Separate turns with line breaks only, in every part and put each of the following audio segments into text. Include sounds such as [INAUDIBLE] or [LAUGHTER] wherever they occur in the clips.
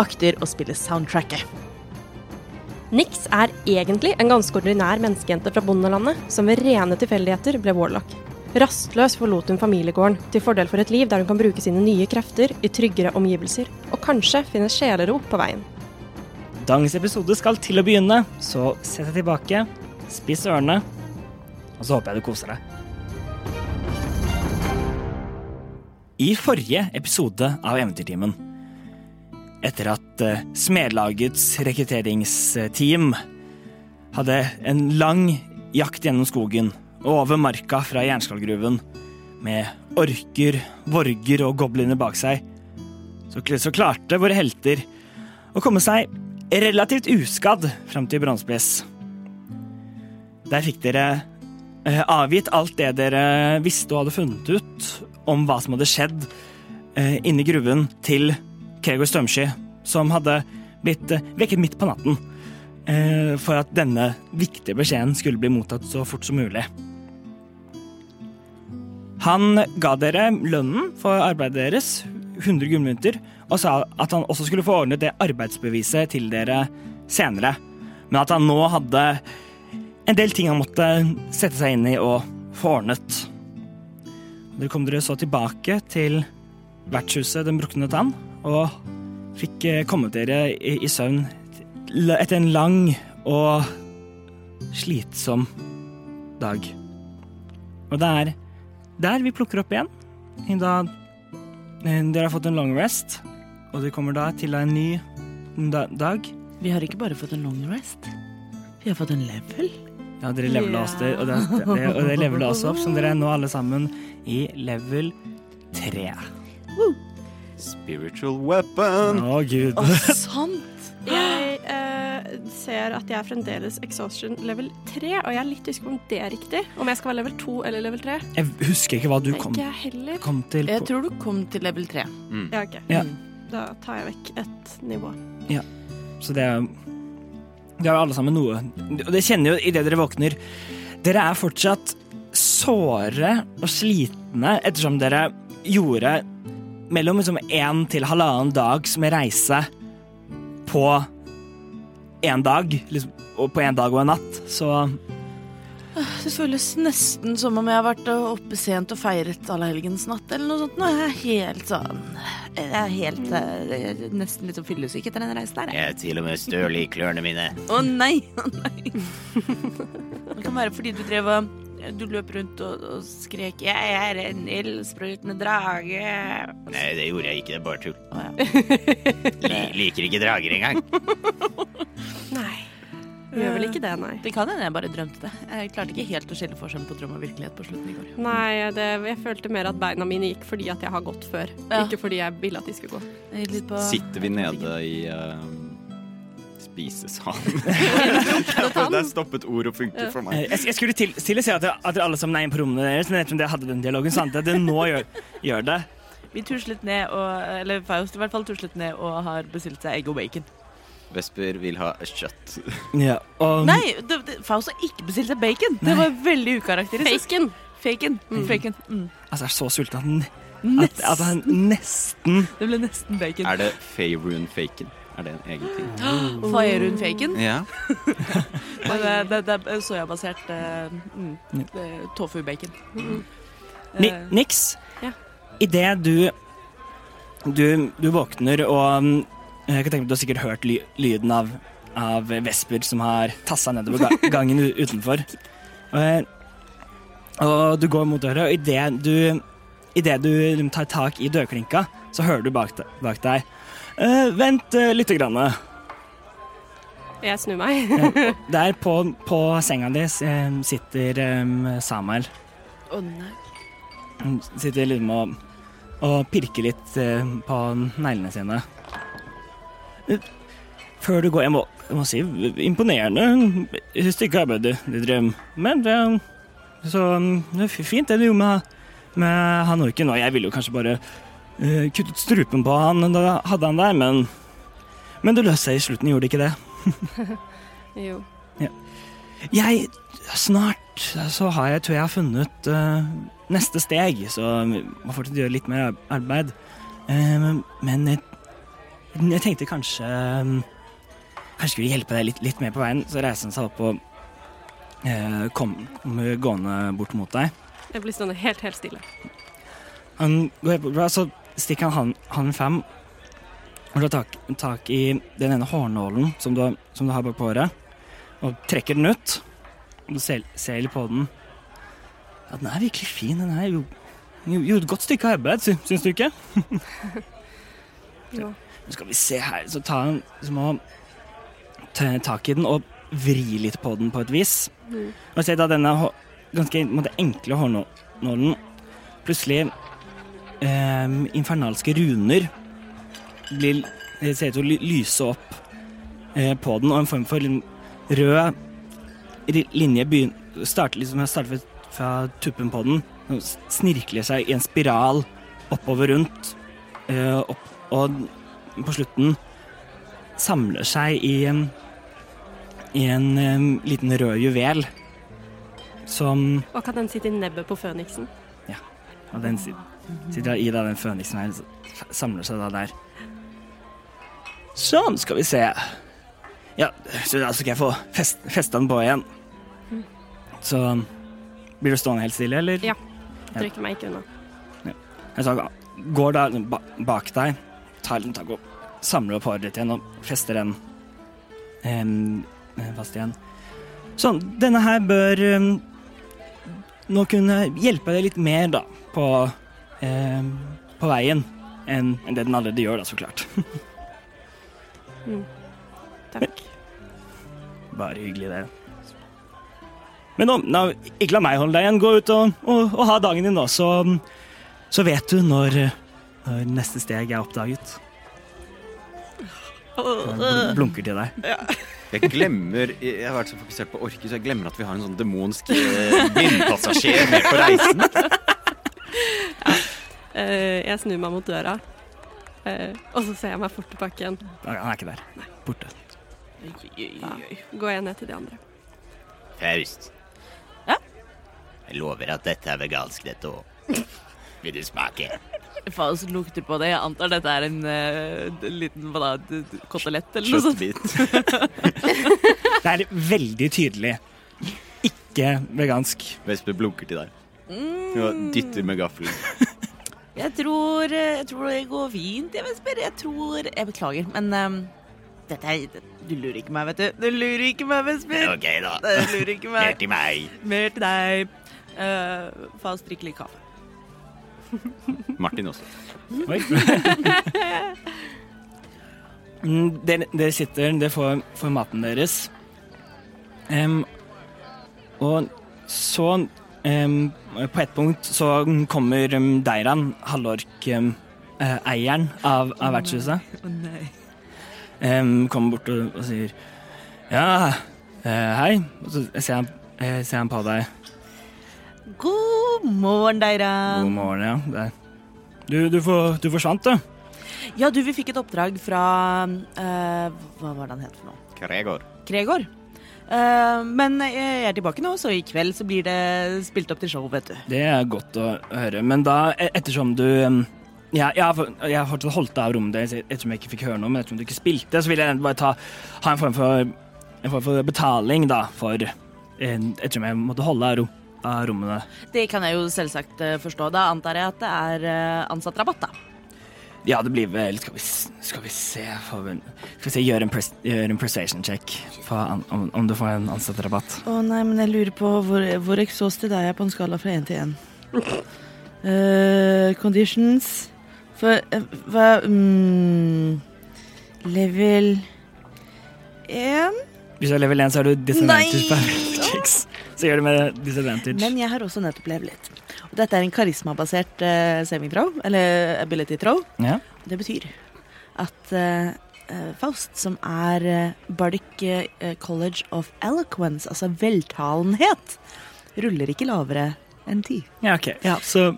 akter å spille soundtracket.
Nix er egentlig en ganske ordinær menneskejente fra bondelandet, som ved rene tilfeldigheter ble warlock. Rastløs forlot hun familiegården, til fordel for et liv der hun kan bruke sine nye krefter i tryggere omgivelser, og kanskje finne sjelero på veien.
Dagens episode skal til å begynne, så sett deg tilbake, spiss ørene, og så håper jeg du koser deg. I forrige episode av Eventyrtimen, etter at eh, Smedlagets rekrutteringsteam hadde en lang jakt gjennom skogen og over marka fra jernskallgruven, med orker, vorger og gobliner bak seg, så, kl- så klarte våre helter å komme seg relativt uskadd fram til Bronseplass. Der fikk dere eh, avgitt alt det dere visste og hadde funnet ut om hva som hadde skjedd eh, inni gruven til Kregor Stømsky, som hadde blitt eh, vekket midt på natten eh, for at denne viktige beskjeden skulle bli mottatt så fort som mulig. Han ga dere lønnen for arbeidet deres, 100 gullmynter, og sa at han også skulle få ordnet det arbeidsbeviset til dere senere, men at han nå hadde en del ting han måtte sette seg inn i og få ordnet. Dere kom dere så tilbake til vertshuset Den brukne tann og fikk eh, kommet dere i, i søvn l- etter en lang og slitsom dag. Og det er der vi plukker opp igjen, i da eh, dere har fått en long rest, og dere kommer da til en ny da- dag.
Vi har ikke bare fått en long rest, vi har fått en
[LAUGHS]
level.
Ja, dere levela oss det, og det, det, og det levela oss opp, som dere er nå alle sammen i level 3.
Spiritual weapon.
Å, gud.
Sånn.
sant!
Jeg eh, ser at jeg er fremdeles exhaustion level 3, og jeg er litt usikker på om det er riktig. Om jeg skal være level 2 eller level 3.
Jeg husker ikke hva du kom,
Ikke jeg heller.
kom til.
Jeg tror du kom til level 3.
Ja, ok.
Ja.
Da tar jeg vekk ett nivå.
Så det er Det er alle sammen noe. Og det kjenner jo idet dere våkner. Dere er fortsatt såre og slitne ettersom dere gjorde mellom liksom én til halvannen dags med reise på én dag. Liksom, og på én dag og en natt. Så
Det føles nesten som om jeg har vært øh, oppe sent og feiret Allehelgens natt eller noe sånt. Nå er jeg helt sånn Jeg er helt øh, Nesten litt sånn fyllesyk etter den reisen der. jeg.
Jeg er til og med støl i klørne mine.
Å nei! Å nei. Det kan være fordi du drev og Du løp rundt og, og skrek 'Jeg er en ildsprutende drage'.
Nei, det gjorde jeg ikke. Det er bare tull.
Å, ja.
liker ikke drager engang.
Nei. Eh, Gjør vel ikke det, nei.
Det kan hende jeg bare drømte det. Jeg klarte ikke helt å skille forskjellen på drøm og virkelighet på slutten i går.
Nei, det, jeg følte mer at beina mine gikk fordi at jeg har gått før.
Ja.
Ikke fordi jeg ville at de skulle gå.
Jeg gikk litt på
Sitter vi nede i uh,
[LAUGHS]
spisesalen? Der stoppet ordet og funket for
eh,
meg.
jeg, jeg skulle til, til å si at, dere- at dere alle sammen er inne på rommene deres, men ettersom dere hadde den dialogen, så antar jeg at dere nå gjør, gjør det.
Vi tuslet ned og Eller Faust i hvert fall tuslet ned og har bestilt seg egg og bacon.
Vesper vil ha kjøtt.
Ja, og,
Nei, det, det, Faust har ikke bestilt seg bacon. Det var veldig ukarakteristisk.
Bacon!
Faken. Faken. Mm.
Altså, jeg er så sulten at, den- at,
Nesten.
at han nesten
Det ble nesten bacon. [GASPS]
Er det Faerun Faken? Er det en egen ting?
Faerun
Mm.
faken.
Ja.
Det, det, det er soyabasert eh, mm, eh, tofu-bacon.
Mm.
Ni
Eh,
Niks,
Ja.
idet du, du Du våkner og mm, Jeg kan tenke meg at Du har sikkert hørt ly lyden av, av vesper som har tassa nedover ga gangen u- utenfor. Og, og du går mot døra, og idet du, i det du liksom tar tak i dørklinka, så hører du bak, de bak deg «Eh, Vent uh, lite grann.
Jeg snur meg.
Der på, på senga di eh, sitter eh, Samuel.
Å nei.
Han sitter liksom og, og pirker litt eh, på neglene sine. Før du går Jeg må, jeg må si imponerende stykke arbeid du du drev med. Det, er- så det er fint det du gjorde med, med han orken. Og jeg ville jo kanskje bare eh, kuttet strupen på han da hadde han der, men Men det løste seg i slutten, gjorde det ikke det?
[LAUGHS] Jo.
Jeg Snart så har jeg, tror jeg har funnet eh, neste steg, så man får til å gjøre litt mer ar- arbeid. Eh, men jeg, jeg tenkte kanskje eh, Kanskje skulle hjelpe deg litt, litt mer på veien. Så reiser han seg opp og eh, kom- kommer gående bort mot deg.
Jeg blir stående sånn helt, helt stille.
Han går på bra, så stikker han handen fram og tar tak, tak i den ene hårnålen som du, har- som du har bak på håret, og trekker den ut. Og Du ser, ser litt på den. Ja, den er virkelig fin, den her. Jo, jo, jo, et godt stykke arbeid, sy, syns du ikke?
[LAUGHS] Jo.
Nå skal vi se her, så tar han så må han ta tak i den og vri litt på den på et vis.
Mm.
Og se da denne hå- ganske på en måte, enkle hårnålen plutselig ehm, infernalske runer blir, ser ut til å ly- lyse opp eh, på den, og en form for lin- rød ri- linje begyn- starter liksom jeg starter fra- fra tuppen på den, og s- snirkler seg i en spiral oppover rundt, eh, opp, og den på slutten samler seg i en, i en em, liten rød juvel som
Og kan den sitte i nebbet på føniksen?
og den sit- sitter i da den føniksen her, s- samler seg da der. Sånn, skal vi se. Ja, så da skal jeg få fest, festa den på igjen. Så um, blir du stående helt stille, eller?
Ja. Jeg trekker meg ikke unna.
Jeg sa, går da ba- bak deg, tar en tak og samler opp håret ditt igjen og fester den em, fast igjen. Sånn, denne her bør em, nå kunne hjelpe deg litt mer da, på, em, på veien enn enn det den allerede gjør, da, så klart.
Takk.
Bare hyggelig, det. Men nå, nå, ikke la meg holde deg igjen. Gå ut og, og, og ha dagen din, da, så, så vet du når, eh, når neste steg er oppdaget. Han bl- blunker til deg.
Jeg glemmer Jeg har vært så fokusert på orker, så jeg glemmer at vi har en sånn demonsk eh, blindpassasjer med på reisen.
[LAUGHS] Eh, jeg snur meg mot døra, eh, og så ser jeg meg fort tilbake igjen.
Han er ikke der. Borte.
Da går jeg ned til de andre.
Faust.
Ja?
Jeg lover at dette er vegansk, dette òg. Vil du smake?
Faust lukter på det. Jeg antar dette er en eh, liten hva da, d- d- kotelett eller noe sånt.
Kjøttbit.
Det er veldig tydelig ikke vegansk.
Vesper blunker til deg.
Mm.
Og dytter med
[LAUGHS]
gaffelen.
Jeg tror, eh, jeg tror det går fint, jeg, Vesper. Jeg tror Jeg beklager, men ehm, dette er det, Du lurer ikke meg, vet du. Du lurer ikke meg, Vesper.
OK, da.
Du lurer ikke
[LAUGHS] Mer
meg.
til meg.
Mer til deg. Uh, Faust drikker litt kaffe.
Martin også.
Oi. Mm, dere, dere sitter, dere får, får maten deres. Em, og så em, På et punkt så kommer um, Deiran, halvork-eieren av, av vertshuset.
Å nei.
Em, kommer bort og, og sier Ja, eh, hei. Og så ser han, eh, ser han på deg.
God morgen,
God
Deiran.
morgen, ja. Der. Du, du, for, du forsvant, du.
Ja, du, vi fikk et oppdrag fra eh, Hva var det han het for noe?
Gregor.
Gregor. Eh, men jeg jeg er tilbake nå, så i kveld så blir det spilt opp til show, vet du.
Det er godt å høre. Men da, e- ettersom du em, ja, jeg, har for- jeg har fortsatt holdt deg av rommet deres ettersom jeg ikke fikk høre noe, men ettersom du ikke spilte, så vil jeg bare ta, ha en form for, en form for betaling, da, for eh, Ettersom jeg måtte holde av, ro, av rommene.
Det kan jeg jo selvsagt eh, forstå. Da antar jeg at det er eh, ansattrabatt, da.
Ja, det blir vel Skal vi, s- skal vi se får vel- Skal vi se, gjør en, pres, gjør en persuasion check på an, om, om du får en ansatterabatt.
Å nei, men jeg lurer på hvor, hvor exhausted er jeg på en skala fra 1 til 1? Eh, conditions For eh, hva mm, Level 1
Hvis du er level 1, så har du disadvantage
Nei!
på ability checks. Så gjør det med disadvantage.
Men jeg har også nettopp levelet. Og dette er en karismabasert uh, saving throw, eller ability throw.
ja.
Det betyr at eh, eh, Faust, som er eh, Bardic eh, College of Eloquence, altså veltalenhet, ruller ikke lavere enn ti.
ja, ok.
Ja.
Så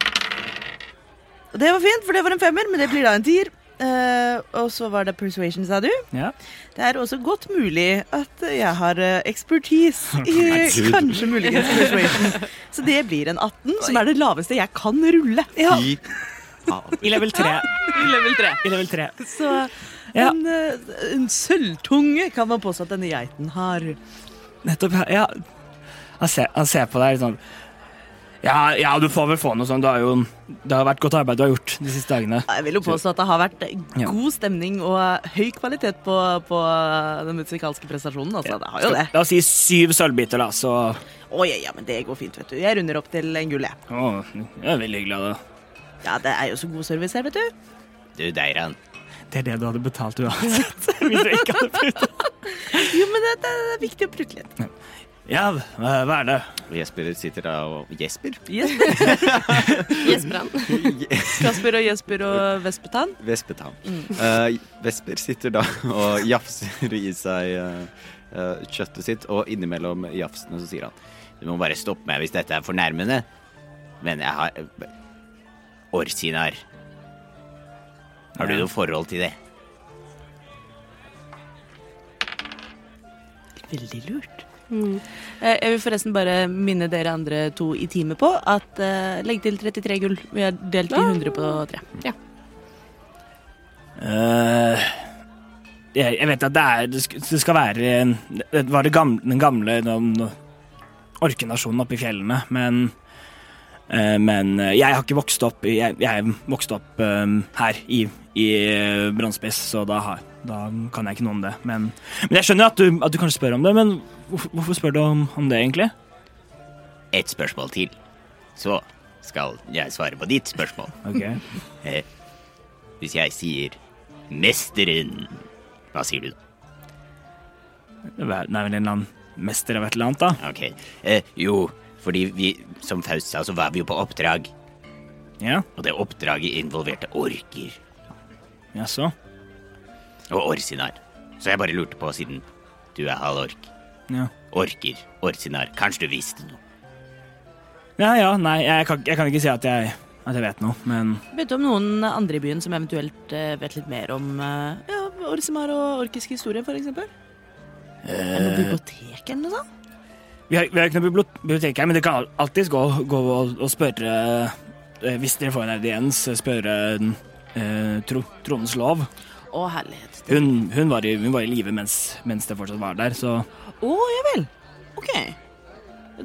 Og det var fint, for det var en femmer, men det blir da en tier. Eh, og så var det persuasion, sa du.
ja.
Det er også godt mulig at jeg har eh,
[LAUGHS]
ekspertise i
Herregud.
kanskje muligens persuasion. Så det blir en 18, som er det laveste jeg kan rulle. Ja,
I fader.
I level 3.
level 3.
Ah! I level 3.
Så
Ja.
en, eh, en sølvtunge kan man påstå at denne geiten har.
Nettopp. Ja. Han ser, han ser på deg litt sånn ja, ja, du får vel få noe sånt. Det har jo det har vært godt arbeid du har gjort de siste dagene.
Jeg vil jo påstå at det har vært
Ja.
god stemning og høy kvalitet på, på den musikalske prestasjonen. Altså, det har jo
Skal-
det.
La oss si syv sølvbiter, da, så
Å ja, ja, men det går fint, vet du. Jeg runder opp til en gull, jeg.
å, Det er veldig hyggelig av deg.
Ja, det er jo så god service her, vet du.
Du, Deiran.
Det er det du hadde betalt uansett. [LAUGHS] Hvis du ikke hadde brukt det.
Jo, men det, det er viktig å prutte litt.
Ja, hva hva er det?
Jesper sitter da og Jesper?
Jesper,
Jesper han.
[LAUGHS] Kasper og Jesper og Vespetann.
Vespetann. Eh, Vesper sitter da og jafser i seg eh, eh, kjøttet sitt, og innimellom jafsene så sier han Du må bare stoppe meg hvis dette er fornærmende, men jeg har eh, Orsinar. Har du
Ja.
noe forhold til det?
Veldig lurt. Eh, Jeg vil forresten bare minne dere andre to i teamet på at eh, legg til 33 gull. Vi har delt i 100 på 3.
Eh, jeg, jeg vet at det er Det skal, det skal være en, Det var det gamle, den gamle den, orkenasjonen oppe i fjellene, men eh, men eh, jeg har ikke vokst opp i- Jeg, jeg vokste opp eh, her i, i eh, Brønnspiss, så da, har, da kan jeg ikke noe om det. Men, men jeg skjønner at du, at du kanskje spør om det, men hvorfor, hvorfor spør du om, om det, egentlig?
Ett spørsmål til, så skal jeg svare på ditt spørsmål.
Ok.
Eh, Hvis jeg sier 'Mesteren', hva sier du da?
Det er vel en eller annen mester av et eller annet, da.
Ok. Eh, jo, fordi vi, som Faust sa, så var vi jo på oppdrag.
Ja,
Og det oppdraget involverte orker
jaså.
og orsinar. Så jeg bare lurte på, siden du er halv ork.
Ja.
Orker, orsinar. Kanskje du visste noe?
ja ja, nei, jeg kan, jeg kan ikke si at jeg, at jeg vet noe, men
Vet du om noen andre i byen som eventuelt eh, vet litt mer om eh, ja, Orsimar og orkisk historie, for eksempel? Er det noe bibliotek eller noe sånt?
Vi har, vi har ikke noe bibliot- bibliotek her, men det kan al- alltids gå, gå og, og spørre eh, Hvis dere får en audiens, spørre eh, tro, Trondens lov.
Å, herlighet.
Hun, hun, var i, hun var i live mens, mens det fortsatt var der, så
Å, ja vel. Ok.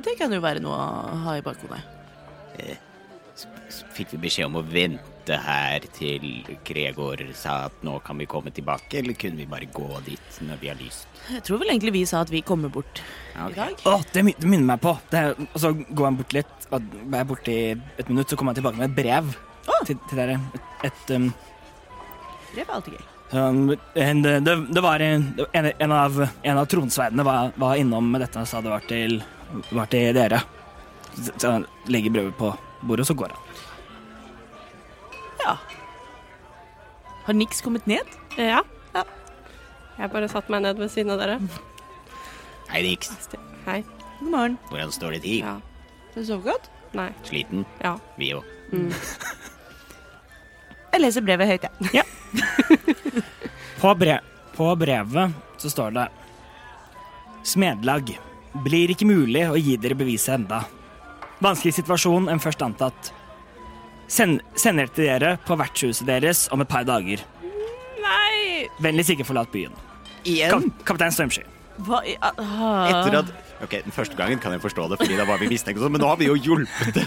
Det kan jo være noe å ha i bakhodet.
Så fikk vi beskjed om å vente her til Gregor sa at nå kan vi komme tilbake, eller kunne vi bare gå dit når vi har lyst?
Jeg tror vel egentlig vi sa at vi kommer bort
Ok.
i dag.
Å, det, min- det minner meg på! Det er, og så går jeg bort litt, og er jeg borte i et minutt, så kommer jeg tilbake med et brev til, til dere. Et, et um,
Det var alltid gøy.
Um, en, det, det var en, en, en av, en av tronsverdene var, var innom med dette og sa det var til, var til dere. Så så han legger brevet på bordet, og så går han.
Ja. Har Nix kommet ned?
Eh, Ja. Jeg bare satte meg ned ved siden av dere.
Hei, Nix.
Hei.
God morgen.
Hvordan står det til?
Ja.
Har du sovet godt?
Nei.
Sliten?
Ja.
Vi òg.
Jeg leser brevet høyt, jeg.
På, bre på brevet så står det Smedlag. Blir ikke mulig å gi dere beviset enda. Vanskelig situasjon enn først antatt. Send, sender til dere på vertshuset deres om et par dager.
Nei!
Vennligst ikke forlat byen.
Igjen?
Kap Kaptein Stormsky.
Hva i ah, a- ha.
Etter at Ok, den første gangen kan jeg forstå det, fordi da var vi mistenkt, og sånn, men nå har vi jo hjulpet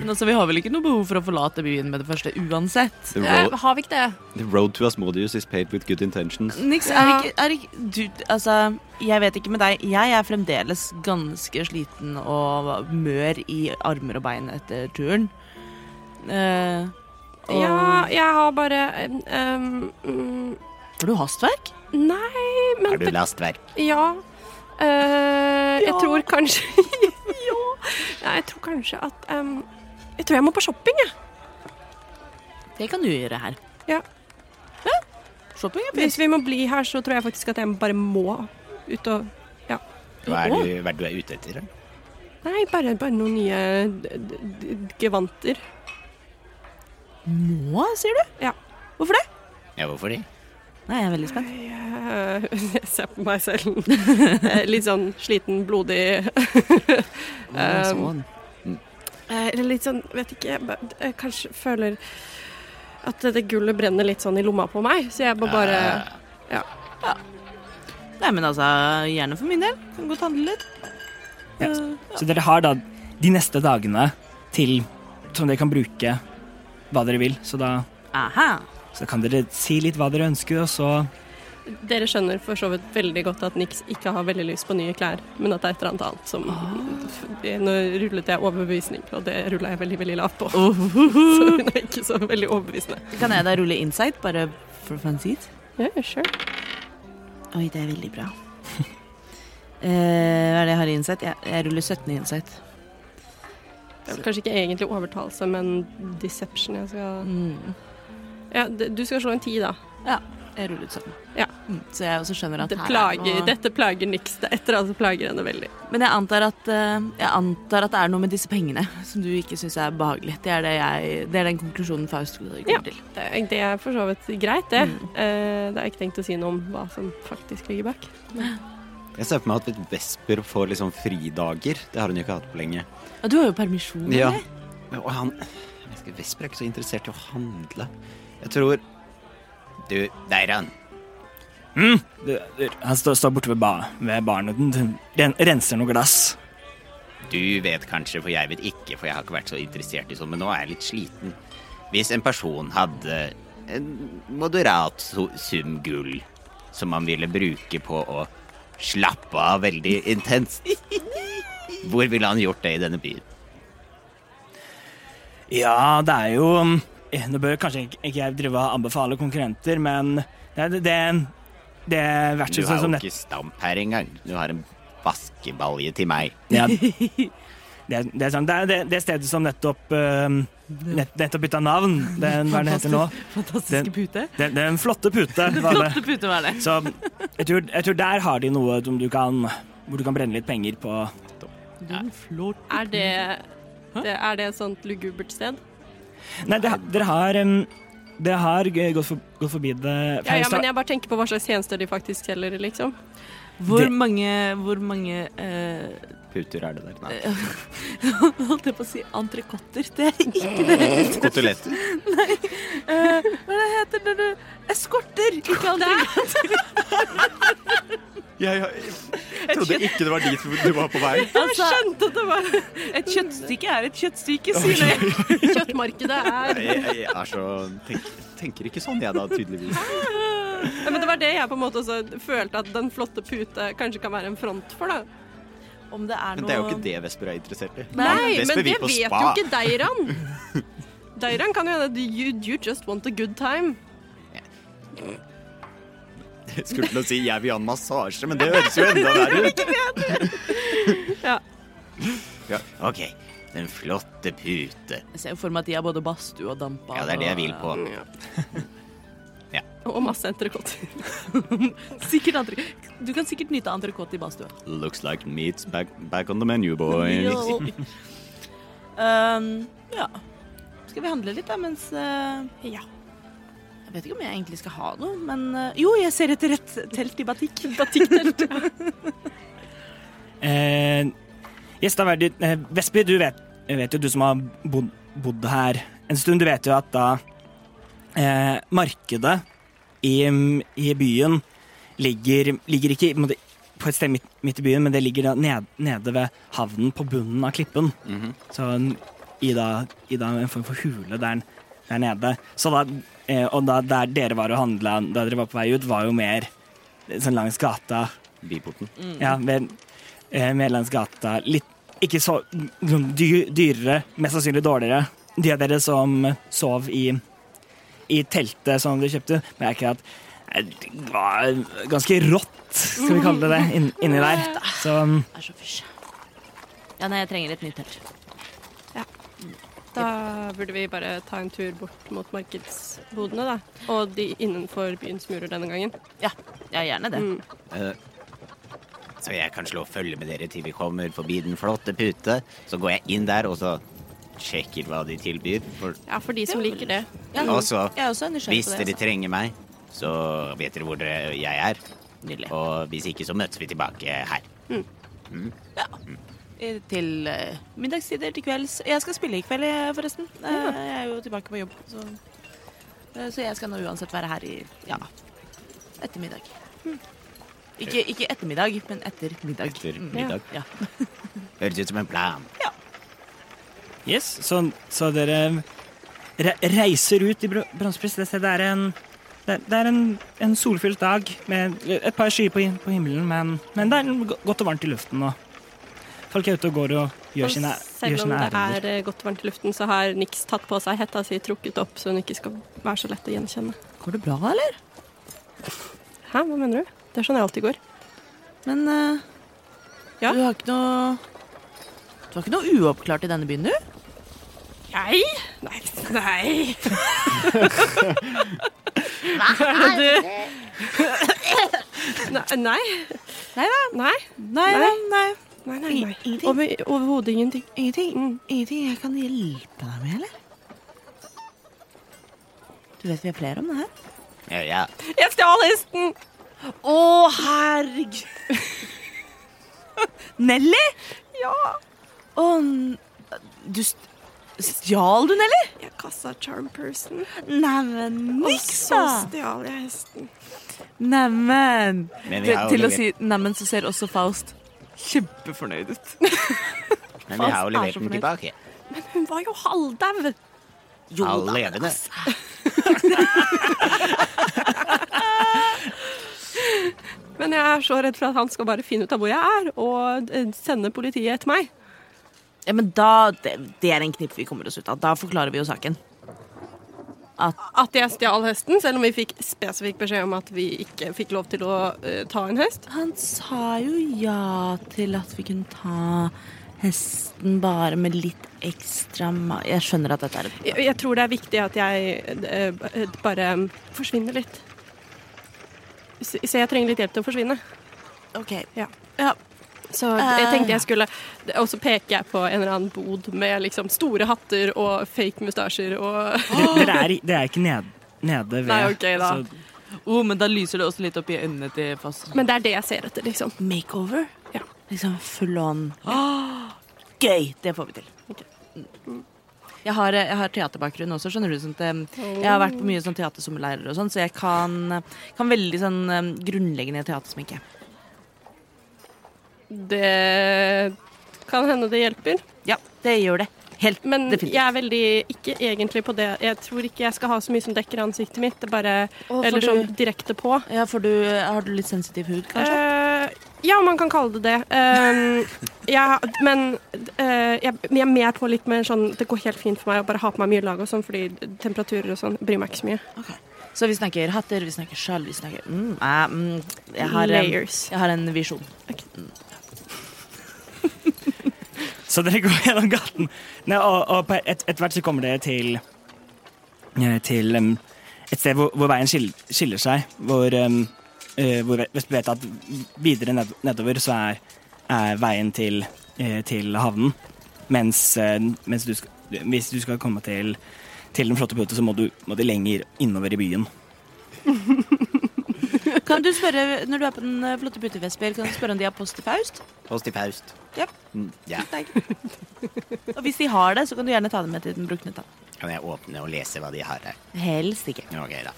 Men altså, vi har vel ikke noe behov for å forlate byen med det første uansett.
The
Eh,
road,
har vi ikke det?
the road to Asmodius is paved with good intentions.
Nix, er ikke, er ikke du, Altså, jeg vet ikke med deg. Jeg er fremdeles ganske sliten og mør i armer og bein etter turen. Eh, og-
Ja, jeg har bare eh, um, mm,
Har du hastverk?
Nei, men det-
lastverk?
Ja. Eh, Jeg
Ja.
tror kanskje [LAUGHS] Ja. Nei, jeg tror kanskje at em, Jeg tror jeg må på shopping, jeg.
Det kan du gjøre her.
Ja.
Ja, Shopping er fint.
Hvis vi må bli her, så tror jeg faktisk at jeg bare må ut og
Hva er, du, hva er du er ute etter? da?
Nei, bare, bare noen nye d- d- d- gevanter.
Må, sier du?
Ja.
Hvorfor det?
Ja, hvorfor det?
Nei, jeg er veldig spent.
Jeg, jeg ser på meg selv. Eh, Litt sånn sliten, blodig
Å, sånn.
Eh, Eller litt sånn, vet ikke jeg, ba- jeg Kanskje føler at det gullet brenner litt sånn i lomma på meg, så jeg må bare
Nei, men altså, gjerne for min del. Kan godt handle litt.
Ja. Så dere har da de neste dagene til som dere kan bruke hva dere vil. Så da
Aha.
så kan dere si litt hva dere ønsker, og så
Dere skjønner for så vidt veldig godt at Nix ikke har veldig lyst på nye klær, men at det er et eller annet annet som Det- Nå rullet jeg overbevisning, og det rulla jeg veldig, veldig lavt på. [LAUGHS] Så hun er ikke så veldig overbevisende.
Kan jeg da rulle insight, bare for fansiet?
Ja, sure.
Oi, det er veldig bra. [LAUGHS] Eh, hva er det jeg har i insight? Jeg, jeg ruller 17 i insight.
Det er vel kanskje ikke egentlig overtalelse, men deception jeg skal
Mm.
Ja, d- du skal slå en ti, da.
Jeg rullet 17.
Ja.
Mm. Så jeg også skjønner at
Det
her er
plager,
noe-
dette plager Nix. Det er et eller annet som plager henne veldig.
Men jeg antar, at, eh, jeg antar at det er noe med disse pengene som du ikke syns er behagelig. Det er, det, jeg, det er den konklusjonen Faust kommer
Ja.
til.
Det er, det er for så vidt greit, det. Eh, det har jeg ikke tenkt å si noe om hva som faktisk ligger bak.
Jeg ser for meg at Vesper får liksom fridager. Det har hun jo ikke hatt på lenge.
Ja, du har jo permisjon.
Ja.
eller?
Men, Og han jeg vet ikke, Vesper er ikke så interessert i å handle. Jeg tror Du, der er han.
det- det- Han står, står borte ved, ba, ved baren og den- den ren, renser noen glass.
Du vet kanskje, for jeg vet ikke, for jeg har ikke vært så interessert i sånn, men nå er jeg litt sliten. Hvis en person hadde en moderat su- sum gull som man ville bruke på å slappe av veldig intenst, hvor ville han gjort det i denne byen?
Ja, det er jo eh, Nå bør kanskje ikke ikke jeg drive og anbefale konkurrenter, men det, det, det, det
sånn
Du
vertshuset
har
som
jo
nett...
ikke stamp her engang. Du har en vaskebalje til meg.
Ja. Det, det, er sånn, det er det, det stedet som nettopp eh, nett, Nettopp bytta navn. Den, hva er det heter nå?
Fantastiske pute.
Den, den flotte pute. var det.
Flotte pute var det.
Så jeg tror, jeg tror der har de noe som du kan, hvor du kan brenne litt penger på.
Den flotte
Er det, det, er det et sånt lugubert sted?
Nei, det, dere har em, Dere har g- gått, for, gått forbi det
Ja, ja, men jeg bare tenker på hva slags tjenester de faktisk selger, [LAUGHS] liksom.
Hvor
Det-
mange, hvor mange eh, [LAUGHS]
Puter er det der. Nei.
Holdt jeg på å si entrecôter. Det er [LAUGHS] ikke det.
Koteletter.
Eh, hva er det heter når du Eskorter! Ikke entrecôter.
Jeg, trodde ikke det var dit du var på vei.
Altså,
Skjønte at det var [LAUGHS]
et kjøttstykke er et kjøttstykke, sier jeg.
Kjøttmarkedet er
Jeg, jeg er så tenk, Tenker ikke sånn jeg, da, tydeligvis.
ja, Men det var det jeg på en måte også følte at den flotte pute kanskje kan være en front for, da.
Om det er
Men
noe
det er jo ikke det Vesper er interessert i.
Nei,
Vesper
men det
vil på
vet jo
spa.
ikke Deiran. [LAUGHS] Deiran kan jo hende you, you just want a good time.
Jeg skulle til å si 'jeg vil ha en massasje', men det høres jo enda verre
[LAUGHS]
ut.
Ok, den flotte pute.
Jeg ser jo for meg at de har både badstue og dampa.
Ja, det er det jeg vil på.
Og masse entrecôter.
Sikkert entre... Du kan sikkert nyte entrecôte i badstue.
Looks like meat's back, back on the menu, boy.
Um, ja. Skal vi handle litt, da, mens eh, Ja. Jeg vet ikke om jeg egentlig skal ha noe, men eh, Jo, jeg ser etter et telt i batikk. Batikktelt.
Eh, yes, da var det, eh, Vesper, du vet, vet jo, du som har bodd, bodd her en stund, du vet jo at da eh, markedet i, i byen ligger, ligger ikke på en måte på et sted midt, midt i byen, men det ligger da ned, nede ved havnen på bunnen av klippen. Så i, da, i da en form for hule der, der nede. Så da, eh, og da der dere var og handla da dere var på vei ut, var jo mer eh, sånn langs gata.
Byporten.
Ja, mer, eh, mer langs gata. Litt ikke så mm, dy, dyrere, mest sannsynlig dårligere. De av dere som sov i, i teltet som dere kjøpte, merker at eh, det var ganske rått, skal vi kalle det det, inn- inni der. Så mm,
Jeg er så fysj. Ja, nei, jeg trenger et nytt telt.
Da burde vi bare ta en tur bort mot markedsbodene, da. Og de innenfor byens murer denne gangen.
Ja, ja, gjerne det.
Eh, Så jeg kan slå følge med dere til vi kommer forbi den flotte pute. Så går jeg inn der og så sjekker hva de tilbyr. For,
Ja, for de som liker det.
Ja,
og så,
jeg er også nysgjerrig
hvis
på
altså.
dere
det.
trenger meg, så vet dere hvor dere, jeg er.
altså. Nydelig.
Og hvis ikke, så møtes vi tilbake her.
altså. Til eh, middagstider, til kvelds. Jeg skal spille i kveld, jeg, forresten. Eh, jeg er jo tilbake på jobb, så eh, Så jeg skal nå uansett være her i ja, ettermiddag. Hm. Ikke, ikke ettermiddag, men Eh. etter middag.
Etter
Mm.
middag.
Ja.
Høres ut som en plan.
yes, så, så dere re reiser ut i Bro- Bronsepris. Det stedet er en det det er en, en solfylt dag med et par skyer på, him- på himmelen, men, men det er go- godt og varmt i luften. Og folk er ute og går og gjør
Og
sine, gjør
selv om
sine
det
ærender.
er eh, godt varmt i luften, så har Nix tatt på seg hetta si trukket opp, så hun ikke skal være så lett å gjenkjenne.
Går det bra, eller?
Hæ, hva mener du? Det er sånn jeg alltid går.
Men eh,
Ja?
du har ikke noe Du har ikke noe uoppklart i denne byen, du?
Jeg? Nei. Nei. Hva er det du Nei. Nei.
Nei da.
Nei.
Nei,
Nei.
nei, nei.
Nei, nei, nei.
Ingenting?
Over, overhodet ingenting.
Ingenting,
Mm.
ingenting jeg kan hjelpe deg med, eller? Du vet vi er flere om det her?
Ja, ja.
Jeg stjal hesten!
Å, herregud! [LAUGHS] Nelly?
Ja.
Å, n- du st Stjal du Nelly?
Jeg kasta charm person,
Neimen,
og
niks,
så
da!
stjal jeg hesten.
Neimen.
Men vi
Til,
har jo
til å
levert-
si neimen, så ser også Faust kjempefornøyd ut.
[LAUGHS] Men vi har jo
Faust
levert
er så
den
fornøyd.
tilbake.
Men hun var jo halvdau.
Jo
All
da, men
levende.
altså.
Men jeg er så redd for at han skal bare finne ut av hvor jeg er, og eh, sende politiet etter meg.
Ja, men da, det, det er en knipp vi kommer oss ut av. Da forklarer vi jo saken.
At jeg stjal hesten, selv om vi fikk spesifikk beskjed om at vi ikke fikk lov til å eh, ta en hest.
Han sa jo ja til at vi kunne ta hesten bare med litt ekstra ma... Jeg skjønner at dette er et
Jeg, jeg tror det er viktig at jeg eh, b- eh, bare mm, forsvinner litt. Så så jeg trenger litt hjelp til å forsvinne.
OK.
Ja.
Ja.
Så jeg
Eh,
tenkte jeg skulle Og så peker jeg på en eller annen bod med liksom store hatter og fake mustasjer og
Dere-
[LAUGHS]
Dere er, i- dere er ikke ned, nede ved
Nei, ok, da.
så-
Oh, men da lyser det også litt opp i øynene til Faust.
Men det er det jeg ser etter, liksom.
Makeover?
Ja.
Liksom full on. [GASPS] Gøy! Det får vi til.
Ok.
Jeg har, eh, jeg har teaterbakgrunn også, skjønner du. Sånn at, eh, jeg har vært på mye sånn teatersommerleirer og sånn, så jeg kan, kan veldig sånn eh, grunnleggende teatersminke.
Det kan hende det hjelper.
Ja, det gjør det. Helt
Men
definitivt.
jeg er veldig ikke egentlig på det. Jeg tror ikke jeg skal ha så mye som dekker ansiktet mitt. Det er bare,
for
eller
du-
sånn direkte på.
Ja, for du, eh, Har du litt sensitiv hud, kanskje?
Eh, ja, man kan kalle det det. [LAUGHS] Um, jeg, men eh, jeg, jeg er mer på litt mer sånn Det går helt fint for meg å bare ha på meg mye lag og sånn, fordi temperaturer og sånn bryr meg ikke så mye.
Så vi snakker hatter, vi snakker sjal, vi snakker mm, eh, mm, jeg, har, eh,
Layers.
jeg har en visjon.
Så dere går [LAUGHS] gjennom gaten, Nei, og, og på et, etter hvert så kommer dere til eh, Til em, et sted hvor, hvor veien skiller, skiller seg. Hvor, um, hvor Vest- vi vet at videre ned, nedover så er, er veien til, eh, til havnen. Mens, eh, mens du skal, hvis du skal komme til, til den flotte puta, så må du, må du lenger innover i byen.
[LAUGHS] Kan du spørre, Når du er på den eh, flotte puttevesper, kan du spørre om de har post til Faust?
Post i Faust.
Ja.
Mm, ja.
[LAUGHS] Og hvis de har det, så kan du gjerne ta det med til den brukne tann.
Kan jeg åpne og lese hva de har her?
Helst ikke.
Ok, da.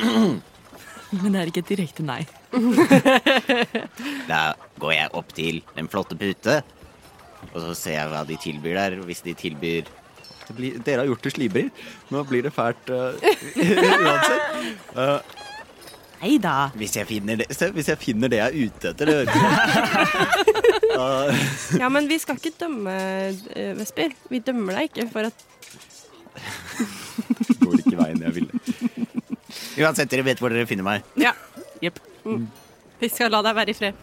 [LAUGHS] Men det er ikke et direkte nei.
Da går jeg opp til den flotte pute, Og så ser jeg hva de tilbyr der. Hvis de tilbyr
Det blir, dere har gjort det slibrig. Nå blir det fælt
[LAUGHS]
eh, uansett. Eh,
Nei da.
Hvis jeg finner det, se, hvis jeg, finner det jeg er ute etter, det høres
Ja, men vi skal ikke dømme eh, Vesper. Vi dømmer deg ikke for at
det går ikke veien jeg ville.
Uansett, dere vet hvor dere finner meg.
Ja.
[LAUGHS]
Mm. Vi skal la deg være i fred.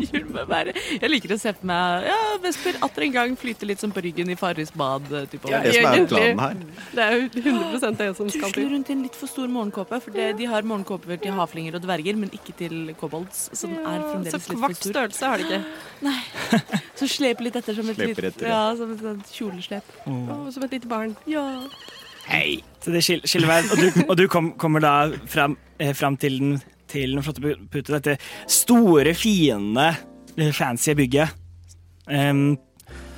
Gjør meg bare- Jeg liker å se på meg ja, Vesper atter en gang flyter litt som på ryggen i Farris bad. eh, Type.
Det er det som er
egentlig.
planen her.
Det er jo 100 det som skal
Tusler
til.
rundt i en litt for stor morgenkåpe, for det, de har morgenkåper til havflinger og dverger, men ikke til kobolds, som er
Så
fremdeles litt for
kvart
stor.
størrelse har de ikke.
Så sleper litt etter som et,
Sleper
litt,
etter,
ja, som et sånt kjoleslep.
Å, som et lite barn. Ja.
Hei!
Så det skil- skiller vei. Og du, og du kom, kommer da fram, eh, fram til, den, til den flotte pu- pute, dette store, fine, eh, fancy bygget. Ehm, Em,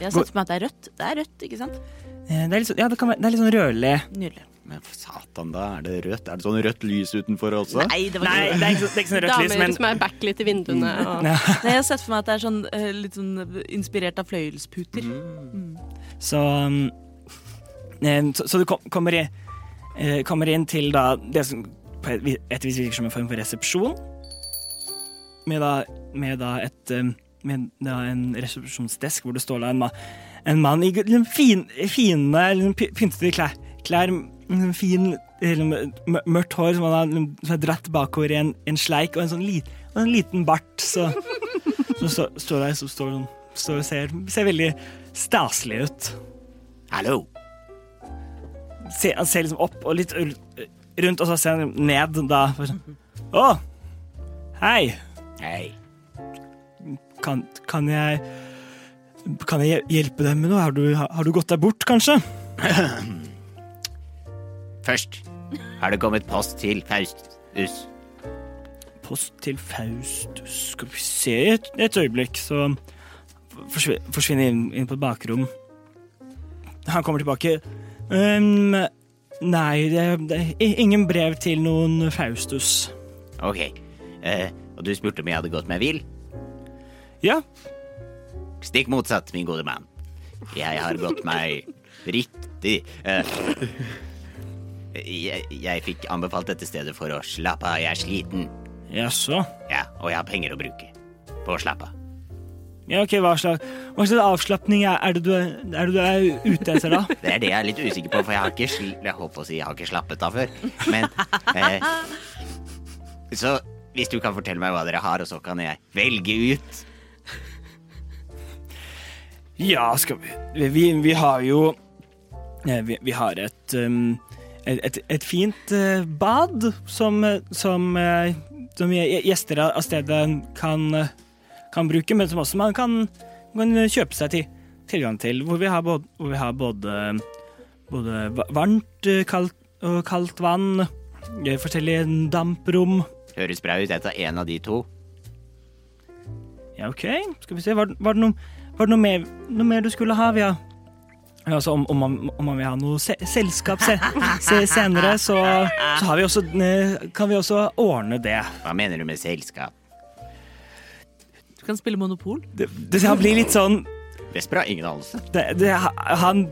Jeg har
sett
sett for meg at det er rødt. Det er rødt, ikke sant?
eh, det er litt, sånn- ja, det kan være, det er litt sånn rødlig.
Nydelig.
Men for satan, da er det rødt. Er det sånn rødt lys utenfor også?
Nei, det var
Nei, det
ikke
er ikke, så- det er ikke sånn rødt lys,
Damer
men
som er backlit i vinduene.
[LAUGHS]
Og...
Nei, jeg har sett for meg at det er sånn eh, litt sånn eh, inspirert av fløyelsputer.
Så, um, eh, så, så du kom, kommer, i, eh, kommer inn til da det som på et vi- et vis virker som en form for resepsjon. Med da, med da et um, med da en resepsjonsdesk hvor det står da en, ma, en mann i gu- liksom fin, fine, liksom py- pyntede klær, klær liksom fin, liksom mø- mørkt hår som han har liksom- som er dratt bakover i en, en sleik, og en sånn li, og en liten bart. Så, som står- står der som står sånn står og ser, ser veldig staselig ut.
Hallo!
Se, han ser liksom opp og litt ul- rundt, og så ser han ned da. for sånn, Å, hei.
Hei.
Kan, kan jeg Kan jeg hjelpe deg med noe? Har du, har du gått deg bort, kanskje?
Først har det kommet post til Faustus.
Post til Faustus. Skal vi se et, et øyeblikk, så forsvi- forsvinner inn, inn på et bakrom. Han kommer tilbake. «Ehm, nei, det, det er ingen brev til noen Faustus.
Ok. Eh, og du spurte om jeg hadde gått meg vill?
Ja,
Stikk motsatt, min gode mann. Jeg har gått meg riktig. Eh, jeg, jeg fikk anbefalt dette stedet for å slappe av. Jeg er sliten.
jaså.
Ja, og jeg har penger å bruke på å slappe av.
Ja, ok, Hva slags, hva slags avslapning er, er, det du er, er det du er ute etter, da?
Det er det jeg er litt usikker på, for jeg har ikke, sl jeg holdt på å si, jeg har ikke slappet av før. Men eh, Så hvis du kan fortelle meg hva dere har, og så kan jeg velge ut
[LAUGHS] Ja, skal vi Vi, vi har jo eh, vi, vi har et, um, et, et, et fint eh, bad som, eh, som, eh, som gje- gjester av av stedet kan, eh, kan bruke, men som også man kan, kan kjøpe seg til, tilgang til. Hvor vi har både, hvor vi har både, både va- varmt eh, kaldt, og kaldt vann, eh, forskjellige damprom.
Høres bra ut. Jeg tar en av de to.
Ja, ok. Skal vi se. Var, var det, noe, var det noe, mer, noe mer du skulle ha? Vi har, altså, om, om, man, om man vil ha noe se, selskap se, se, senere, så, så har vi også, eh, kan vi også ordne det.
Hva mener du med selskap?
Du kan spille Monopol.
Det, det han blir litt sånn
Vesper har ingen anelse.
det, det, Han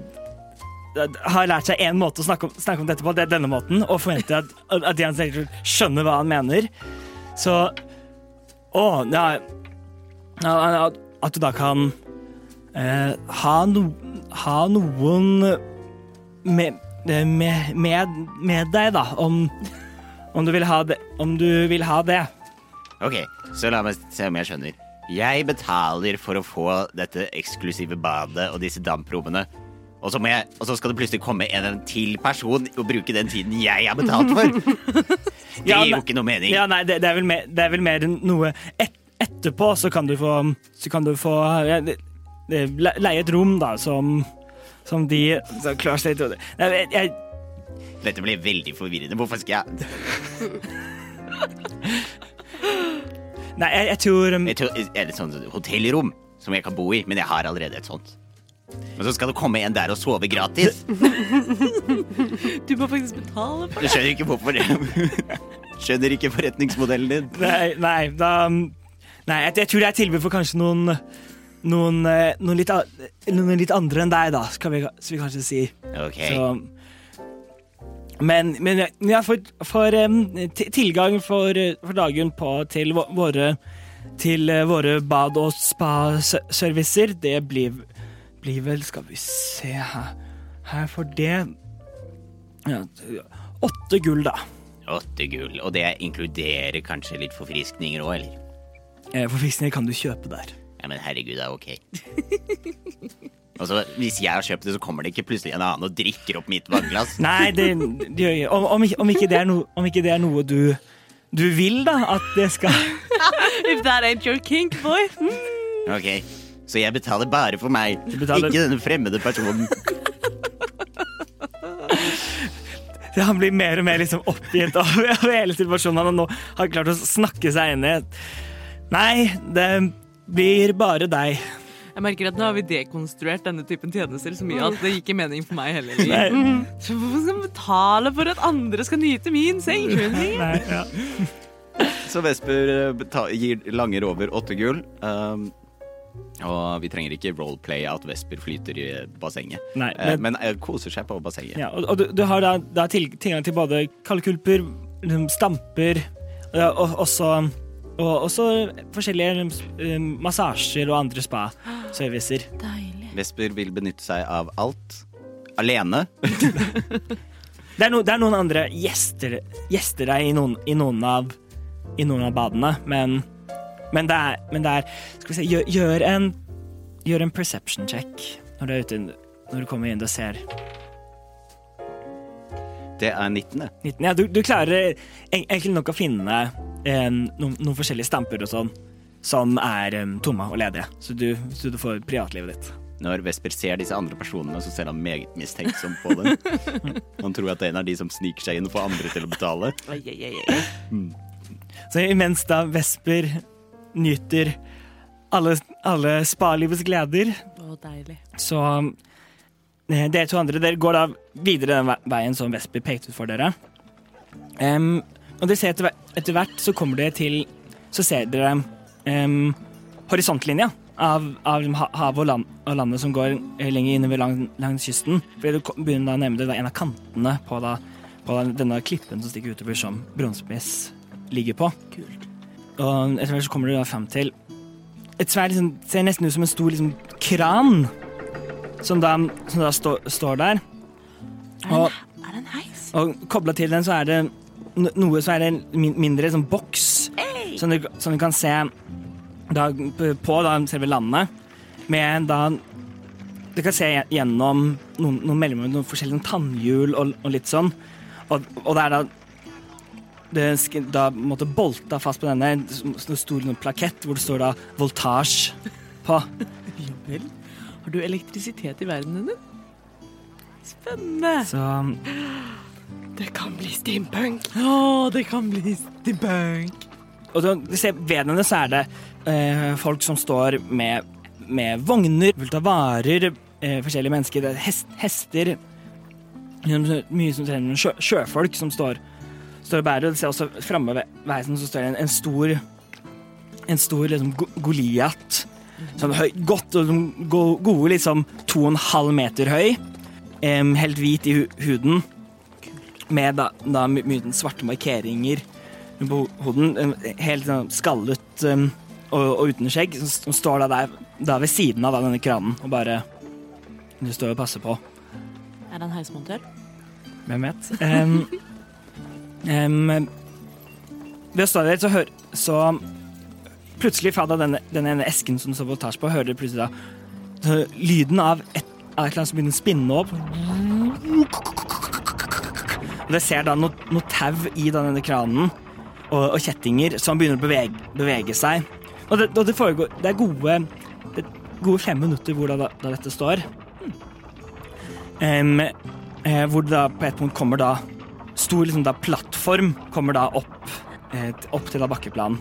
har lært seg én måte å snakke om, snakke om dette på, det er denne måten, og forventer at, at de han snakker til, skjønner hva han mener. Så Å, ja, ja, ja, At du da kan eh, ha, no, ha noen med, eh, med, med, med deg, da, om, om du vil ha det. Om du vil ha det.
Ok, så la meg se om jeg skjønner. Jeg betaler for å få dette eksklusive badet og disse damprummene. Og så, må jeg, og så skal det plutselig komme en, en til person og bruke den tiden jeg har betalt
[LAUGHS]
for. Det
Ja,
gir jo
nei-
ikke noe mening.
Ja, nei, det, det, er vel mer, det er vel mer enn noe et, etterpå, så kan du få, så kan du få ja, det, det, le- leie et rom, da, som, som de som klarer seg til å Nei, jeg, jeg,
Dette blir veldig forvirrende. Hvorfor skal jeg
nei, jeg, jeg tror um,
Jeg tror- Er det sånn hotellrom som jeg kan bo i? Men jeg har allerede et sånt. Men så skal det komme en der og sove gratis.
Du må faktisk betale for
Du skjønner ikke hvorfor [LAUGHS] Skjønner ikke forretningsmodellen din.
Nei, nei da um, Nei, jeg, jeg tror det er tilbud for kanskje noen noen, eh, noen, litt, a- noen litt andre enn deg, da, skal vi, skal vi kanskje si.
Ok.
Så, men, men jeg- jeg får, får em, ti- tilgang for, eh, for dagen på til vå- våre til eh, våre bad- og spa-servicer. Det blir, blir vel Skal vi se her Her for det ja, t- Åtte gull, da.
Åtte gull. Og det inkluderer kanskje litt forfriskninger òg, eller?
Eh, Forfriskninger kan du kjøpe der.
Ja, men herregud, det er
[LAUGHS]
ok. Og så, Hvis jeg har kjøpt det, så kommer det ikke plutselig en annen og drikker opp mitt vannglass.
Nei, det, det gjør jeg. Om, om, ikke, om, ikke det er noe- om ikke det er noe du du vil, da? At det skal
If that ain't your kink, boy. Mhm.
Ok, Så jeg betaler bare for meg,
betaler-
ikke denne fremmede personen.
det- Han blir mer og mer liksom oppgitt av, [LAUGHS] av hele situasjonen. Han har nå har klart å snakke seg inn i et Nei, det blir bare deg.
Jeg merker at nå har vi dekonstruert denne typen tjenester så mye at det gir ikke mening for meg heller.
Nei,
Så hvorfor skal man betale for at andre skal nyte min seng? Skjønner jeg?
nei, ja.
Så Vesper eh, beta- gir langer over åtte gull. Um, og vi trenger ikke roleplay at Vesper flyter i eh, bassenget.
Nei,
Eh,
men-
men eh, koser seg på bassenget.
Ja, og, og du, du har da, da til, tilgang til både kalkulper, liksom, stamper ja, og også og også forskjellige um, s- um, massasjer og andre spa-servicer.
Vesper vil benytte seg av alt. Alene. [LAUGHS]
Det er, no, det er noen andre gjester, gjester deg i noen, i, noen av, i noen av badene, men, men, det er, men det er Skal vi se, gjør, gjør, en, gjør en perception check når du er ute Når du kommer inn og ser
Det er 19.
19. Ja, du, du klarer en- egentlig nok å finne eh, noen, noen forskjellige stamper og sånn som er eh, tomme og ledige, så du, så du får privatlivet ditt.
Når Vesper ser disse andre personene, så ser han meget mistenksom på dem.
[LAUGHS]
Han tror at det er en av de som sniker seg inn og får andre til å betale.
Ai, ai, ai, ai.
Så imens da Vesper nyter alle, alle spa-livets gleder,
Å, deilig.
Så eh, dere to andre dere går da videre den ve- veien som Vesper pekte ut for dere. Em, og dere ser etter, hver- etter hvert så kommer dere til Så ser dere em, horisontlinja av, av liksom ha- havet og, land, og landet som går eh, lenger innover lang, langs kysten. Fordi du kom- begynner da å nærme deg da en av kantene på, da, på den- denne klippen som stikker utover som bronsepiss ligger på. Og etter hvert så kommer du da frem til et svært liksom, ser nesten ut som en stor liksom, kran som da, som da stå, står der. Og,
Er det en heis?
og kobla til den så er det no- noe så er det en min- mindre sånn boks som du, som du kan se da, p- på da, selve landet. Med da Du kan se gje- gjennom noen, noen mellomrom, noen forskjellige sånn tannhjul og, og litt sånn. Og, og det er da det er sk- da måtte bolta fast på denne en s- stor sånn plakett hvor det står da voltasje på.
Ja vel. Har du elektrisitet i verden din? Spennende.
Så
Det kan bli steampunk.
Å, det kan bli debunk.
Og da, du ser, ved henne så er det eh, folk som står med, med vogner, fullt av varer, eh, forskjellige mennesker, det er hest, hester liksom, Mye som trener sjø, sjøfolk som står, står og bærer. Og du ser også framme ved veisen så står det en, en stor en stor liksom, go- Goliat. Sånn høy, godt og sånn go- gode liksom to og en halv meter høy. em, helt hvit i hu huden. Med da, da my- mye sånn svarte markeringer på hoden, en helt sånn skallet um, og, og uten skjegg, som- som står da der da ved siden av da, denne kranen og bare Du står og passer på.
Er han heismontør?
Hvem vet? Um, um, ved å stå der, så, hør, så plutselig fra da denne, den ene esken som det står voltasje på, hører du plutselig da så lyden av et, av et eller annet som begynner å spinne opp. Og det ser da noe, noe tau i da denne kranen, og, og kjettinger som begynner å bevege, bevege seg. Og det, og det foregår Det er gode, det er gode fem minutter hvor da, da, da dette står. Em, eh, hvor det da på et punkt kommer da stor liksom da plattform kommer da opp, eh, t- opp til da bakkeplanen.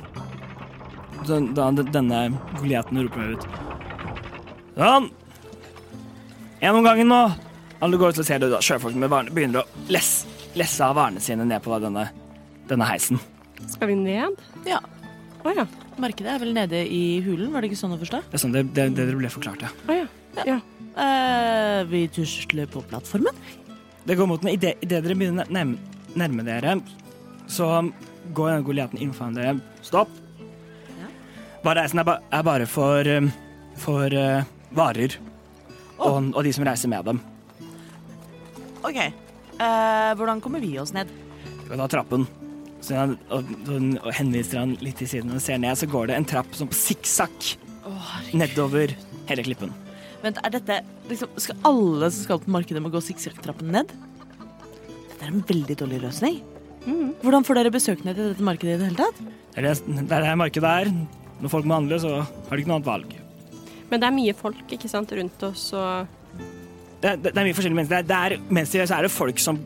Så Da d- denne Goliaten roper ut. Sånn! En om gangen nå. Alle går ut og ser det, da sjøfolk med varene begynner å lesse, lesse av varene sine ned på da denne, denne heisen.
Skal vi ned?
Ja.
Å ja.
Markedet er vel nede i hulen, var det ikke sånn å forstå?
Det er sånn det, det, det ble forklart, ja.
Eh, vi tusler på plattformen.
Det går mot den. Idet dere begynner å nærme, nærme dere, så går denne Goliaten innenfor dere. Stopp! Bare reisen er, ba, er bare for, um, for uh, varer. Og, og de som reiser med dem.
Ok. Eh, hvordan kommer vi oss ned?
Og da trappen. Så han, og, og, og henviser han litt til siden og ser ned, så går det en trapp som på sikksakk nedover hele klippen.
Vent, er dette liksom, Skal alle som skal på markedet, må gå sikksakk-trappen ned? Dette er en veldig dårlig løsning.
Mm.
Hvordan får dere besøkende til dette markedet i det hele tatt?
Det er det, det, er det markedet er. Når folk må handle, så har de ikke noe annet valg.
Men det er mye folk ikke sant, rundt oss, og
Det, det, det er mye forskjellige mennesker. Det er, det er, mens de gjør, så er det folk som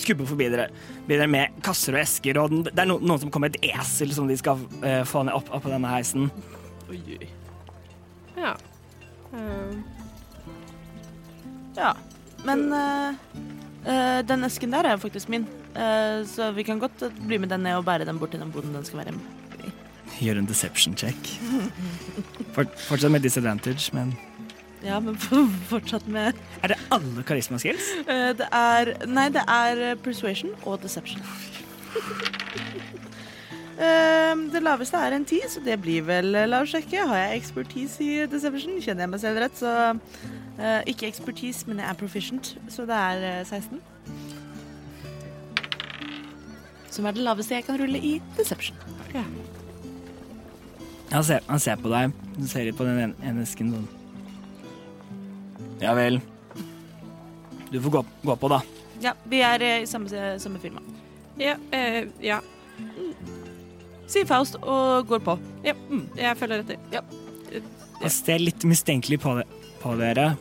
skubber forbi dere, forbi dere med kasser og esker, og den- det er no, noen som kommer med et esel som de skal eh, få ned opp, opp på denne heisen.
ja. Eh,
Ja, men eh, eh, den esken der er jo faktisk min. Eh, så vi kan godt eh, bli med den ned og bære den bort til den boden den skal være med.
Gjør en deception [LAUGHS] check. Fort, fortsatt med disadvantage, men
Ja, men [LAUGHS] fortsatt med
Er det alle karismaskills?
Eh, Det er Nei, det er eh, persuasion og deception. Eh, det laveste er en ti, så det blir vel eh, La oss sjekke. Har jeg expertise i deception? Kjenner jeg meg selv rett, så eh, Ikke expertise, men jeg er proficient, så det er eh, 16. Som er det laveste jeg kan rulle i deception.
Han ser, han ser på deg. Du ser litt på den ene- ene esken sånn. Ja vel. Du får gå, gå på, da.
Ja, vi er eh, i samme, samme firma.
ja, eh, ja.
Sier Faust og går på.
ja. mm, Jeg følger etter. Ja.
Han ser litt mistenkelig på, de, på dere,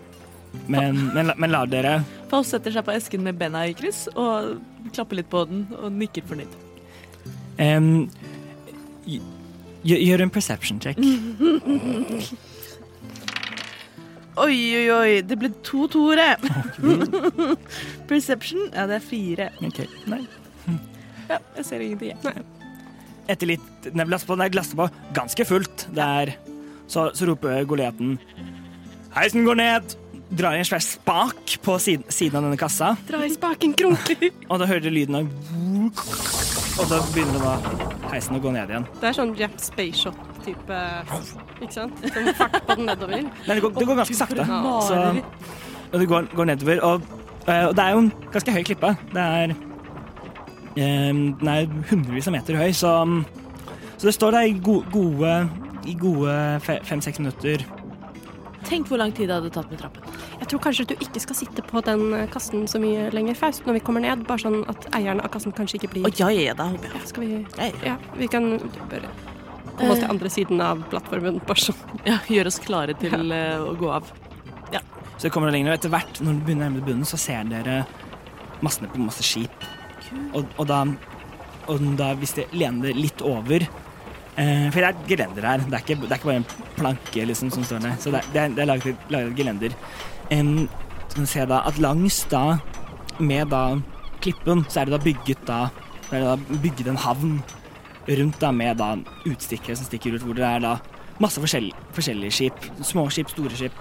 men, men, la- men lar dere.
Faust setter seg på esken med bena i kryss og klapper litt på den og nikker fornøyd.
Em, gj- gjør en perception check.
Oi, oi, oi. Det ble to toere. [LAUGHS] Perception Ja, det er fire.
Ok, nei.
Ja, jeg ser ingenting. jeg.
Etter litt den er glasset på, den er glasset på ganske fullt. Det er, så, så roper Goliaten Heisen går ned! Drar i en svær spak på siden, siden av denne kassa.
Dra i spaken, [LAUGHS] krunker.
Og da hører du lyden av Og da begynner da heisen å gå ned igjen.
Det er sånn Jack Spaceshot-type, ikke sant? Som fart på den nedover.
Nei, det går, det går ganske sakte.
Ja.
Så, og det går, går nedover. Og, eh, og det er jo en ganske høy klippe. Det er eh, Den er hundrevis av meter høy, så Så det står der i go- gode, i gode fem-seks minutter.
Tenk hvor lang tid det hadde tatt med trappen.
Jeg tror kanskje du ikke skal sitte på den eh, kassen så mye lenger, Faust, når vi kommer ned. Bare sånn at eieren av kassen kanskje ikke blir
Å, ja, ja, ja, da håper jeg.
Ja, skal vi
Ja, ja.
Ja, vi kan Eh. bare komme oss til andre siden av plattformen, bare sånn.
Ja, gjør oss klare til eh, å gå av.
Så det kommer det lenger. Og etter hvert, når du begynner nærmere bunnen, så ser dere massene på masse skip. Og, og, da, og da hvis de lener litt over eh, For det er et gelender her. Det er ikke, det er ikke bare en planke liksom, som står der. Så det er, det er, det er laget, et, laget et gelender. Em, så kan du se da at langs da med da klippen, så er det da bygget da så er det da bygget en havn rundt da med da utstikkere som stikker ut, hvor det er da masse forskjell, forskjellige skip. Små skip, store skip.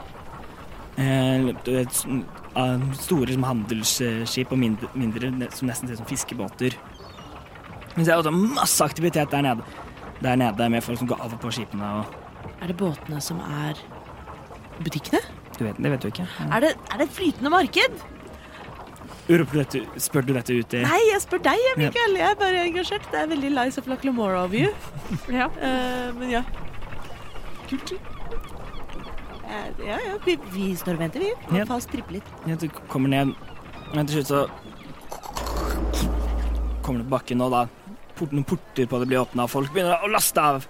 Eh, du vet, s- eh, store som handelsskip og mindre, mindre ne- som nesten ser ut som fiskebåter. Men så er det også masse aktivitet der nede. Der nede med folk som går av og på skipene og
Er det båtene som er butikkene?
du vet, Det vet du ikke.
Er det, er det flytende marked?
Roper du dette, spør du dette ut i
Nei, jeg spør deg, jeg, Mikael. Jeg er bare engasjert. Det er veldig Lies of Laclamora of you.
Ja.
Eh, men ja. Kult. Eh, Ja, ja. Vi, vi står og venter, vi.
Ja.
Faust tripler litt.
Ja, Du kommer ned, men til slutt så kommer du på bakken, og da port, noen porter på det blir åpna, og folk begynner å laste av.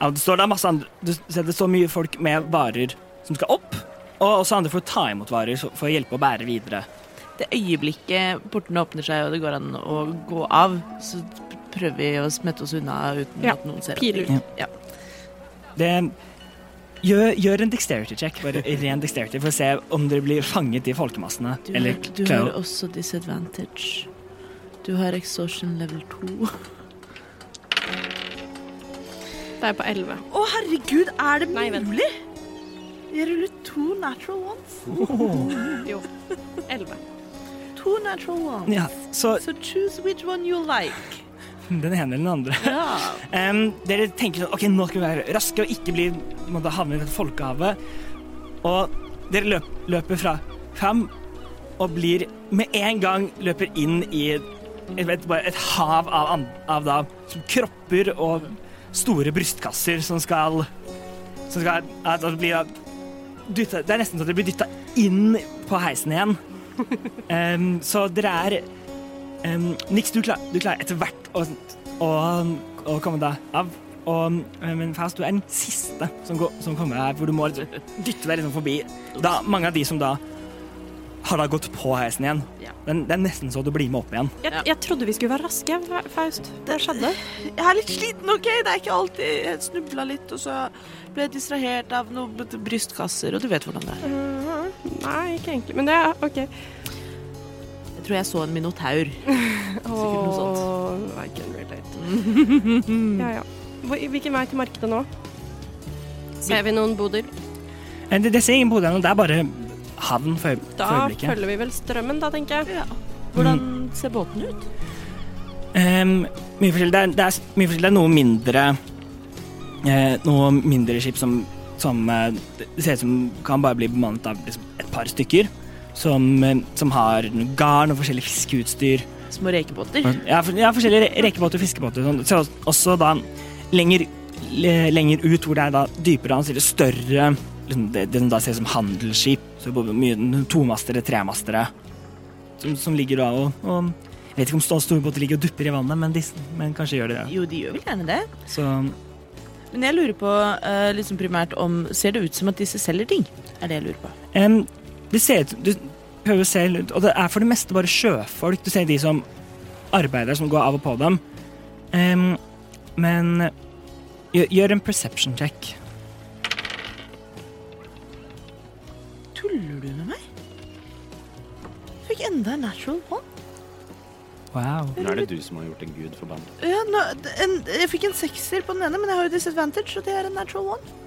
Ja, det står der masse andre Du ser det står mye folk med varer som skal opp, og også andre for å ta imot varer så- for å hjelpe å bære videre.
Det øyeblikket portene åpner seg og det går an å gå av, så prøver vi å smette oss unna uten
Ja,
at noen ser
pil ut.
Ja.
Det gjør, gjør en dexterity check, bare ren dexterity, for å se om dere blir fanget i folkemassene.
Du,
eller
har, du har
klarer å-
også disadvantage. Du har exhaustion level 2.
Det er på 11.
Å, herregud, er det
Nei, vent.
mulig? Jeg ruller to natural ones.
Jo. 11.
Two natural ones.
Ja, så
So choose which one you
[LAUGHS]
like.
den ene eller den andre.
Ja.
Em, dere tenker sånn Ok, nå skal vi være raske og ikke bli må da havne i dette folkehavet. Og dere løp, løper fra fram og blir med en gang løper inn i jeg vet, bare et hav av, an- av da, kropper og store brystkasser som skal Som skal at, at blir da dyttet- Det er nesten så dere blir dytta inn på heisen igjen. Em, så dere er em, Nix, du klarer, du klarer etter hvert å og, og komme deg av. Og, eh, men Faust, du er den siste som, går, som kommer her, hvor du må dytte deg liksom forbi da, mange av de som da har da gått på heisen igjen.
Ja.
Den, det er nesten så du blir med opp igjen.
Jeg, jeg trodde vi skulle være raske, Fa- Faust. Hva skjedde?
Jeg er litt sliten, OK? Det er ikke alltid Jeg snubla litt, og så ble jeg distrahert av noen b- brystkasser, og du vet hvordan det er.
Nei, ikke egentlig. Men det er OK.
Jeg tror jeg så en minotaur.
Sikkert noe sånt. I can relate. [LAUGHS] ja, ja. Hvor, hvilken vei til markedet nå? Ser vi noen boder?
Eh, Det, det ser ingen boder ennå, det er bare havn for, øye-
Da
for øyeblikket.
følger vi vel strømmen, da, tenker jeg.
Hvordan
ser båten ut?
Ehm, mye forskjellig. Det er, det er s- mye forskjellig. Det er noe mindre eh, Noe mindre skip som, som eh, det ser ut som kan bare bli bemannet av liksom et par stykker. Som, eh, som har noe garn og forskjellig fiskeutstyr.
Små rekebåter.
Ja, for, ja forskjellige re- rekebåter og fiskebåter. og Sånn. Så også da lenger, le- lenger ut, hvor det er da dypere han sier det større liksom det, det som da ser ut som handelsskip. Så både mye tomastere, tremastere, som, som ligger da og, og jeg vet ikke om store, store båter ligger og dupper i vannet, men, disse- men kanskje gjør de det.
Jo, de gjør vel gjerne det.
Så
Men jeg lurer på eh, liksom primært om Ser det ut som at disse selger ting? Er det jeg lurer på.
em, det ser ut Du prøver å se litt, og det er for det meste bare sjøfolk. Du ser de som arbeider, som går av og på dem. Em, men gjør, gjør en perception check.
Tuller du med meg? Fikk enda en natural one.
Wow.
Nå er det du som har gjort en gud forbanna.
Ja, nå, en, jeg fikk en sekser på den ene, men jeg har jo disadvantage, og det er en natural one.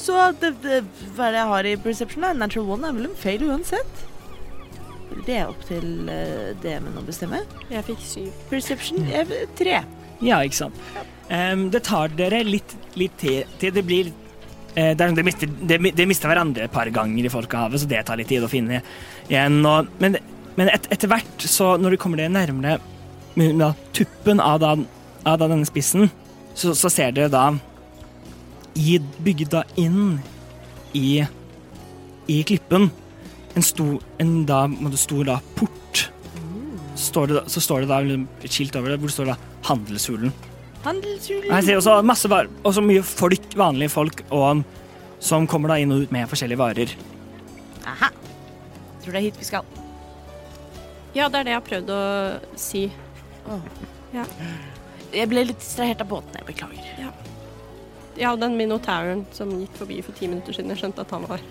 Så det, det, hva er det jeg har i perception? da? En natural one er vel en fail uansett. Det er opp til eh, DM-en å bestemme.
Jeg fikk syv.
Perception er tre.
Ja, ikke sant. Em, det tar dere litt, litt tid til det blir eh, det er sånn, de, mister, de, de mister hverandre et par ganger i folkehavet, så det tar litt tid å finne igjen. Og, men men et, etter hvert, så når du kommer dere nærmere med da, tuppen av, da, av da, denne spissen, så, så ser dere da i bygda inn i, i klippen en stor, en da, på en måte stor da, port. Står det, da- så står det da liksom, et skilt over det, hvor det står da 'Handelshulen'.
Handelshulen.
Jeg ser også masse varer, og så mye folk, vanlige folk, og, som kommer da inn og ut med forskjellige varer.
Jeg tror det er hit vi skal.
Ja, det er det jeg har prøvd å si.
Jeg ble litt distrahert av båten, jeg beklager.
Ja, den minotauren som gikk forbi for ti minutter siden. Jeg skjønte at han var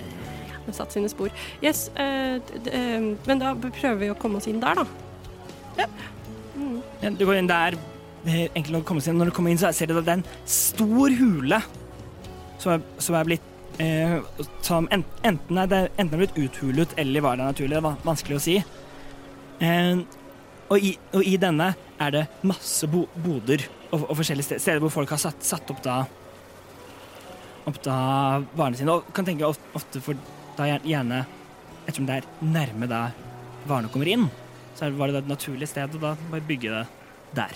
og satt sine spor. Yes, eh, d- d- eh, men da prøver vi å komme oss inn der, da. Mm.
Ja, Du går inn der, det er enkelt å komme seg inn. Når du kommer inn, så ser du at det er en stor hule som er, som er blitt eh, som en, enten, er det, enten er blitt uthulet, eller var det naturlig. Det var vanskelig å si. Eh, og, i, og i denne er det masse bo, boder og, og forskjellige steder, steder hvor folk har satt, satt opp da opp da varene sine. Og kan tenke of- ofte for da gjer- gjerne Ettersom det er nærme da varene kommer inn, så er- var det da et naturlig sted å da bare bygge det der.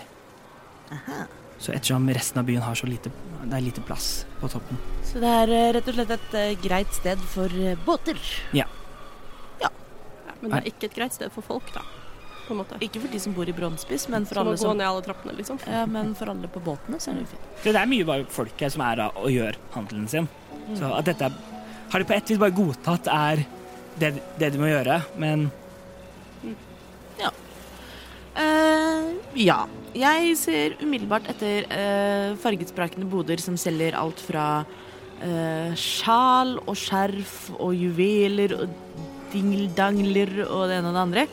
Så ettersom resten av byen har så lite Det er lite plass på toppen.
Så det er eh, rett og slett et eh, greit sted for eh, båter.
Ja, men det er ikke et greit sted for folk, da. På en måte.
Ikke for de som bor i Brønnspiss, men for
Som å
alle
gå
som
ned alle trappene, liksom.
ja, men for alle på båtene, så er det jo fint.
Det er mye bare folk her som er da og gjør handelen sin. Så at dette er- har de på ett vis bare godtatt er det, det de må gjøre, men
Eh, ja. Jeg ser umiddelbart etter eh, fargesprakende boder som selger alt fra eh, sjal og skjerf og juveler og dingeldangler og det ene og det andre,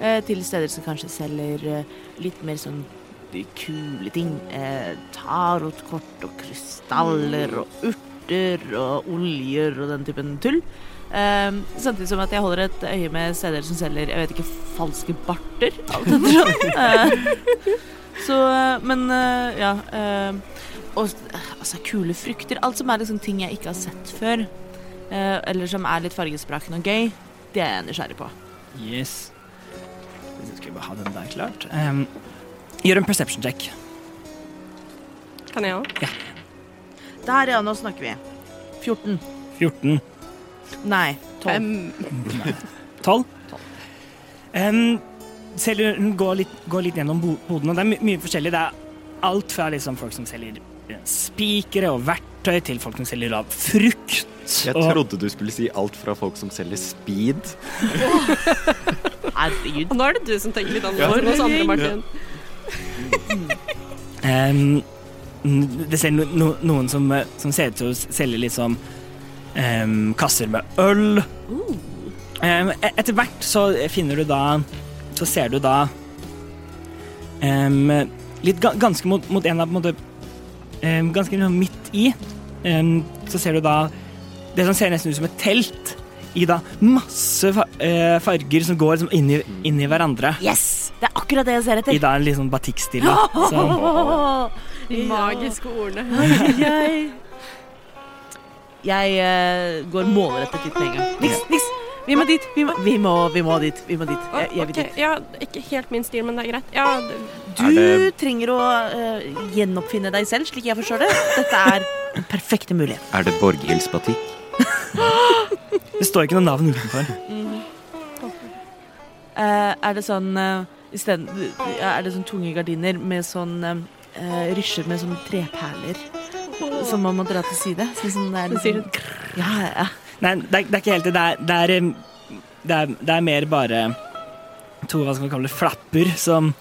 eh, til steder som kanskje selger eh, litt mer sånn veldig kule ting. Eh, tarotkort og krystaller og urter og oljer og den typen tull. Eh, samtidig som at jeg holder et øye med steder som selger jeg vet ikke, falske barter. Alt etter sånn. Eh, så, eh, men eh, ja. Eh, og eh, altså, kule frukter. Alt som er liksom ting jeg ikke har sett før. Eh, eller som er litt fargesprakende og gøy. Det er jeg nysgjerrig på.
Yes. Skal vi bare ha den der klart? Ehm, gjør en perception check.
Kan jeg òg?
Der, ja. Nå snakker vi. 14.
14.
Nei. 12.
Tolv? Um, selger, hun går litt, går litt gjennom bo- bodene. Det er my mye forskjellig. Det er alt fra liksom folk som selger eh, spikere og verktøy, til folk som selger av frukt.
Jeg
og-
trodde du skulle si alt fra folk som selger speed.
Herregud.
Og nå er det du som tenker litt
Ja.
annerledes enn oss andre, Martin.
Ehm, n- det ser no, no, noen som, eh, som ser ut til å s- selge liksom ehm, kasser med øl. Ehm, e- etter hvert så finner du da Så ser du da ehm, Litt ga, ganske mot, mot en av på en måte ehm, Ganske liksom midt i ehm, så ser du da det som ser nesten ut som et telt, i da masse fa eh, farger som går liksom inn i, inn i hverandre.
Yes! Det er akkurat det jeg ser
I
etter.
da en litt sånn batikkstil. Som
De magiske ordene.
Jeg Jeg eh, går målrettet dit med en gang. Niks, niks! Vi må dit! Vi må, vi må, vi må dit. Vi må dit. Jeg, jeg vil
Ok,
dit.
ja, ikke helt min stil, men det er greit. Ja, det-
Er
Du
det-
trenger å eh, gjenoppfinne deg selv, slik jeg forstår det. Dette er den perfekte muligheten.
Er det Borghilds batikk?
Det står ikke noe navn utenfor.
Eh, er det sånn eh, i stedet- ja, Er det sånn tunge gardiner med sånn eh, eh, Rysjer med sånne treperler som man må dra til side? Sånn som det er
Så sier
liksom, Ja, ja.
Nei, det er, det er ikke helt det. Det er, det, er, em, det, er, det er mer bare to hva skal man kalle det, flapper som,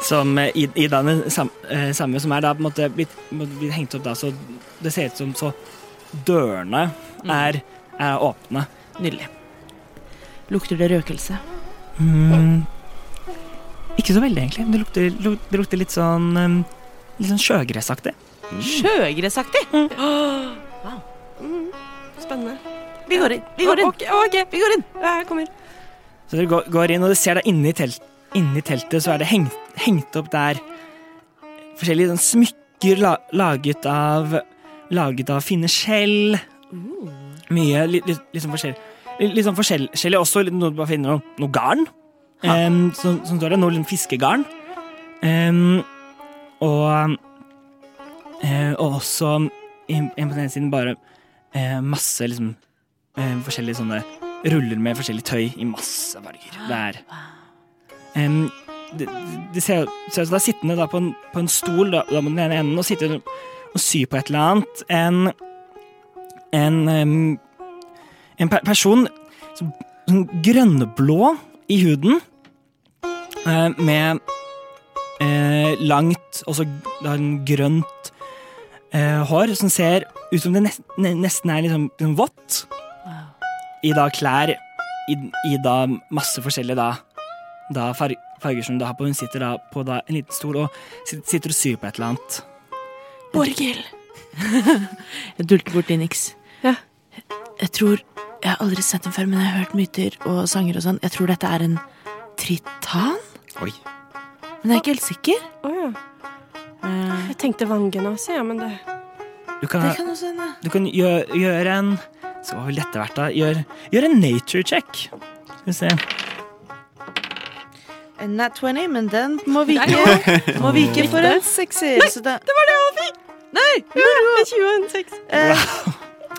som eh, i, i den sam, eh, samme som er da på en måte blitt, på en måte blitt hengt opp da, så det ser ut som så dørene
Mm.
er, er åpne.
Nydelig. Lukter det røkelse?
Mm. Ikke så veldig, egentlig. Det lukter, lu- det lukter litt sånn em, Litt sånn sjøgressaktig.
Mm. Sjøgressaktig!
spennende.
Vi går inn. Vi går inn.
Ok, ok,
Vi går inn.
jeg kommer.
Så dere går, går inn, og dere ser da inni, telt, inni teltet så er det hengt, hengt opp der forskjellige sånn smykker la, laget av laget av fine skjell. Mye litt, litt, litt sånn forskjell. Litt, litt sånn forskjell, skjellig også, litt, noe du bare finner noe, noe garn. Um, som, som står der, noe litt fiskegarn. Em, og eh, og også en en på den ene siden bare eh, masse liksom eh, forskjellige sånne ruller med forskjellig tøy i masse farger. Det er Em, det, det ser ser ut som det er sittende da på en, på en stol da, da på den ene enden og sitter og syr på et eller annet. En en, em, en per person som, som grønnblå i huden eh, med eh, langt, også da en grønt eh, hår som ser ut som det nesten, nesten er liksom, liksom vått i da klær i, i da masse forskjellige da, da far, farger som du har på. Hun sitter da på da en liten stol og sit- sitter og syr på et eller annet.
Borghild. [LAUGHS] jeg dulter bort til Nix.
Ja.
Jeg tror Jeg har aldri sett den før, men jeg har hørt myter og sanger og sånn. Jeg tror dette er en tritan,
Oi.
men jeg er ikke helt sikker.
Å ja.
Eh,
Jeg tenkte vangenase, ja, men det
Du kan,
det kan også hende.
du kan gjøre, gjøre en Så hva vil dette vært, da? Gjør, gjør en nature check. Skal vi se.
En nat 20, men den må vike, må vike for en sekser. Nei, det var det han fikk! Nei! Eh,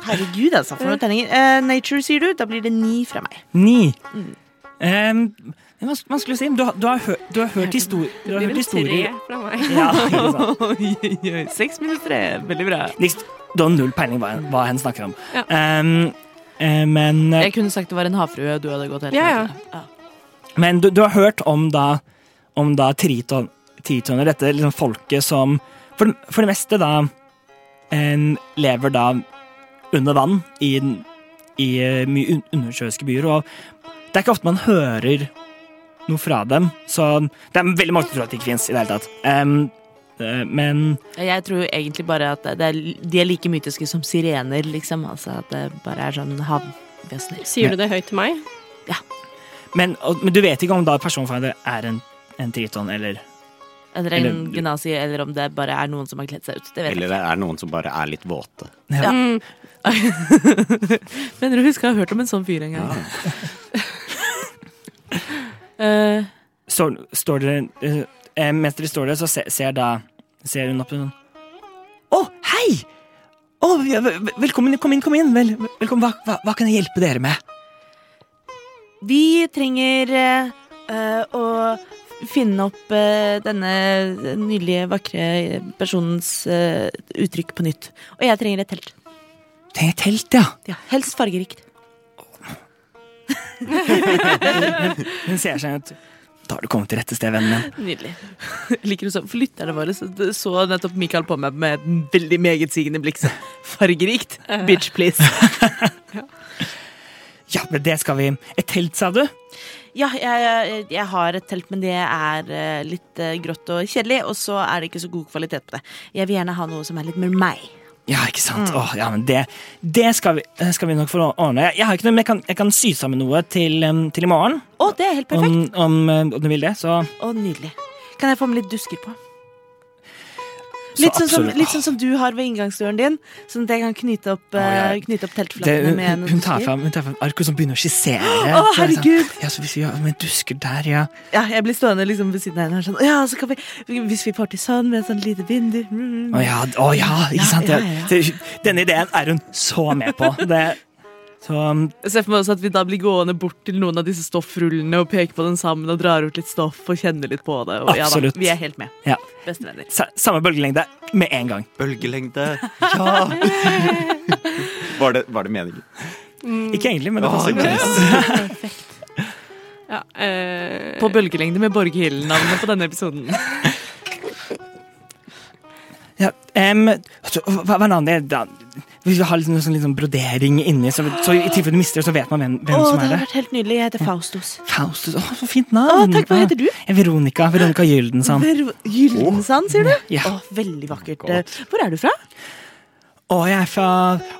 herregud, altså. For noen terninger. Eh, nature, sier du. Da blir det ni fra meg.
Ni.
Mm.
Ehm, Em, det er vans- vanskelig å si. men Du, har- du, har, hør, du har hørt, histori du har hørt historier
fra meg.
Ja, ikke sant?
[LAUGHS] Seks minus tre. Veldig bra.
Liksom, Du har null peiling hva, hva hen snakker om.
Ja.
Em, eh, men eh,
Jeg kunne sagt det var en havfrue. Du hadde gått helt
Ja, ja.
med på det.
Men du, du har hørt om da, om da triton, tritoner, dette liksom folket som for, for det meste da em, lever da under vann i, i eh, mye un- undersjøiske byer, og det er ikke ofte man hører noe fra dem, så det er veldig mange som tror at de ikke fins i det hele tatt. Em, eh, men
Jeg tror jo egentlig bare at det er, de er like mytiske som sirener, liksom. Altså at det bare er sånn havvesener.
Sier du det høyt til meg?
Men, og, men du vet ikke om da personfinder er en, en triton, eller
Eller en
Eller-
genasi, eller om det bare er noen som har kledd seg ut. Det vet jeg
Eller det er noen som bare er litt våte.
Ja.
Mm.
Mener du husker jeg har hørt om en sånn fyr en gang? [LAUGHS] Eh,
står, står dere eh, eh, Mens dere står der, så ser, ser da Ser hun opp og sånn Å, hei! Å, ja, vel- vel- velkommen, kom inn, kom inn. Vel, velkommen. Hva, hva, hva kan jeg hjelpe dere med?
vi trenger eh, eh, å finne opp eh, denne nydelige, vakre personens eh, uttrykk på nytt. Og jeg trenger et telt.
Trenger jeg telt, ja.
Ja, helst fargerikt.
Hun ser seg ut. Da har du kommet til rette sted, vennen min.
[LAUGHS] Nydelig.
Liker du sånn? For lytterne våre så, så nettopp Mikael på meg med et veldig megetsigende blikk. så, Fargerikt. Bitch, please.
Ja, men det skal vi Et telt, sa du?
Ja, jeg, jeg, jeg har et telt, men det er eh, litt eh, grått og kjedelig. Og så er det ikke så god kvalitet på det. Jeg vil gjerne ha noe som er litt mer meg.
Ja, ikke sant?
Mm.
Åh, ja, men det, det skal, vi, det skal vi nok få ordne. Jeg, jeg har ikke noe, men jeg kan, jeg kan sy sammen noe til, em, til i morgen.
Å, det er helt
Om,
perfekt!
om, eh, om du vil det, så,
Å, nydelig. Kan jeg få med litt dusker på?
så
Litt sånn, som,
absolutt.
litt sånn som du har ved inngangsdøren din, sånn at jeg kan knyte opp, eh,
Å, jeg-
knyte opp
det,
teltflakkene
hun,
med
hun,
noen
hun tar
dusker.
fram, hun tar fram arket som begynner å skissere.
Å,
Så er det sånn,
herregud!
Ja, så hvis vi gjør med dusker der, ja.
Ja, jeg blir stående liksom ved siden av henne og sånn Ja, så kan vi Hvis vi får til sånn med et sånt lite vindu mm,
Å ja, å, ja ikke
Ja,
sant?
ja, ja.
Det- Denne ideen er hun så med
[LAUGHS]
på. Det, så um,
Jeg ser for meg også at vi da blir gående bort til noen av disse stoffrullene og peker på den sammen og drar ut litt stoff og kjenner litt på det. Og, ja da,
Absolutt.
vi er helt med.
Ja.
Bestevenner.
sa- samme bølgelengde med en gang.
[LAUGHS]
Bølgelengde.
[LAUGHS]
Ja! var, det, var det meningen?
Ikke egentlig, men det
Å,
passer.
yes.
Ja, eh,
På bølgelengde med Borghild-navnet på denne episoden.
Ja, em, altså, hva, hva er navnet? Da- Vi har liksom, sånn, liksom brodering inni, så, så i tilfelle du mister det, så vet man hvem,
Å,
hvem som er
det hadde
det.
vært helt nydelig. Jeg heter Faustus.
Faustus, å, så fint
Å,
navn!
takk. Hva heter du?
Mm, Ja, Veronica. Veronica Gyldensand.
Ver Gyldensand, sier du?
Ja.
Å, veldig vakkert. Hvor er du fra?
Å, jeg er fra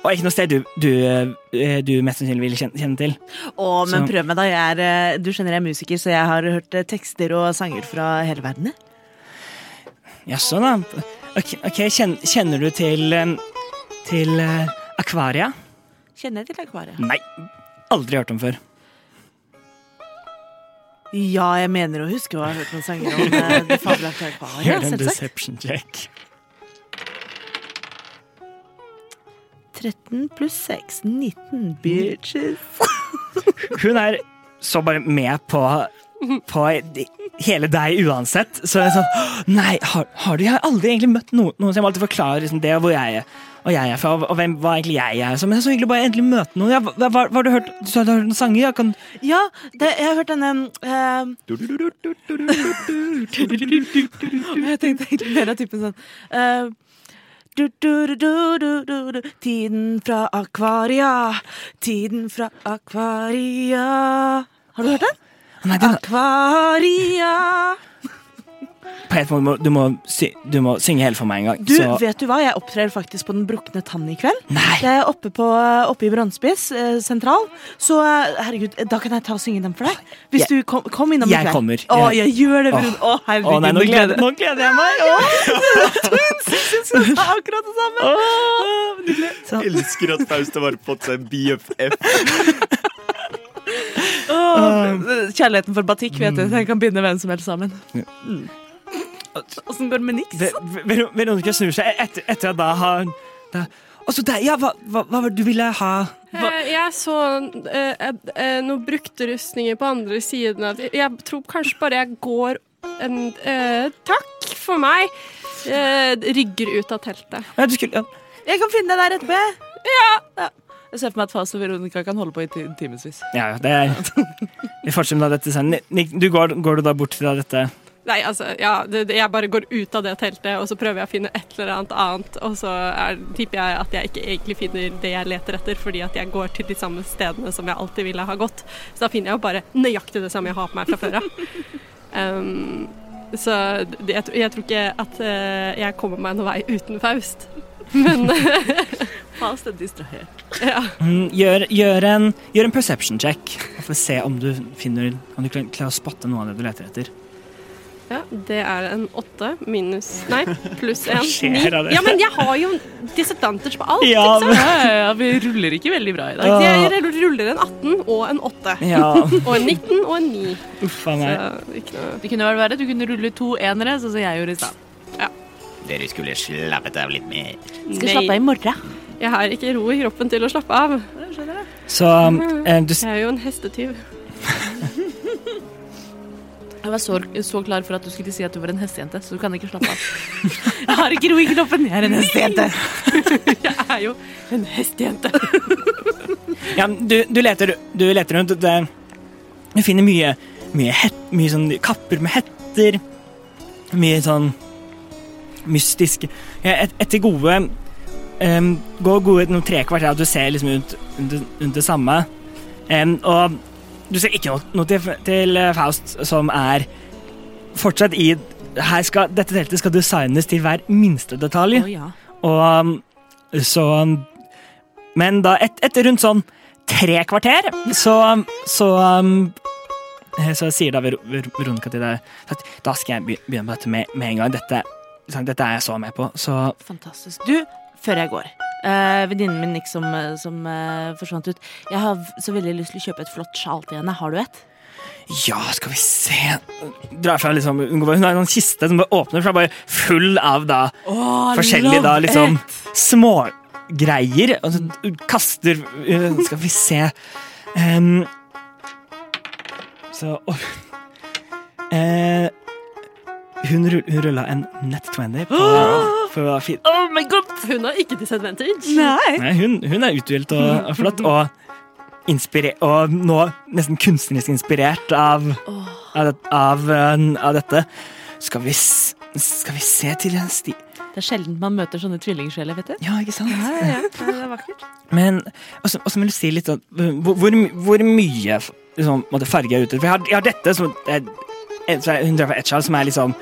Å, ikke noe sted du, du, eh, du mest sannsynlig vil kjenne, kjenne til.
Å, men
Så-
prøv meg, da. Jeg er, eh, du skjønner jeg er musiker, så jeg har hørt eh, tekster og sanger fra hele verden. jeg.
Jaså, da. Ok, ok, kjen- kjenner du til em, Til eh, Akvaria?
Kjenner jeg til akvariet?
Nei. Aldri hørt om før.
Ja, jeg mener å huske å ha hørt noen sanger om
[LAUGHS]
eh, det fabelaktige
Gjør
akvariet.
en
Selvsagt.
deception check.
13 pluss 6, 19 bitches.
Hun er så bare med på, på hele deg uansett. Så jeg er sånn «Åh, Nei, har, har du Jeg har aldri egentlig møtt noen, noen som jeg må alltid forklare liksom, det og hvor jeg er. Og jeg er fra, og hvem, hva egentlig jeg er. Så, men det er så hyggelig å bare endelig møte noen. Ja, hva, hva, hva har du hørt? Du sa du har hørt noen sanger? Ja, kan,
Ja, det, jeg har hørt denne eh, [LAUGHS] Jeg tenkte egentlig mer av typen sånn eh, du, du, du, du, du, du, du. Tiden fra akvaria, tiden fra akvaria Har du hørt den?
nei, det,
Akvaria
på et punkt, må- du, må, sy, du må synge hele for meg en gang.
Du,
så,
vet du hva? Jeg opptrer faktisk på Den brukne tann i kveld.
nei,
Det er oppe, på, oppe i Brannspiss eh, sentral. Så eh, herregud, da kan jeg ta og synge den for deg. Hvis
Jeg-
du kom, kom innom
jeg
i kveld.
kommer.
Å,
Jeg-
jeg gjør det, Brun. Å,
Å
herregud.
nei, nå
nå gleder
gleder, nå gleder jeg meg!
[LAUGHS] jeg meg akkurat det samme.
Elsker at Fausta har fått seg BFF.
Åh, Kjærligheten for batikk, vet du.
Mm.
Den kan binde hvem som helst sammen.
Mm. Åssen går det med niks?
Ve- Ve- Ver- Veronica snur seg etter, etter at da har da, Altså, deg, ja, hva, hva, hva var det du ville ha?
eh, jeg så eh, et- eh, noen brukte rustninger på andre siden av Jeg tror kanskje bare jeg går en eh, Takk for meg! Eh, rygger ut av teltet.
Ja, du skulle, ja.
Jeg kan finne deg der etterpå.
Jeg ser for meg at Faust og Veronica kan holde på i ti- timevis.
Ja, ja, det er Vi fortsetter med dette senere. Nick, du går, går du da bort til dette
Nei, altså, ja, det, det, jeg bare går ut av det teltet, og så prøver jeg å finne et eller annet annet, og så er, tipper jeg at jeg ikke egentlig finner det jeg leter etter, fordi at jeg går til de samme stedene som jeg alltid ville ha gått. Så da finner jeg jo bare nøyaktig det samme jeg har på meg fra før [LAUGHS] av. Ehm, så det, jeg, tror- jeg tror ikke at eh, jeg kommer meg noen vei uten Faust. Men
Fast and distrahert.
ja.
Mm, Gjør, gjør, en, gjør en perception check. For å se om du finner Om du klar- klarer å spotte noe av det du leter etter.
Ja, det er en åtte minus Nei, pluss en.
skjer
Ni.
av det?
Ja, men jeg har jo disadvantage på alt,
Ja,
ikke sant?
Ja, ja, ja, vi ruller ikke veldig bra i dag.
Ja.
Jeg ruller- ruller en 18 og en 8.
Ja,
[LAUGHS]
[LAUGHS]
Og en 19 og en 9.
uff a
Så
meg.
ikke noe
Det kunne vært verre. Du kunne rulle to enere, sånn som jeg gjorde i stad.
Dere skulle slappet av litt mer.
Skal slappe av i morgen.
Jeg har ikke ro i kroppen til å slappe av.
Så eh, du s-
Jeg er jo en hestetyv.
Jeg var så, så klar for at du skulle si at du var en hestejente, så du kan ikke slappe av.
[LAUGHS]
Jeg har ikke ro i knoppen, jeg er en hestejente.
Jeg er jo en hestejente.
ja, du, du, leter, du leter rundt. Det, du finner mye, mye, het, mye sånn kapper med hetter. Mye sånn mystisk ja, et, Etter gode um, Gå gode noen trekvart her, at du ser liksom rundt, rundt, rundt det samme. Em, og du ser ikke noe, noe til, til eh, Faust som er fortsatt i her skal, Dette teltet skal designes til hver minste detalj.
ja.
Og um, så um, Men da, et, etter rundt sånn tre kvarter, så um, Så, um, eh, så sier da Ver- Ver- Veronica til deg at da skal jeg be- begynne på dette med, med en gang. Dette, sånn, dette er jeg så med på. Så
Fantastisk. Du, før jeg går. eh, Venninnen min Nick som, eh, som eh, forsvant ut. Jeg har v- så veldig lyst til å kjøpe et flott sjal til henne. Har du et?
ja, skal vi se Drar fra liksom Hun går- hun har en sånn kiste som bare åpner, for det er bare full av da forskjellige da liksom smågreier. Og så kaster øh, Skal vi se Ehm, Så åh. Eh, Hun, rull- hun rulla en net 20 på, på fi-
Oh my god! Hun har ikke disadvantage.
Nei, hun, hun er uthvilt og, og flott. Og, inspire- og nå nesten kunstnerisk inspirert av, av, det- av, eh, av dette. Skal vi, s- skal vi se til en sti...
Det er sjelden man møter sånne tvillingsjeler, vet du.
Ja, ikke sant? Men også, også vil du si litt sånn Hvor, hvor, my- hvor mye liksom, måtte farge er ute? For jeg har, jeg har dette som er, en- så er- Hun drar fra Etchal, som er liksom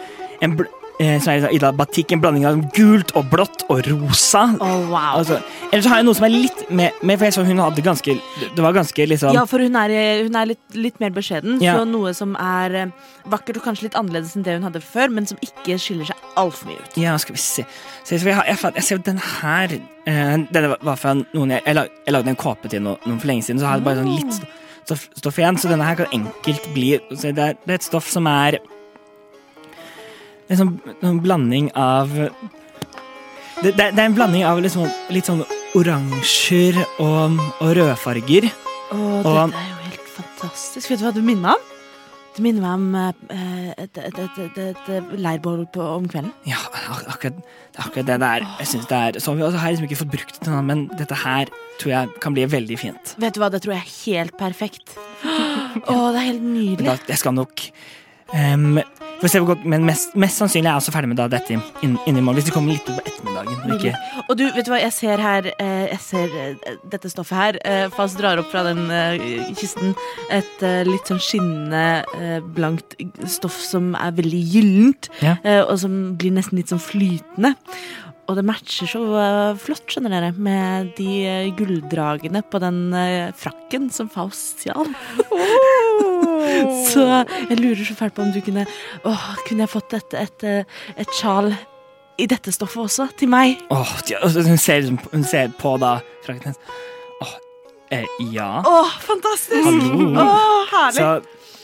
en, bl- eh, som er liksom, i da batikk, en blanding av gult og blått og rosa.
Oh, wow.
Altså, eller så har jeg noe som er litt mer mer- For jeg så hun hadde ganske Det var ganske liksom
Ja, for hun er, eh, hun er litt, litt mer beskjeden.
Ja.
Så noe som er eh, vakkert og kanskje litt annerledes enn det hun hadde før, men som ikke skiller seg altfor mye ut.
Ja, skal vi se. Se, så jeg, har, jeg, fant, jeg ser jo den her eh, Denne var- var fra noen jeg, jeg, lag, jeg lagde en kåpe til noen, noen for lenge siden, så har jeg bare sånn litt stoff, stoff, stoff igjen. Så denne her kan enkelt bli så det, er, det er et stoff som er En sånn en blanding av det, det, det er en blanding av liksom, litt sånn oransjer og, og rødfarger.
Åh,
Og-
dette er jo helt fantastisk. Vet du hva du minner meg om? Det minner meg om eh, et, et, et, et, et, et leirbål på, om kvelden.
Ja, ak- akkurat det, er akkurat det der. Jeg synes det er, så vi har liksom ikke fått brukt det, til noe, men dette her tror jeg kan bli veldig fint.
Vet du hva, det tror jeg er helt [GASPS] perfekt. Åh, det er helt
Men da,
nydelig.
jeg skal nok ehm, får se hvor godt, Men mest, mest sannsynlig er jeg også ferdig med da dette inn, inn i morgen. Hvis det kommer litt på ettermiddagen. og Ikke,
Og du, vet du hva, jeg ser her eh, Jeg ser eh, dette stoffet her. eh, Fast drar opp fra den eh, kisten et eh, litt sånn skinnende, eh, blankt stoff som er veldig gyllent.
Ja.
eh, Og som blir nesten litt sånn flytende. Og det matcher så eh, flott, skjønner dere, med de eh, gulldragene på den eh, frakken som Faust stjal. [LAUGHS] så jeg lurer så fælt på om du kunne Åh, kunne jeg fått et, et, eh, et sjal i dette stoffet også, til meg?
åh, de- og så- hun, ser, liksom på- hun ser på da frakken hennes. Åh, eh, ja.
Åh, fantastisk!
Hallo.
Åh, herlig!
Så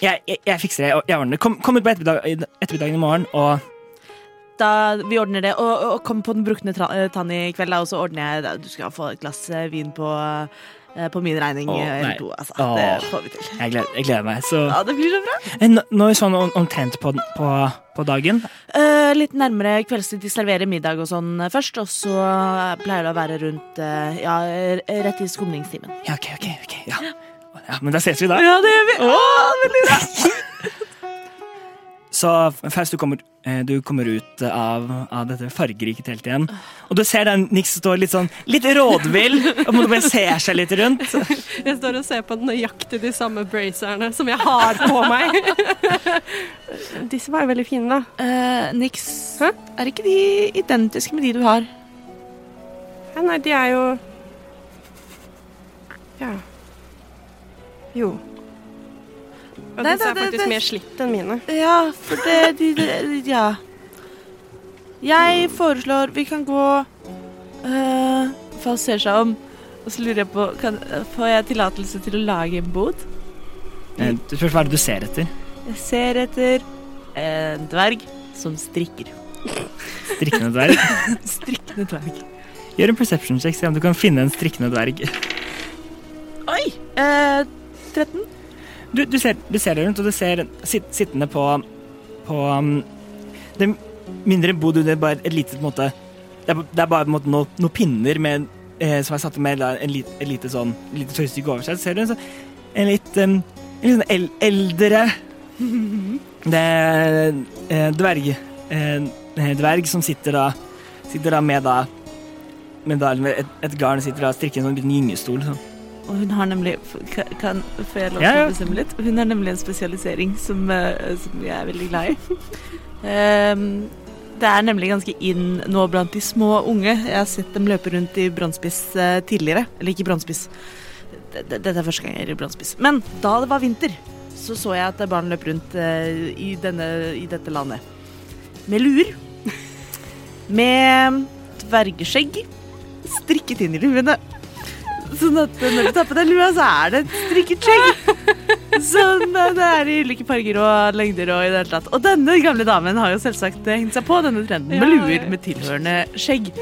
jeg, jeg, jeg fikser det. og Jeg ordner det. Kom, kom ut på ettermiddag, i- ettermiddagen i morgen, og
Da, vi ordner det. Og, og kom på den brukne tra- eh, tann i kveld, da, og så ordner jeg da. Du skal få et glass eh, vin på, eh, på min regning.
Åh,
eh,
nei.
eller to, altså.
Åh.
Det får vi til.
jeg gleder, jeg gleder meg. Så
Ja, det blir så bra.
Eh, nå nå er vi sånn om- omtrent på, den- på, på dagen.
Eh, litt nærmere kveldstid. De serverer middag og sånn eh, først. Og så pleier det å være rundt eh, Ja, r- rett i skumringstimen.
Ja, ok, ok. ok, ja. ja Men da ses vi da.
Ja, det gjør vi! Åh, veldig bra!
Så Faust, du kommer, eh, du kommer ut av, av dette fargerike teltet igjen. Og du ser den Nix står litt sånn litt rådvill og må bare se seg litt rundt.
Jeg står og ser på nøyaktig de samme brazerne som jeg har på meg. [LAUGHS] Disse var jo veldig fine, da.
Eh, Nix,
Hæ?
er ikke de identiske med de du har?
Ja, nei, de er jo Ja. Jo. Og
Nei,
disse
det-
er
det-
faktisk
det-
mer slitt enn mine.
Ja, for det de, de, Ja. Jeg foreslår vi kan gå uh, Faust ser seg om, og så lurer jeg på kan, Får jeg tillatelse til å lage en bod?
Eh, Du spør hva er det du ser etter.
Jeg ser etter en dverg som strikker.
Strikkende dverg.
Strikkende dverg.
Gjør en perception check, se om du kan finne en strikkende dverg.
Oi! Eh, 13.
Du, du, ser, du ser deg rundt, og du ser sit, sittende på, på um, Det er mindre bod under bare et lite på en måte, Det er, ba- det er bare på en måte noen noen pinner med, eh, som er satt med da, en, lit, en lite sånn lite tøystykke over seg. Så ser du en, sånn- en litt um, en litt sånn el, eldre det, er, eh, dverg, eh, dverg som sitter da Sitter da med da med da et, et garn sitter da og strikker en sånn liten gyngestol. Sånn.
Og hun har nemlig kan, kan, Får jeg lov til
Ja, ja.
å bestemme litt? Hun har nemlig en spesialisering som, eh, som jeg er veldig glad i. [LAUGHS] Ehm, det er nemlig ganske inn nå blant de små og unge. Jeg har sett dem løpe rundt i brannspiss eh, tidligere. Eller ikke brannspiss. D- d- Dette er første gang jeg gjør brannspiss. Men da det var vinter, så så jeg at barn løp rundt eh, i, denne, i dette landet. Med luer. Med dvergeskjegg. Strikket inn i luene. Sånn at når du tar på deg lua, så er det et strikket skjegg. Sånn, eh, det er i ulike farger og lengder og i det hele tatt. Og denne gamle damen har jo selvsagt eh, hengt seg på denne trenden med
Ja.
luer med tilhørende skjegg.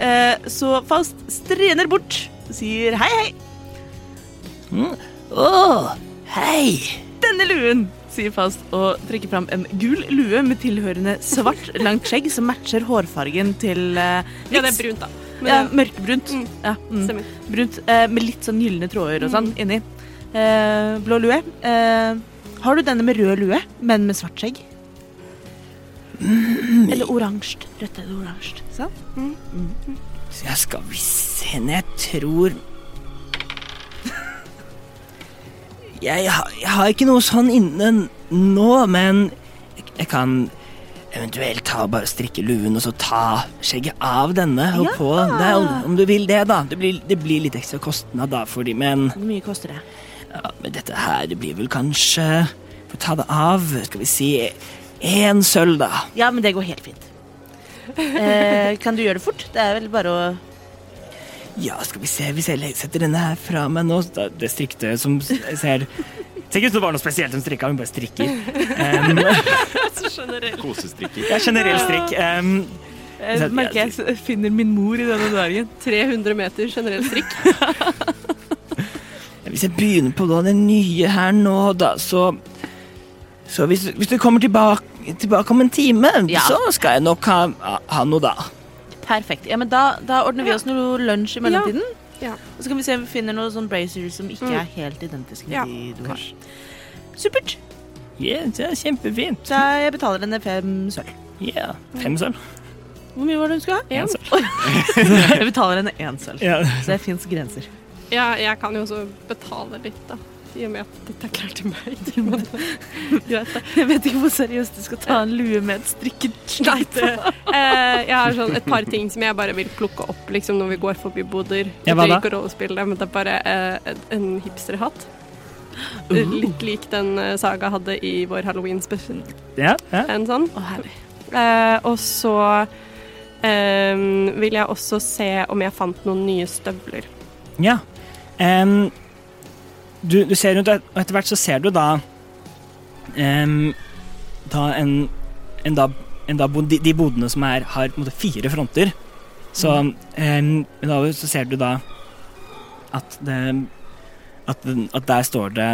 Eh, Så Faust strener bort, sier hei, hei.
Å, hei!
Denne luen, sier Faust og trekker fram en gul lue med tilhørende svart langt skjegg som matcher hårfargen til eh,
Ja, det er
litt-
brunt, da. Men
Ja,
det
mørkebrunt.
Mm.
Ja, mm.
stemmer. Mm.
Brunt eh, med litt sånn gylne tråder og sånn inni. Eh, blå lue. Eh, har du denne med rød lue, men med svart skjegg?
Mm.
Eller oransje. Rødt eller oransje.
Sånn.
Sant?
Så jeg skal vi se Nei, Jeg tror jeg, har- jeg har ikke noe sånn inne nå, men jeg, jeg kan eventuelt ta bare strikke luen og så ta skjegget av denne og på deg, om- om du vil det, da. Det blir, det blir litt ekstra kostnad da for de, men
Hvor mye koster det?
ja, men dette her det blir vel kanskje Få ta det av, skal vi si én sølv, da.
Ja, men det går helt fint. Eh, kan du gjøre det fort? Det er vel bare å
Ja, skal vi se hvis jeg le- setter denne her fra meg nå da, Det striktøyet som s- ser Tenk ut som det var noe spesielt hun strikka, hun bare strikker. Um,
Kosestrikker.
ja, generell strikk. Um,
Eh, merker jeg s- finner min mor i denne dvergen.
300 meter generell strikk.
hvis jeg begynner på da, den nye her nå, da, så Så hvis, hvis du kommer tilbake, tilbake om en time,
Ja.
så skal jeg nok ha, ha- ha noe da.
Perfekt. Ja, men da, da ordner vi oss noe lunsj i mellomtiden.
Ja.
Og så kan vi se om vi finner noen sånn brazers som ikke
Mm.
er helt identiske med
Ja,
de du har. Supert.
Ja, det er kjempefint.
Da jeg betaler henne fem sølv.
Ja. Fem sølv.
Hvor mye var det hun skulle ha?
En
Jeg betaler henne én sølv.
Ja.
Så det fins grenser.
Ja, jeg kan jo også betale litt, da. I og med at dette er klart til meg. [LAUGHS] Men det er Greit, det.
Jeg vet ikke hvor seriøst du skal ta en lue med et strikket
Nei, det eh, Jeg har sånn et par ting som jeg bare vil plukke opp liksom, når vi går forbi boder.
Ja, hva
det blir
da?
ikke rollespillet, men det er bare eh, en- en hipsterhatt. Litt lik den eh, Saga hadde i vår halloween-spesial.
Ja, ja.
En sånn. Eh, og så eh, vil jeg også se om jeg fant noen nye støvler.
Ja. Em, du, du ser rundt, og etter hvert så ser du da em, Da en, en da, en da bod, de, de bodene som er, har på en måte fire fronter. Så, em, men da, så ser du da at det At, den, at der står det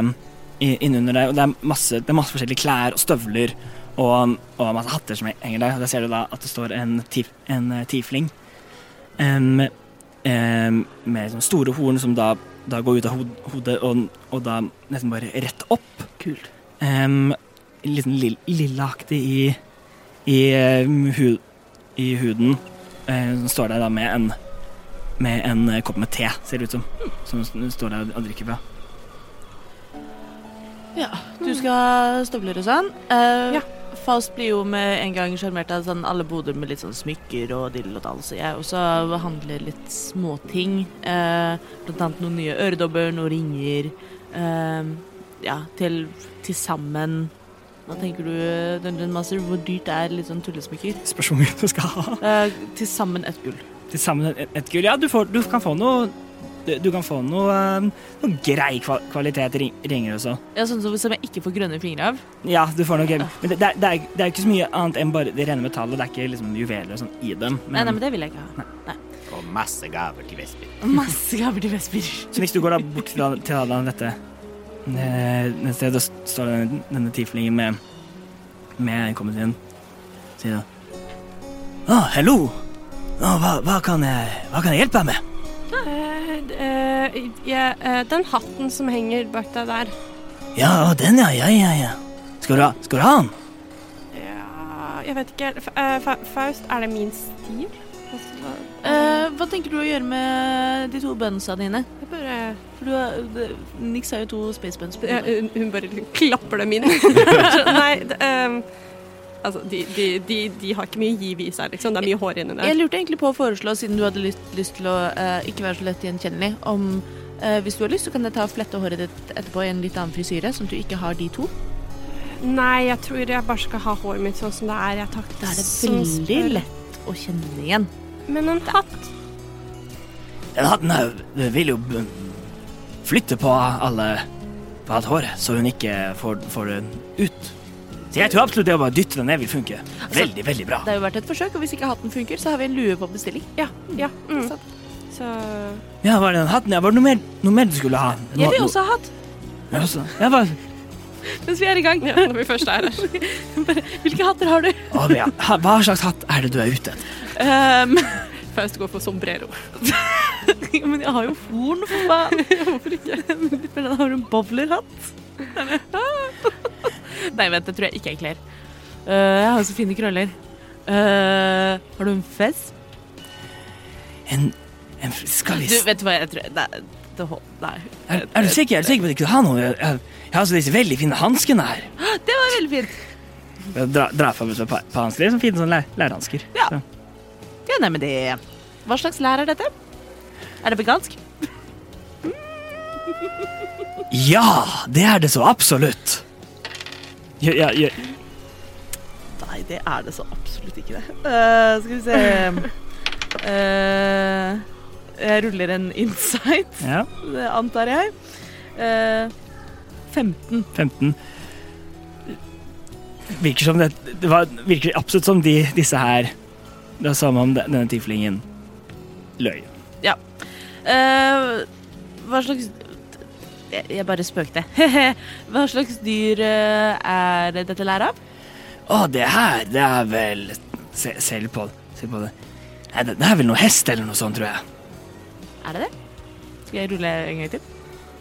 i- innunder deg, og det er, masse, det er masse forskjellige klær og støvler og, og masse hatter som henger der. Og der ser du da at det står en, tif, en eh, tiefling. Em, eh, med sånne store horn som da, da går ut av hod, hodet og, og da nesten bare rett opp. Kult. litt lill- lillaaktig i, i, eh, hu, i huden. Eh, Hun står der da med en, med en eh, kopp med te, ser det ut som. Som hun står der og drikker fra.
Ja, du skal ha støvler og sånn. Eh,
Ja.
Faust blir jo med en gang sjarmert av sånn alle boder med litt sånn smykker og dill og dall, så jeg også handler litt småting. Eh, blant annet noen nye øredobber, noen ringer. Eh, ja, til til sammen. Hva tenker du, Dungeon Master, hvor dyrt er litt sånn tullesmykker?
Spørs hvor mye du skal ha.
Eh, til sammen ett gull.
Til sammen et, et gull. Ja, du, får, du kan få noe du, du kan få noe, eh, noe grei kva- kvalitet ring- ringer også.
Ja, sånn som, som jeg ikke får grønne fingre av.
Ja, du får noe gøy. Men det, det, er- det, er, det er ikke så mye annet enn bare det rene metallet. Det er ikke liksom juveler og sånn i dem.
Nei,
Men,
nei, men det vil jeg ikke ha.
Og masse gaver til Vesper.
[LAUGHS] Masse gaver til Vesper.
[LAUGHS] Så hvis du går da bort til, til da dette eh, neste sted, da står denne, denne tieflingen med, med kommet inn. Sier da ah, hello. Ah, hva, hva, kan jeg, hva kan jeg hjelpe deg med?
Eh, eh, jeg- eh, den hatten som henger bak deg der
Ja, og den, ja. Ja, ja, ja. Skal du ha, skal du ha den?
Ja, jeg vet ikke. F eh, Fa- Faust, er det min stil? Altså,
Eh, hva tenker du å gjøre med de to bønsa dine?
jeg bare
For du har, det- Nix har jo to space buns. på
Ja,
hodet.
hun, hun bare klapper dem inn.
[LAUGHS]
Nei, det, ehm, altså, de, de, de, de har ikke mye giv i seg, liksom. Det er mye hår inni
Jeg
der.
lurte egentlig på å foreslå, siden du hadde lyst, lyst til å eh, ikke være så lett gjenkjennelig, om eh, hvis du har lyst, så kan jeg ta og flette håret ditt etterpå i en litt annen frisyre, som du ikke har de to.
Nei, jeg tror jeg bare skal ha håret mitt sånn som det er. Jeg tar
Da er det
som
veldig
spør.
lett å kjenne igjen.
Men en hatt
Den hatten her eh, vil jo eh, flytte på alle på alt håret, så hun ikke får, får den ut. Så jeg tror absolutt det å bare dytte den ned vil funke.
Altså-
Veldig, veldig bra.
Det har jo vært et forsøk, og hvis ikke hatten funker, så har vi en lue på bestilling.
Ja. ja mm.
sant.
Så
Ja, var det den hatten? Ja, var det noe mer, noe mer du skulle ha?
Jeg vil også ha hatt.
Ja, også. Ja, hva?
Mens vi er i gang.
ja, Når vi først
[LAUGHS]
er her.
Hvilke hatter har du?
Å, ja. Ha- Hva slags hatt er det du er ute etter?
Ehm, [LAUGHS]
Faust går for sombrero.
men jeg har jo horn, for [LAUGHS] faen. Hvorfor ikke? Men da har du en bowlerhatt. [LAUGHS] Nei, vent, det tror jeg ikke jeg kler. Eh, jeg har jo så fine krøller. Eh, har du en fez?
En, en
Du,
skallis?
vet du hva jeg tror? Nei, det hold, nei.
Er, er du sikker? Er du sikker på at du ikke har noe? Jeg, jeg, jeg har altså disse veldig fine hanskene her.
[LAUGHS] Det var veldig fint.
Jeg Dra, dra frem et par par hansker. Sånne fine sånne lær, lærhansker.
Ja.
Så.
Ja, nei, men det Hva slags lær er dette? Er det vegansk?
ja, det er det så absolutt. Ja, ja, ja.
Nei, det er det så absolutt ikke det. Eh, skal vi se Eh, Jeg ruller en insight.
ja.
Det antar jeg. Eh, 15.
15. Virker som det, det var, virker absolutt som de, disse her Det er samme om de- denne tiflingen løy.
Eh, hva slags Jeg jeg bare spøkte. [LAUGHS] hva slags dyr eh, er dette læret av?
Å, det her, det er vel Se, se litt på det. Se på det. Nei, det, det er vel noe hest eller noe sånt, tror jeg.
Er det det? Skal jeg rulle en gang til?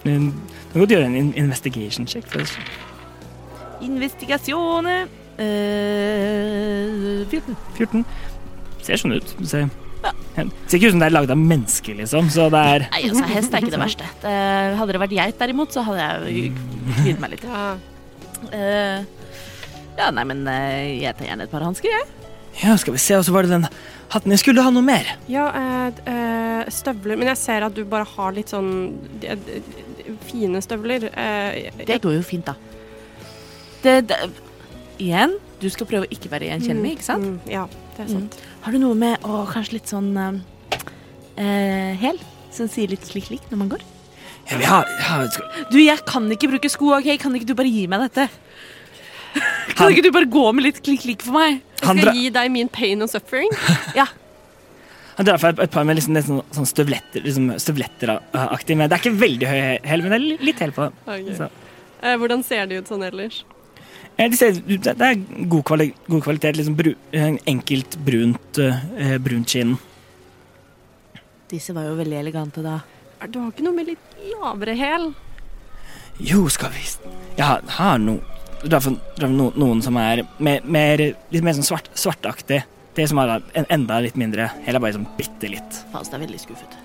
Men Du kan godt gjøre en in- investigation check. For oss.
Investigasjone eh, 14.
14. Ser sånn ut. Se. Ser ikke ut som det er laget av mennesker, liksom. Så det er
Nei, altså, hest er ikke [LAUGHS] det verste. Det- hadde det vært geit derimot, så hadde jeg kvidd meg litt.
Ja.
Eh, ja, nei, men eh, jeg tar gjerne et par hansker, jeg.
Ja, skal vi se, og så var det den hatten. Jeg skulle ha noe mer.
Ja, eh, d- eh, støvler Men jeg ser at du bare har litt sånn de, de, de, fine støvler. Eh,
Det går jo fint, da. Det, det, igjen, du skal prøve å ikke være gjenkjennelig, ikke sant?
Mm, ja, det er sant.
Har du noe med å kanskje litt sånn eh, eh, hæl? Som sier litt slik-slik når man går?
Ja, vi har, jeg har skal,
Du, jeg kan ikke bruke sko, OK? Kan ikke du bare gi meg dette? [LAUGHS] Kan
Han-
ikke du bare gå med litt klikk-klikk for meg?
han,
Jeg
dra,
skal gi deg min pain and [LAUGHS] suffering.
han drar fra et, et par med liksom, nesten sånn støvletter, liksom, støvletteraktig, men det er ikke veldig høy hæl, men det er li- litt hæl på den.
Ok.
Så.
Eh, hvordan ser de ut sånn ellers?
Ja, de ser, ut- det det er god, kvali god kvalitet. Liksom bru, eh, enkelt brunt, eh, brunt skinn.
Disse var jo veldig elegante da.
Er- Du har ikke noe med litt lavere hæl?
Jo, skal vi s- Jeg har, har no, Du drar for, drar for noen, noen som er mer, mer, litt mer sånn svart, svartaktig. Det som er da en, enda litt mindre. Heller bare sånn bitte litt.
Faust er veldig skuffet.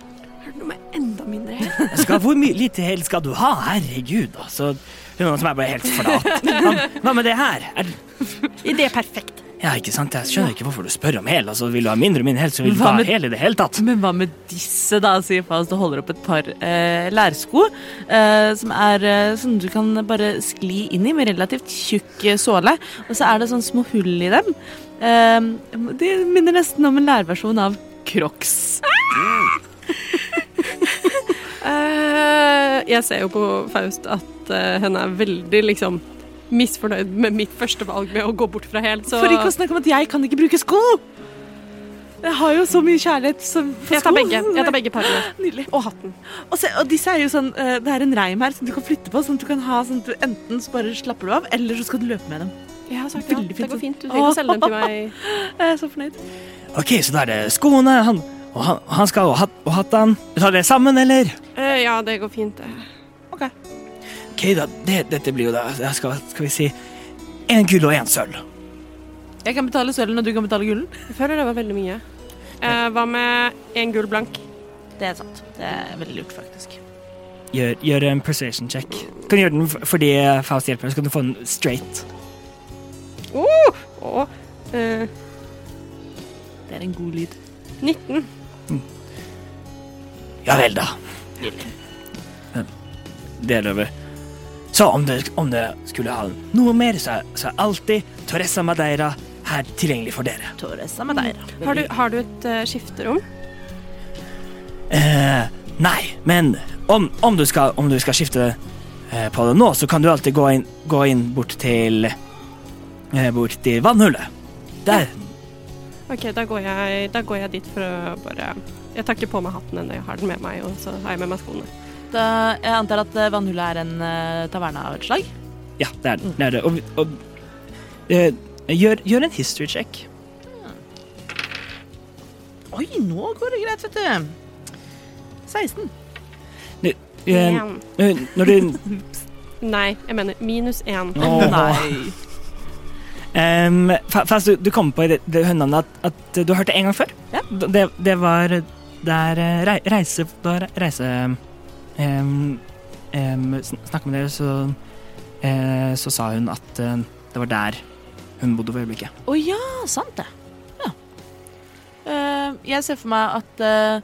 Er det noe med enda mindre hel?
Jeg Skal, hvor mye lite hel skal du ha? Herregud, altså. Det er Noen som er bare helt flat. Hva- Hva med det her? Er, det-
Idé perfekt.
ja, ikke sant? Jeg skjønner ikke hvorfor du spør om hel. Altså, vil du ha mindre min hel, så vil du
Hva
ikke ha
med-
hel i det hele tatt.
Men hva med disse, da, sier Faust og holder opp et par eh, lærsko. Eh, som er eh, sånn du kan bare skli inn i med relativt tjukk eh, såle. Og så er det sånne små hull i dem. Eh, de minner nesten om en lærversjon av Crocs.
[LAUGHS] Eh, jeg ser jo på Faust at eh, hun er veldig liksom misfornøyd med mitt første valg med å gå bort fra hel, så
For ikke å snakke om at jeg kan ikke bruke sko! Jeg har jo så mye kjærlighet som- for
jeg tar
sko.
begge. Jeg tar begge parene.
[LAUGHS] Nydelig.
Og hatten.
Og, se, og disse er jo sånn, eh, Det er en reim her som du kan flytte på. Sånn at du kan ha sånn at du Enten så bare slapper du av, eller så skal du løpe med dem.
Jeg har sagt
ja.
Det går fint.
trenger
Du trenger
ikke
å selge dem til meg.
Jeg er så fornøyd.
Ok, så da er det skoene, han, og han, og han skal, og, hat, og hatten. Vi tar det sammen, eller?
[LAUGHS] Eh, ja, det går fint. det.
Ok, da, det, dette blir jo da, da skal, skal vi si, en gull og en sølv.
Jeg kan betale sølven, og du kan betale gullen.
Jeg føler det var veldig mye. Eh, hva med en gull blank?
Det er sant. Det er veldig lurt, faktisk.
Gjør, gjør en persuasion check. Kan du gjøre den f- fordi Faust hjelper deg, så kan du få den straight.
Oh, oh, eh,
Det er en god lyd.
19.
Ja vel, da. Men Det er det over. Så om du, om du skulle ha noe mer, så er, så er alltid Torresa Madeira her tilgjengelig for dere.
Torres er med deg.
Har du, har du et eh, skifterom?
Eh, nei, men om, om, du skal, om du skal skifte eh, på det nå, så kan du alltid gå inn, gå inn bort til eh, Bort til vannhullet. Der.
OK, da går, jeg, da går jeg dit for å bare Jeg tar ikke på meg hatten ennå, jeg har den med meg, og så har jeg med meg skoene.
Da, jeg antar at eh, vannhullet er en eh, taverne av et slag.
Ja, det er det. det, er det. Og, og, eh, gjør, gjør en history check.
Oi, nå går det greit, vet du. 16.
Eh,
En.
når du
Nei, jeg mener minus én.
Nei.
Ehm, fa- Fast, du, du kom på i det, det hønenavnet at, at du har hørt det en gang før.
Ja.
D- Det, det var der eh, rei- reise, da re- reise ehm, ehm, sn Snakka med dere, så, eh, så sa hun at eh, det var der hun bodde for øyeblikket.
Å ja, sant det. Ja. Eh, jeg ser for meg at eh,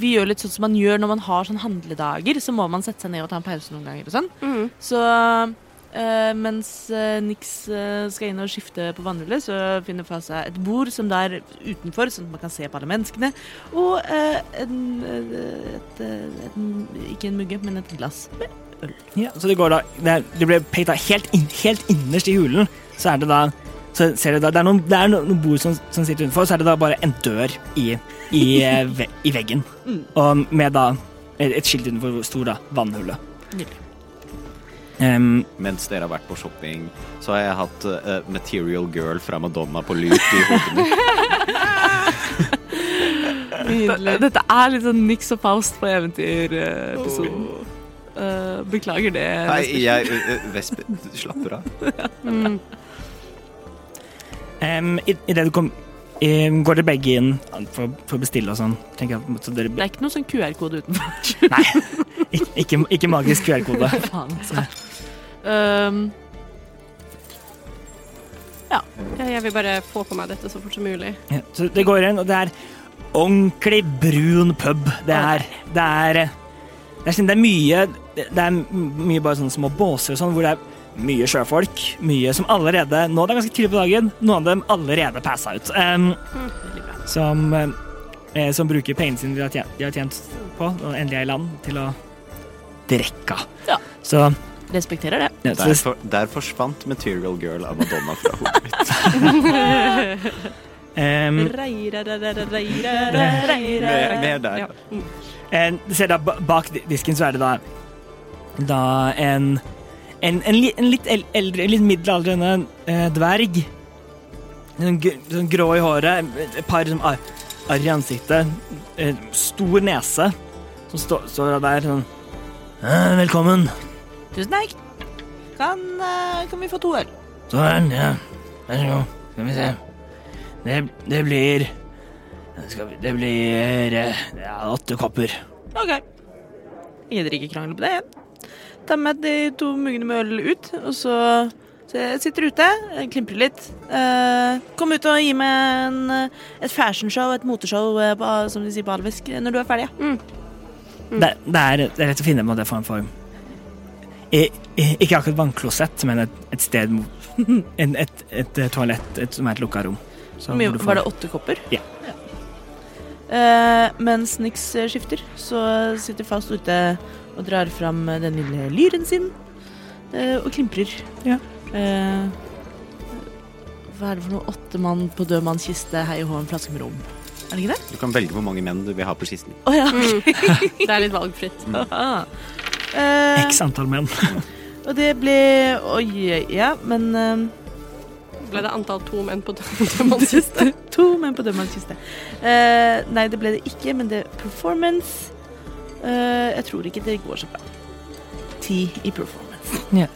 vi gjør litt sånn som man gjør når man har sånn handledager. Så må man sette seg ned og ta en pause noen ganger og sånn.
Mm.
Så eh, mens eh, Nix eh, skal inn og skifte på vannhullet, så finner Fa seg et bord som det er utenfor, sånn at man kan se på alle menneskene. Og eh, en, eh, et, eh, en, ikke en mugge, men et glass.
Ja, så det går da det, er- det ble pekt da helt, inn, helt innerst i hulen, så er det da så ser du da, Det er noen, det er noen, noen bord som, som sitter utenfor, så er det da bare en dør i, i, eh, ve, i veggen. Og med da et, et skilt utenfor hvor stor da vannhullet. Ehm, Em,
Mens dere har vært på shopping, så har jeg hatt eh, Material Girl fra Madonna på loop i hodet
[LAUGHS]
mitt.
[LAUGHS]
Dette er litt sånn Nix og Faust på eventyr-episoden.
Eh,
beklager det.
Nei, jeg eh, eh, Vesper Slapper av.
em,
Mm.
ehm, i, i det du kom em, Går dere begge inn for, for å bestille og sånn? Tenker jeg, så dere,
Det er ikke noen sånn
[LAUGHS]
QR-kode utenfor.
nei, ikke- [LAUGHS] ikke, ikke magisk QR-kode.
Faen, altså. Um,
Ehm,
Ja, jeg vil bare få på meg dette så fort som mulig.
Ja, så det går inn, og det er ordentlig brun pub. Det er Det er, det er, sånn- det er mye Det er mye bare sånne små båser og sånn, hvor det er mye sjøfolk. Mye som allerede Nå er det ganske tidlig på dagen. Noen av dem allerede passa ut. em, som, eh, som bruker pengene sine de har tjent, de har tjent på, og endelig er i land, til å drikke.
Ja.
Så,
Respekterer det.
ja, så
Der,
det,
for, der forsvant Material Girl av Madonna fra hodet mitt.
Mm.
em,
[LAUGHS]
Mer, mer der.
Ja. Mm.
Eh, Du ser da ba- bak di- disken så er det da Da en En, en, li, en litt el- eldre, litt middelaldrende eh, dverg. Sånn, gr- sånn grå i håret, et par sånn ar- arr i ansiktet, eh, stor nese, som stå, står der sånn eh, Velkommen.
Tusen takk.
kan, eh, kan vi få to øl.
Sånn, ja. Vær så god. Skal vi se. Det, det blir skal vi, Det blir eh, ja, åtte kopper.
Ok. Jeg gidder ikke krangle på det igjen. Ta med de to muggene med øl ut, og så så jeg sitter ute, jeg klimprer litt. Eh, kom ut og gi meg en, eh, et fashionshow, et moteshow, eh, på, som de sier på alvisk, når du er ferdig. Ja. Mm.
Det, det, er, det er lett å finne på det for en form. I, i, ikke akkurat vannklosett, men et, et sted mo- [LAUGHS] en, et, et, eh, toalett et, som er et lukka rom. Så
Hvor mye
hvor du får-
var det? Åtte kopper?
Ja.
Eh, mens Nix eh, skifter, så sitter Faust ute og drar fram eh, den lille lyren sin eh, og klimprer.
Ja.
Eh, hva er det for noe åtte mann på død manns kiste, hei og hå, en flaske med rom? Er det ikke det?
Du kan velge hvor mange menn du vil ha på kisten.
Å ja. [LAUGHS]
Det er litt valgfritt.
Ah. Eh,
X antall menn.
og det ble Oi, ja, men eh,
Ble det antall to menn på tømmen [LAUGHS] siste?
[LAUGHS] To menn på dødmanns kiste. Eh, nei, det ble det ikke, men det er performance. Eh, jeg tror ikke det går så bra. Ti i performance.
Det,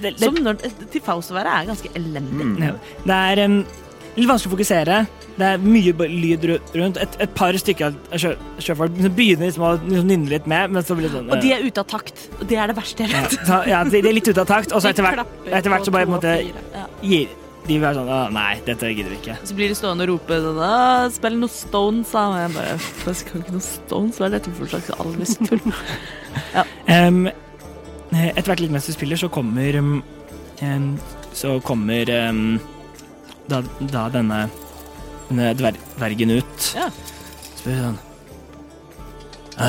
det, det,
Som når, til Faust å være er ganske elendig.
[LAUGHS] Ja. Det er em, litt vanskelig å fokusere. Det er mye b- lyd ru- rundt. Et, et par stykker av sjø, sjøfolk som begynner liksom å liksom nynne litt med, men så blir det sånn
Og de
eh,
er ute av takt. Og det er det verste jeg
ja,
vet.
så, ja, de, de er litt ute av takt, og så etter hvert,
klapper
etter hvert så bare på
to
en måte
og fire.
gir de bare sånn «Å, Nei, dette gidder vi ikke.
[LAUGHS] Så blir de stående og rope sånn «Å, Spill noe Stones, da. Og jeg bare Jeg skal ikke noe Stones. Hva er dette for slags alvistull? [LAUGHS]
Em, eh, etter hvert litt mens du spiller, så kommer em, em, Så kommer em, da, da denne, denne dver, dvergen ut.
Ja.
Spør sånn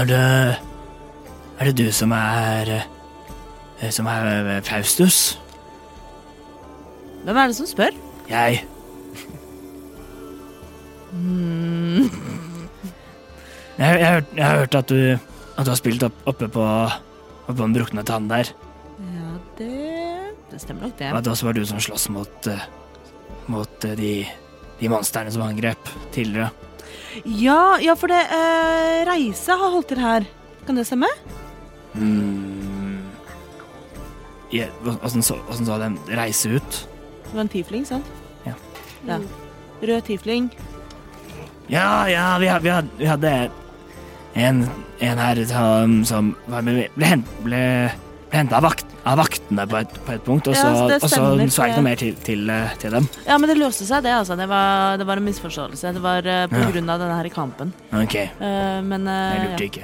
Er det Er det du som er eh, Som er eh, Faustus?
Hvem er det som spør?
Jeg jeg, jeg, har hørt- jeg har hørt at du At du har spilt opp, oppe på Oppe på den brukne tannen der
Ja, det Det stemmer nok, det.
Og at det også var du som slåss mot eh, Mot eh, de De monsterne som angrep tidligere
Ja, ja for det eh, Reise har holdt til her. Kan det stemme?
mm. ja, hva- Hvordan så, hvordan så den reise ut?
Det var en tiefling, sant?
Ja.
Ja. Rød tiefling.
Ja, ja, vi, had- vi, had, vi hadde en, en her som, som var med, ble, hent, ble, ble henta av, vakt, av vaktene på et, på et punkt, og
Ja,
så,
det
og så,
stemmer,
så jeg ikke
for-
noe mer til, til, eh, til dem.
Ja, men det løste seg, det. altså. Det var, det var en misforståelse. Det var eh, på
Ja.
grunn av denne her kampen.
Ok,
Eh, men eh,
jeg lurte ikke.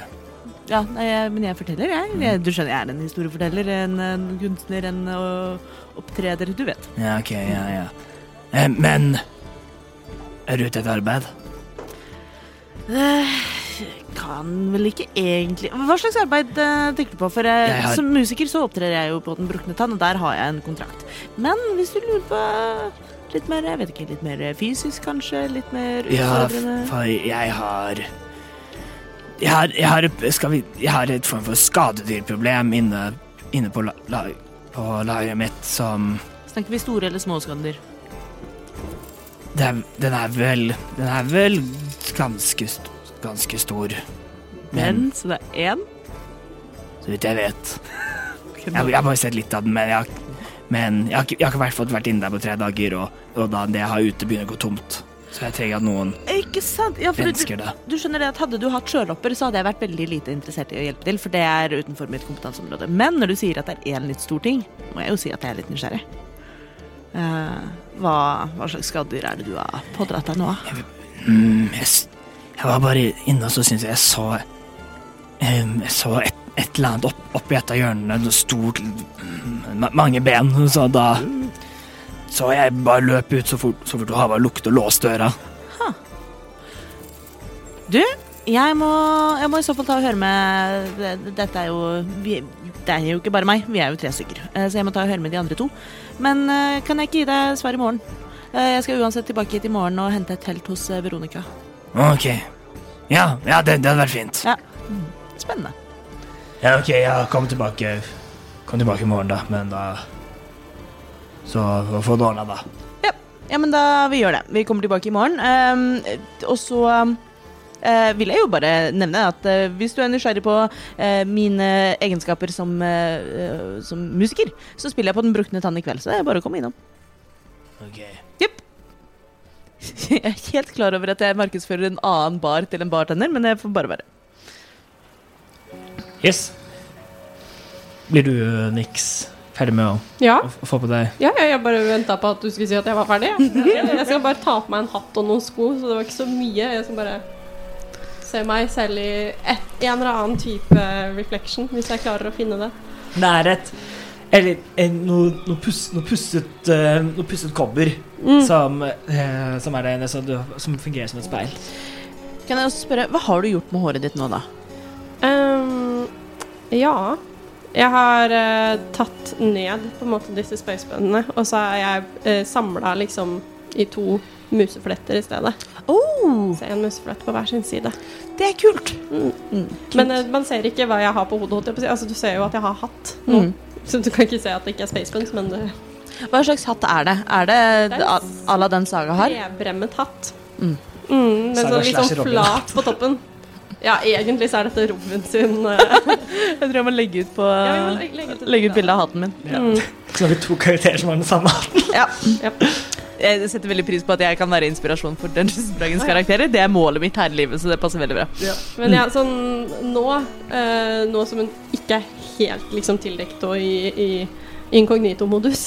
ja, ja, nei, jeg- men jeg forteller, jeg. jeg. Du skjønner, jeg er en historieforteller, en, en kunstner, en og, opptreder. Du vet.
Ja, ok, ja, ja. Eh, Men er du ute etter arbeid?
Eh, Kan vel ikke egentlig Hva slags arbeid eh, tenker du på? For eh,
Jeg har-
som musiker så opptrer jeg jo på Den brukne tann, og der har jeg en kontrakt. Men hvis du lurer på eh, litt mer jeg vet ikke, litt mer fysisk, kanskje? Litt mer
Ja, f-
utfordrende?
for jeg har jeg har, jeg har, et- skal vi, jeg har et form for skadedyrproblem inne, inne på, la, la, på lageret mitt som
Snakker vi store eller små skader?
Det er, den er vel Den er vel ganske, st- ganske stor. Men
Men, så det er én.
så vidt jeg vet Jeg, jeg har bare sett litt av den, men jeg, har ikke- men jeg har ikke, jeg har ikke vært, fått vært inne der på tre dager, og, og da det jeg har ute, begynner å gå tomt. Så jeg trenger at noen
Ikke sant? Ja, for du,
rensker det.
du skjønner det at Hadde du hatt sjølopper, så hadde jeg vært veldig lite interessert i å hjelpe til, for det er utenfor mitt kompetanseområde. Men når du sier at det er én litt stor ting, må jeg jo si at jeg er litt nysgjerrig. Eh, hva, hva slags skadedyr er det du har pådratt deg nå?
Mm, jeg, s- jeg var bare inne, og så syntes jeg jeg så em, Jeg så et, et eller annet opp, oppi et av hjørnene, noe stort mm, ma- Mange ben, så da Så jeg bare løp ut så fort, så fort det var lukt, og låste døra.
Du, jeg må, jeg må i så fall ta og høre med det- Dette er jo vi, Det er jo ikke bare meg, vi er jo tre stykker. Eh, Så jeg må ta og høre med de andre to. Men eh, kan jeg ikke gi deg svar i morgen? Eh, Jeg skal uansett tilbake hit i morgen og hente et telt hos eh, Veronica.
Ok. Ja, ja det, det hadde vært fint.
Ja. Spennende.
Ja, ok, ja, kom tilbake. Kom tilbake i morgen, da, men da Så få det ordna, da.
Ja, ja men da vi gjør det. Vi kommer tilbake i morgen. Ehm, og så eh, vil jeg jo bare nevne at eh, hvis du er nysgjerrig på eh, mine egenskaper som, eh, eh, som musiker, så spiller jeg på Den brukne tann i kveld, så det er bare å komme innom. Jepp. [LAUGHS] Jeg er helt klar over at jeg markedsfører en annen bar til en bartender, men det får bare være.
Yes. Blir du, eh, Nix, ferdig med å,
Ja,
å f- få på deg
ja, ja, jeg bare venta på at du skulle si at jeg var ferdig. [LAUGHS] Ja. Jeg skal bare ta på meg en hatt og noen sko, så det var ikke så mye. Jeg skal bare se meg selv i et, en eller annen type reflection, hvis jeg klarer å finne det.
nærhet? Eller eh, noe, noe, pus, noe, pusset, eh, noe pusset kobber
Mm.
som, eh, som, er det, eneste du, som fungerer som et speil.
Kan jeg også spørre, Hva har du gjort med håret ditt nå, da?
Ehm, ja. Jeg har eh, tatt ned på en måte disse spøyspennene, og så har jeg uh, samla liksom i to musefletter i stedet.
Oh,
Så en museflett på hver sin side.
det er kult!
Men eh, man ser ikke hva jeg har på hodet. holdt jeg på å si. Altså, du ser jo at jeg har hatt nå. Så du kan ikke se at det ikke er spacebuns, men det
Hva slags hatt er det? Er det
Det er
a-
en
à la den Saga har?
er trebremmet hatt.
Mm.
Mm, men
Saga
sånn litt
slash
sånn
Robin.
flat på toppen. Ja, egentlig så er dette Robin sin eh,
Jeg tror jeg må legge ut, på,
ja, vi må legge- legge ut et
legge ut
bilde
bilde
av
av hatten min.
Mm.
Så har vi to karakterer som har den samme hatten.
Ja.
Japp.
Jeg setter veldig pris på at jeg kan være inspirasjon for Dungeons Dragons karakterer. Det er målet mitt her i livet, så det passer veldig bra.
Men ja, sånn nå, eh, nå som hun ikke er helt liksom tildekt og i, i inkognito-modus,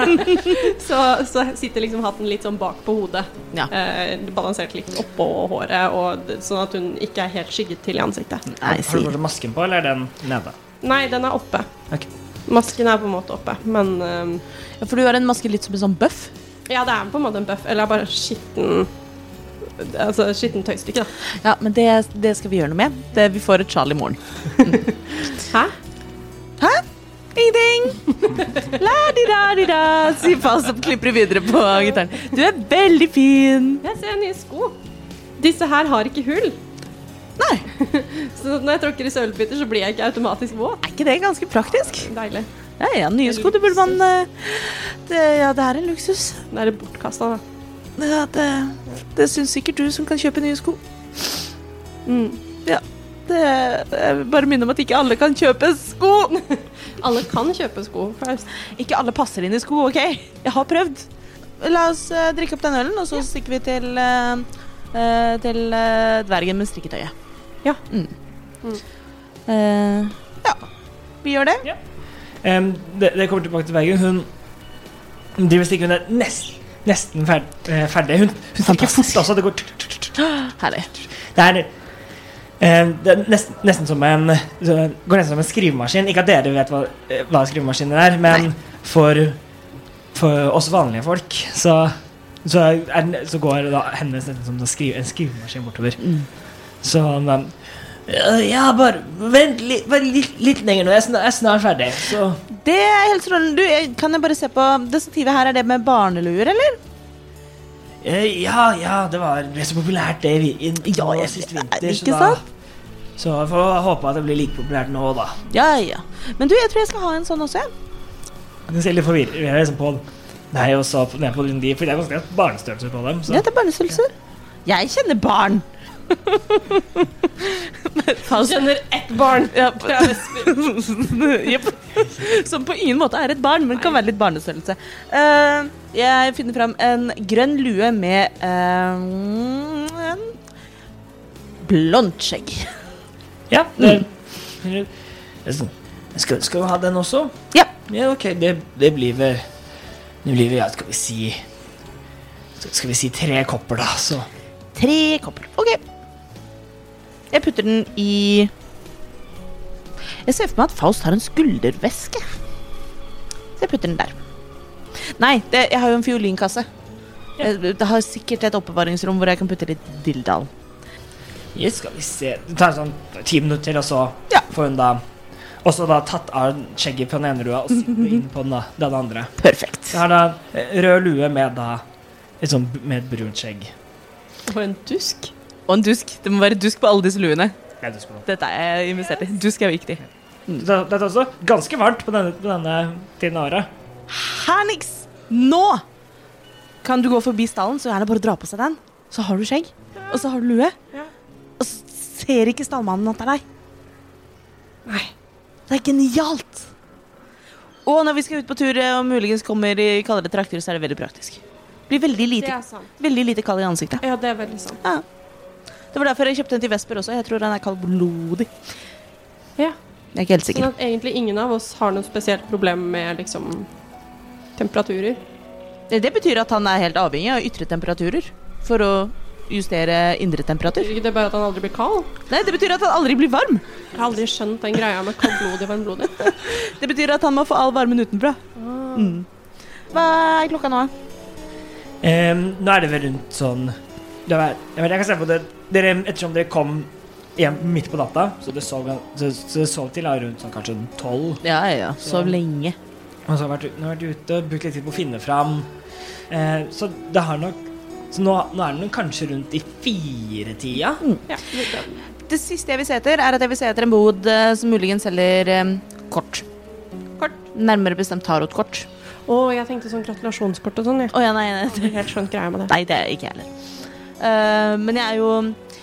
[LAUGHS] så, så sitter liksom hatten litt sånn bak på hodet.
Ja.
Eh, balansert litt oppå håret, og, d- sånn at hun ikke er helt skygget til i ansiktet.
Nei,
Har du bare masken på, eller er den nede?
Nei, den er oppe.
Ok.
Masken er på en måte oppe, men eh,
For du har en maske litt som en sånn bøff.
ja, det er på en måte en bøff, eller bare skitten Altså skitten tøystykke, da.
Ja, men det, det skal vi gjøre noe med. Det, vi får et Charlie i morgen.
Hæ?
Ingenting! La-di-da-di-da, sier Faust og klipper videre på gitaren. Du er veldig fin!
Jeg ser nye sko. Disse her har ikke hull.
Nei,
Så når jeg tråkker i sølvbiter, så blir jeg ikke automatisk våt.
er ikke det ganske praktisk?
Deilig.
Ja, ja, nye sko, det burde man eh, det, Ja, det er en luksus.
Det er bortkasta, da.
Ja, det, det syns sikkert du som kan kjøpe nye sko. Mm. Ja. Det, jeg vil bare minne om at ikke alle kan kjøpe sko.
Alle kan kjøpe sko. Faust.
[LAUGHS] Ikke alle passer inn i sko, OK? Jeg har prøvd. La oss eh, drikke opp den ølen, og så stikker vi til, eh, eh, til eh, dvergen med strikketøyet.
Ja.
Mm. Eh, ja. Vi gjør det.
Em, det, det kommer tilbake til Bergen. Hun driver og stikker. Hun er nest, nesten fer, eh, ferdig. Hun, hun stikker fort
Fantastisk.
også. Det går tut, tut, tut, tut.
Herlig.
Det er, eh, det er nesten, nesten som en så- Går nesten som en skrivemaskin. Ikke at dere vet hva, eh, hva skrivemaskiner er, men for, for oss vanlige folk så, så, er, den- så går da hennes nesten som en, skrive, en skrivemaskin bortover.
Mm.
Så han um, ja, bare vent li, bare litt, litt lenger nå. Jeg er snart, jeg er snart ferdig. Så
Det er helt strålende. Du, eh, kan jeg bare se på det stativet her? Er det med barneluer, eller?
Eh, Ja, ja, det var ble så populært det i, i, i
Ja, jeg-
sist
jeg-
vinter.
ikke
så
sant?
Da, så jeg får håpe at det blir like populært nå, da.
Ja, ja. Men du, jeg tror jeg skal ha en sånn også, jeg.
Du ser litt forvirret jeg er liksom på deg og så på- ned på din de, for det er ganske barnestørrelse på dem.
Ja,
Så.
det er barnestørrelser. Jeg kjenner barn. Faust
Kjenner ett barn.
[LAUGHS] Ja, på- Jepp. Som på ingen måte er et barn, men kan være litt barnestørrelse. Eh, jeg finner fram en grønn lue med eh, en blondt skjegg.
Ja,
Mm.
det, det er sånn. skal, skal du ha den også?
Ja.
Ja, ok, det, det blir vel Det blir vel, ja, skal vi si Skal vi si tre kopper, da, så
Tre kopper. OK. Jeg putter den i Jeg ser for meg at Faust har en skulderveske. Så jeg putter den der. Nei, det, jeg har jo en fiolinkasse. Jeg, det har sikkert et oppbevaringsrom hvor jeg kan putte litt dilldall.
Yes, skal vi se Det tar sånn ti minutter til, og så
Ja.
får hun da også da tatt av skjegget på den ene lua og sydd det inn på den, da, den andre.
Perfekt.
Jeg har da eh, rød lue med da et sånn b- med et brunt skjegg.
Og en dusk.
Og en dusk. Det må være dusk på alle disse luene.
Jeg husker på.
Dette er jeg investert i. Dusk er viktig.
Det det er også ganske varmt på denne, på denne tiden av året.
Hernix, nå kan du gå forbi stallen, så gjerne bare dra på seg den. Så har du skjegg, og så har du lue. ser ikke stallmannen at det er deg. Nei. Det er genialt! Og når vi skal ut på tur eh, og muligens kommer i kaldere trakter, så er det veldig praktisk. Blir veldig
Det
lite,
er sant.
veldig lite kald i ansiktet.
Ja, det er veldig sant.
Det var derfor jeg kjøpte den til Vesper også. Jeg tror den er kaldblodig.
Ja.
Jeg er ikke helt
Sånn
sikker.
at egentlig ingen av oss har noe spesielt problem med liksom temperaturer.
Det betyr at han er helt avhengig av ytre temperaturer for å justere indre temperatur.
Ikke det bare at han aldri blir kald?
Nei, det betyr at han aldri blir varm.
Jeg har aldri skjønt den greia med kaldblodig og varmblodig.
Det betyr at han må få all varmen utenfra. Mm. Hva er klokka nå?
Em, nå er det vel rundt sånn det er, jeg, vet, jeg kan se på det dere, Ettersom dere kom hjem midt på natta, så det sov, gan- så, så det sov til da rundt sånn kanskje tolv.
Ja, ja,
sov
lenge.
Og så har jeg vært, ut- nå har jeg vært ute og brukt litt tid på å finne fram. Eh, så det har nok Så nå, nå er den kanskje rundt i firetida.
Ja, det-
Det siste jeg vil se etter, er at jeg vil se etter en bod eh, som muligens selger eh, kort. Kort? Nærmere bestemt tarotkort.
Å, jeg tenkte sånn gratulasjonskort og sånn, jeg.
Å ja, nei, nei,
Jeg har ikke helt skjønt greia med det.
nei, det er ikke jeg heller. Eh, men jeg er jo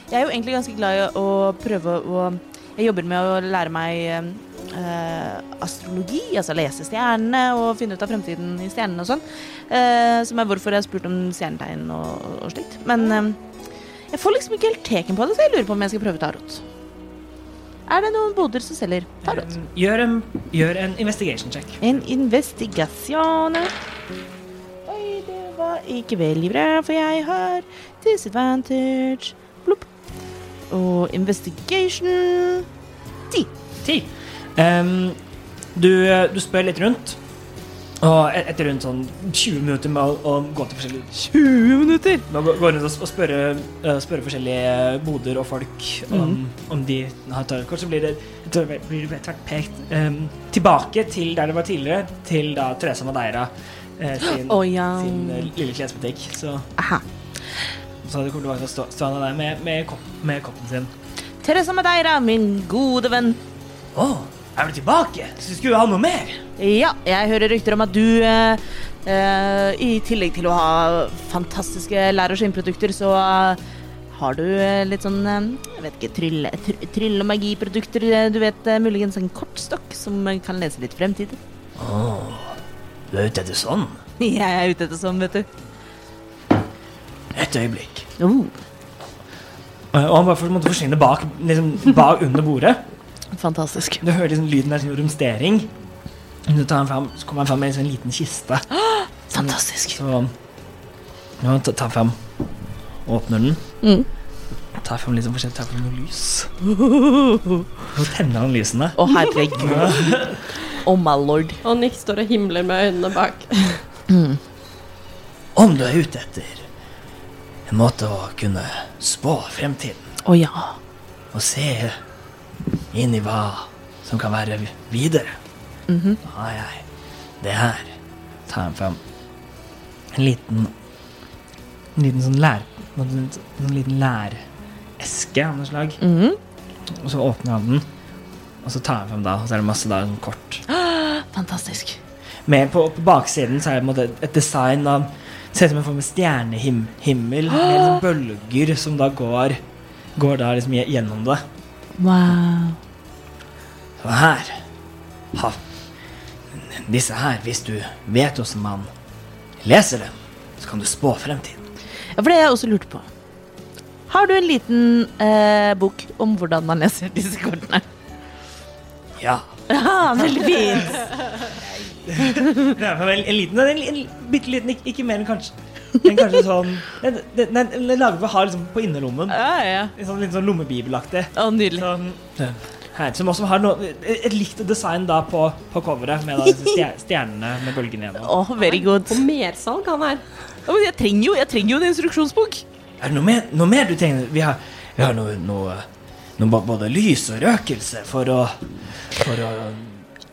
Jeg er jo egentlig ganske glad i å prøve å Jeg jobber med å lære meg eh, eh, astrologi, altså lese stjernene og finne ut av fremtiden i stjernene og sånn. Eh, som er hvorfor jeg har spurt om stjernetegn og, og slikt. Men eh, jeg får liksom ikke helt teken på det, så jeg lurer på om jeg skal prøve tarot. Er det noen boder som selger tarot?
Em, gjør, en, gjør en investigation check.
En investigasjon Oi, det var ikke veldig bra, for jeg har disadvantage. Plopp. Og investigation
Ti. Em, du, du spør litt rundt. Og et- etter rundt sånn 20 minutter med å, å gå til forskjellige
20 minutter!
Nå går går rundt og s- og spørre, eh, spørre forskjellige boder og folk om,
Mhm.
om de har tarotkort, så blir det, jeg tror det blir det tvert pekt em, tilbake til der det var tidligere, til da Teresa Madeira eh, sin,
[GASPS] Å, ja.
sin eh, lille klesbutikk. Så,
Aha.
så det kommer tilbake til å stå, stå han der med, med, kopp, med koppen sin.
Teresa Madeira, min gode venn.
Å, er du tilbake? Så skulle du ha noe mer?
Ja, jeg hører rykter om at du eh, eh, I tillegg til å ha fantastiske lær- og skinnprodukter, så eh, har du eh, litt sånn eh, Jeg vet ikke trylle, tr trylle- og magiprodukter. eh, Du vet eh, muligens en kortstokk som eh, kan lese litt fremtid.
Du er ute etter sånn?
[LAUGHS] Jeg er ute etter sånn, vet du.
Et øyeblikk.
Oh,
Eh, Og han bare for- måtte forsvinne bak, liksom, bak under bordet.
fantastisk.
Du hører liksom lyden av sånn romstering. Så, tar han fram, så kommer han fram med en sånn liten kiste.
Fantastisk.
Så ja, han tar tar fram Åpner den.
Mm.
Tar fram litt sånn forskjellig, tar fram noe lys. Så tenner han lysene.
Å, herregud. [LAUGHS] Oh, my lord.
Og Nick står og himler med øynene bak.
Om du er ute etter en måte å kunne spå fremtiden
Å ja.
og se inn i hva som kan være videre, da har jeg det her. Tar han fram en liten En liten sånn lær... En sånn liten læreske av noe slag.
Mhm.
Og så åpner han den, og så tar han frem da, og så er det masse da, sånn kort.
Fantastisk.
Med på, på baksiden så er det på en måte et design av Ser ut som en form for stjernehimmel, med liksom bølger som da går Går da liksom gje- gjennom det.
Wow.
Og her ha, Disse her, hvis du vet hvordan man leser dem, så kan du spå fremtiden.
Ja, for det har jeg også lurt på. Har du en liten eh, bok om hvordan man leser disse kortene?
Ja.
[LAUGHS] Ja, veldig fint.
Det er vel en liten, en, en bitte liten, ikke, ikke mer enn kanskje enn kanskje sånn Den, den, den, den lager vi å ha liksom på innerlommen.
[LAUGHS] Ja, ja.
En sånn, litt sånn lommebibelaktig.
Å, nydelig.
Sånn, her, som også har noe, et likt design da på, på coveret, med da [LAUGHS] disse stjer- stjernene med bølgene gjennom.
Å, very good.
På mersalg, han her.
Ja, men jeg trenger jo, jeg trenger jo en instruksjonsbok.
Er det noe mer, noe mer du trenger? Vi har, vi har noe, noe, noe ba- både lys og røkelse for å, for å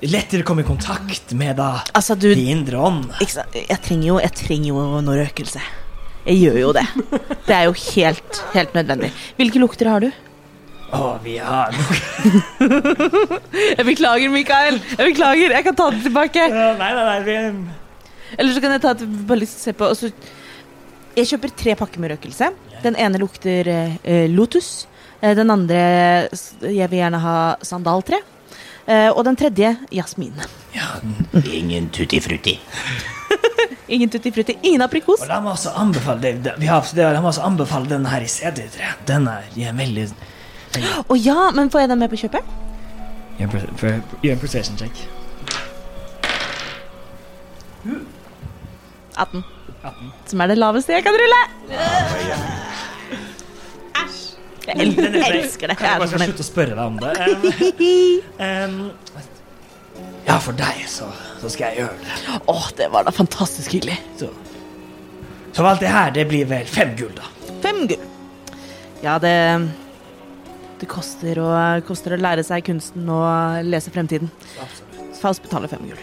lettere komme i kontakt med da
Altså, du,
de indre ånd.
ikke sant? Jeg trenger jo, jeg trenger jo noe røkelse. Jeg gjør jo det. Det er jo helt, helt nødvendig. Hvilke lukter har du?
Og vi
[LAUGHS]
har
Jeg beklager, Mikael. Jeg beklager. Jeg kan ta det tilbake.
Nei, nei, nei. Vi,
Eller så kan jeg ta et bare lyst til å se på og så- Jeg kjøper tre pakker med røkelse. Den ene lukter eh, eh, lotus. Eh, Den andre s- jeg vil gjerne ha sandaltre. Eh, Og den tredje jasmin.
Ingen tutti frutti.
Ingen tutti frutti, ingen aprikos.
Og la meg også anbefale det, det- vi har, det, la meg også anbefale den her i CD3. Den er jeg er veldig
Å ja, men får jeg den med på kjøpet?
Gjør en pers- per- Gjør en persuasion check.
18. Som er det laveste jeg kan rulle. Æsj. Jeg el-
Den er-
jeg elsker det. Jeg
Jeg
er
bare
så
skal
fornøyd.
slutte å spørre deg om
[LAUGHS]
det. Um, um, ja, for deg, så, så skal jeg gjøre det.
Å, det var da fantastisk hyggelig.
Så, så alt det her, det blir vel fem gull, da.
Fem gull. Ja, det Det koster å, koster å lære seg kunsten og lese fremtiden. Faust betaler fem gull.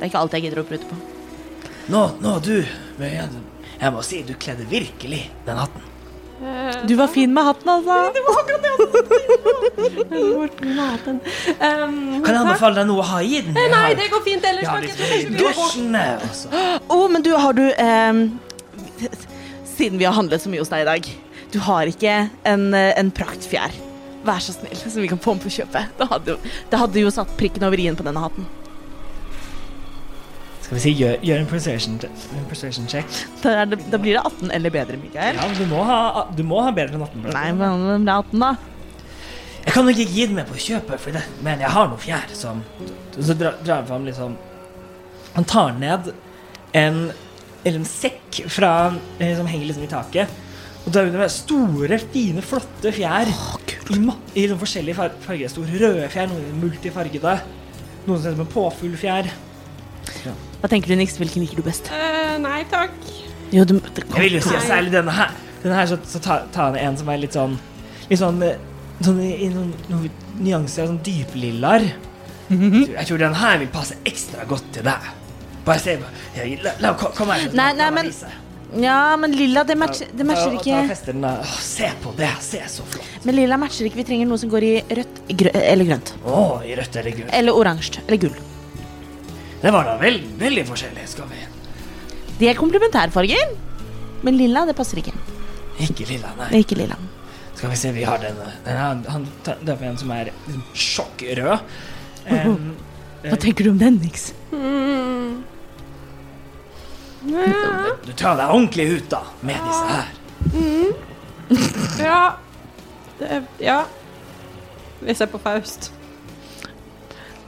Det er ikke alt jeg gidder å prute på.
Nå, nå, du. men Jeg, jeg må si, du kledde virkelig den hatten.
Du var fin med hatten, altså. [LAUGHS]
Kan jeg anbefale deg noe å ha i den? Jeg
Eh, Nei,
har-
det går fint ellers.
jeg har
takk.
litt i dusjen, jeg også.
Å, Oh, men du, har du ehm, [LAUGHS] Siden vi har handlet så mye hos deg i dag, du har ikke en, eh, en praktfjær. Vær så snill, så vi kan få den på kjøpet. Det hadde, jo, det hadde jo satt prikken over i-en på denne hatten.
Skal vi si, gjør, gjør en persuasion en persuasion check.
Da, er det, da blir det 18 eller bedre, Mikael.
Ja, men du må ha, du må ha bedre enn 18.
Nei, men det blir 18, da.
Jeg kan nok ikke gi den med på kjøpet, for det, men jeg har noe fjær som Så dra- drar han fram liksom Han tar ned en, eller en sekk fra, eh, som henger liksom i taket. Og der under er store, fine, flotte fjær i, ma- i sånn forskjellige far farger. Store røde fjær, noen multifargede. Noen som ser ut som en påfuglfjær.
Hva tenker du, Nix? Hvilken liker du best?
Eh, nei takk.
Jo, du, det
Jeg vil jo si at særlig denne her. Denne her så, så tar ta han en som er litt sånn Litt sånn, eh, sånn i i noen, noen nyanser av sånn dyplillaer. Jeg tror den her vil passe ekstra godt til deg. Bare se på jeg- La, la, kom, kom her.
Nei, nei, men- Ja, men lilla, det matcher, det matcher
Ta, ta,
ikke.
og fester den, da. Åh, se på det. Se, så flott.
Men lilla matcher ikke. Vi trenger noe som går i rødt grø eller grønt.
Å, i rødt eller gult.
Eller oransje. Eller gull.
Det var da vel, veldig forskjellig. Skal vi
De er komplementærfarger, men lilla, det passer ikke.
Ikke lilla, nei.
Ikke lilla.
Skal vi se, vi har den. den her, han tar det er på en som er liksom, sjokkrød.
[LAUGHS]
Em,
Hva tenker du om den, Nix?
du tar deg ordentlig ut, da, med disse her.
Ja. Det, ja. Vi ser på Faust.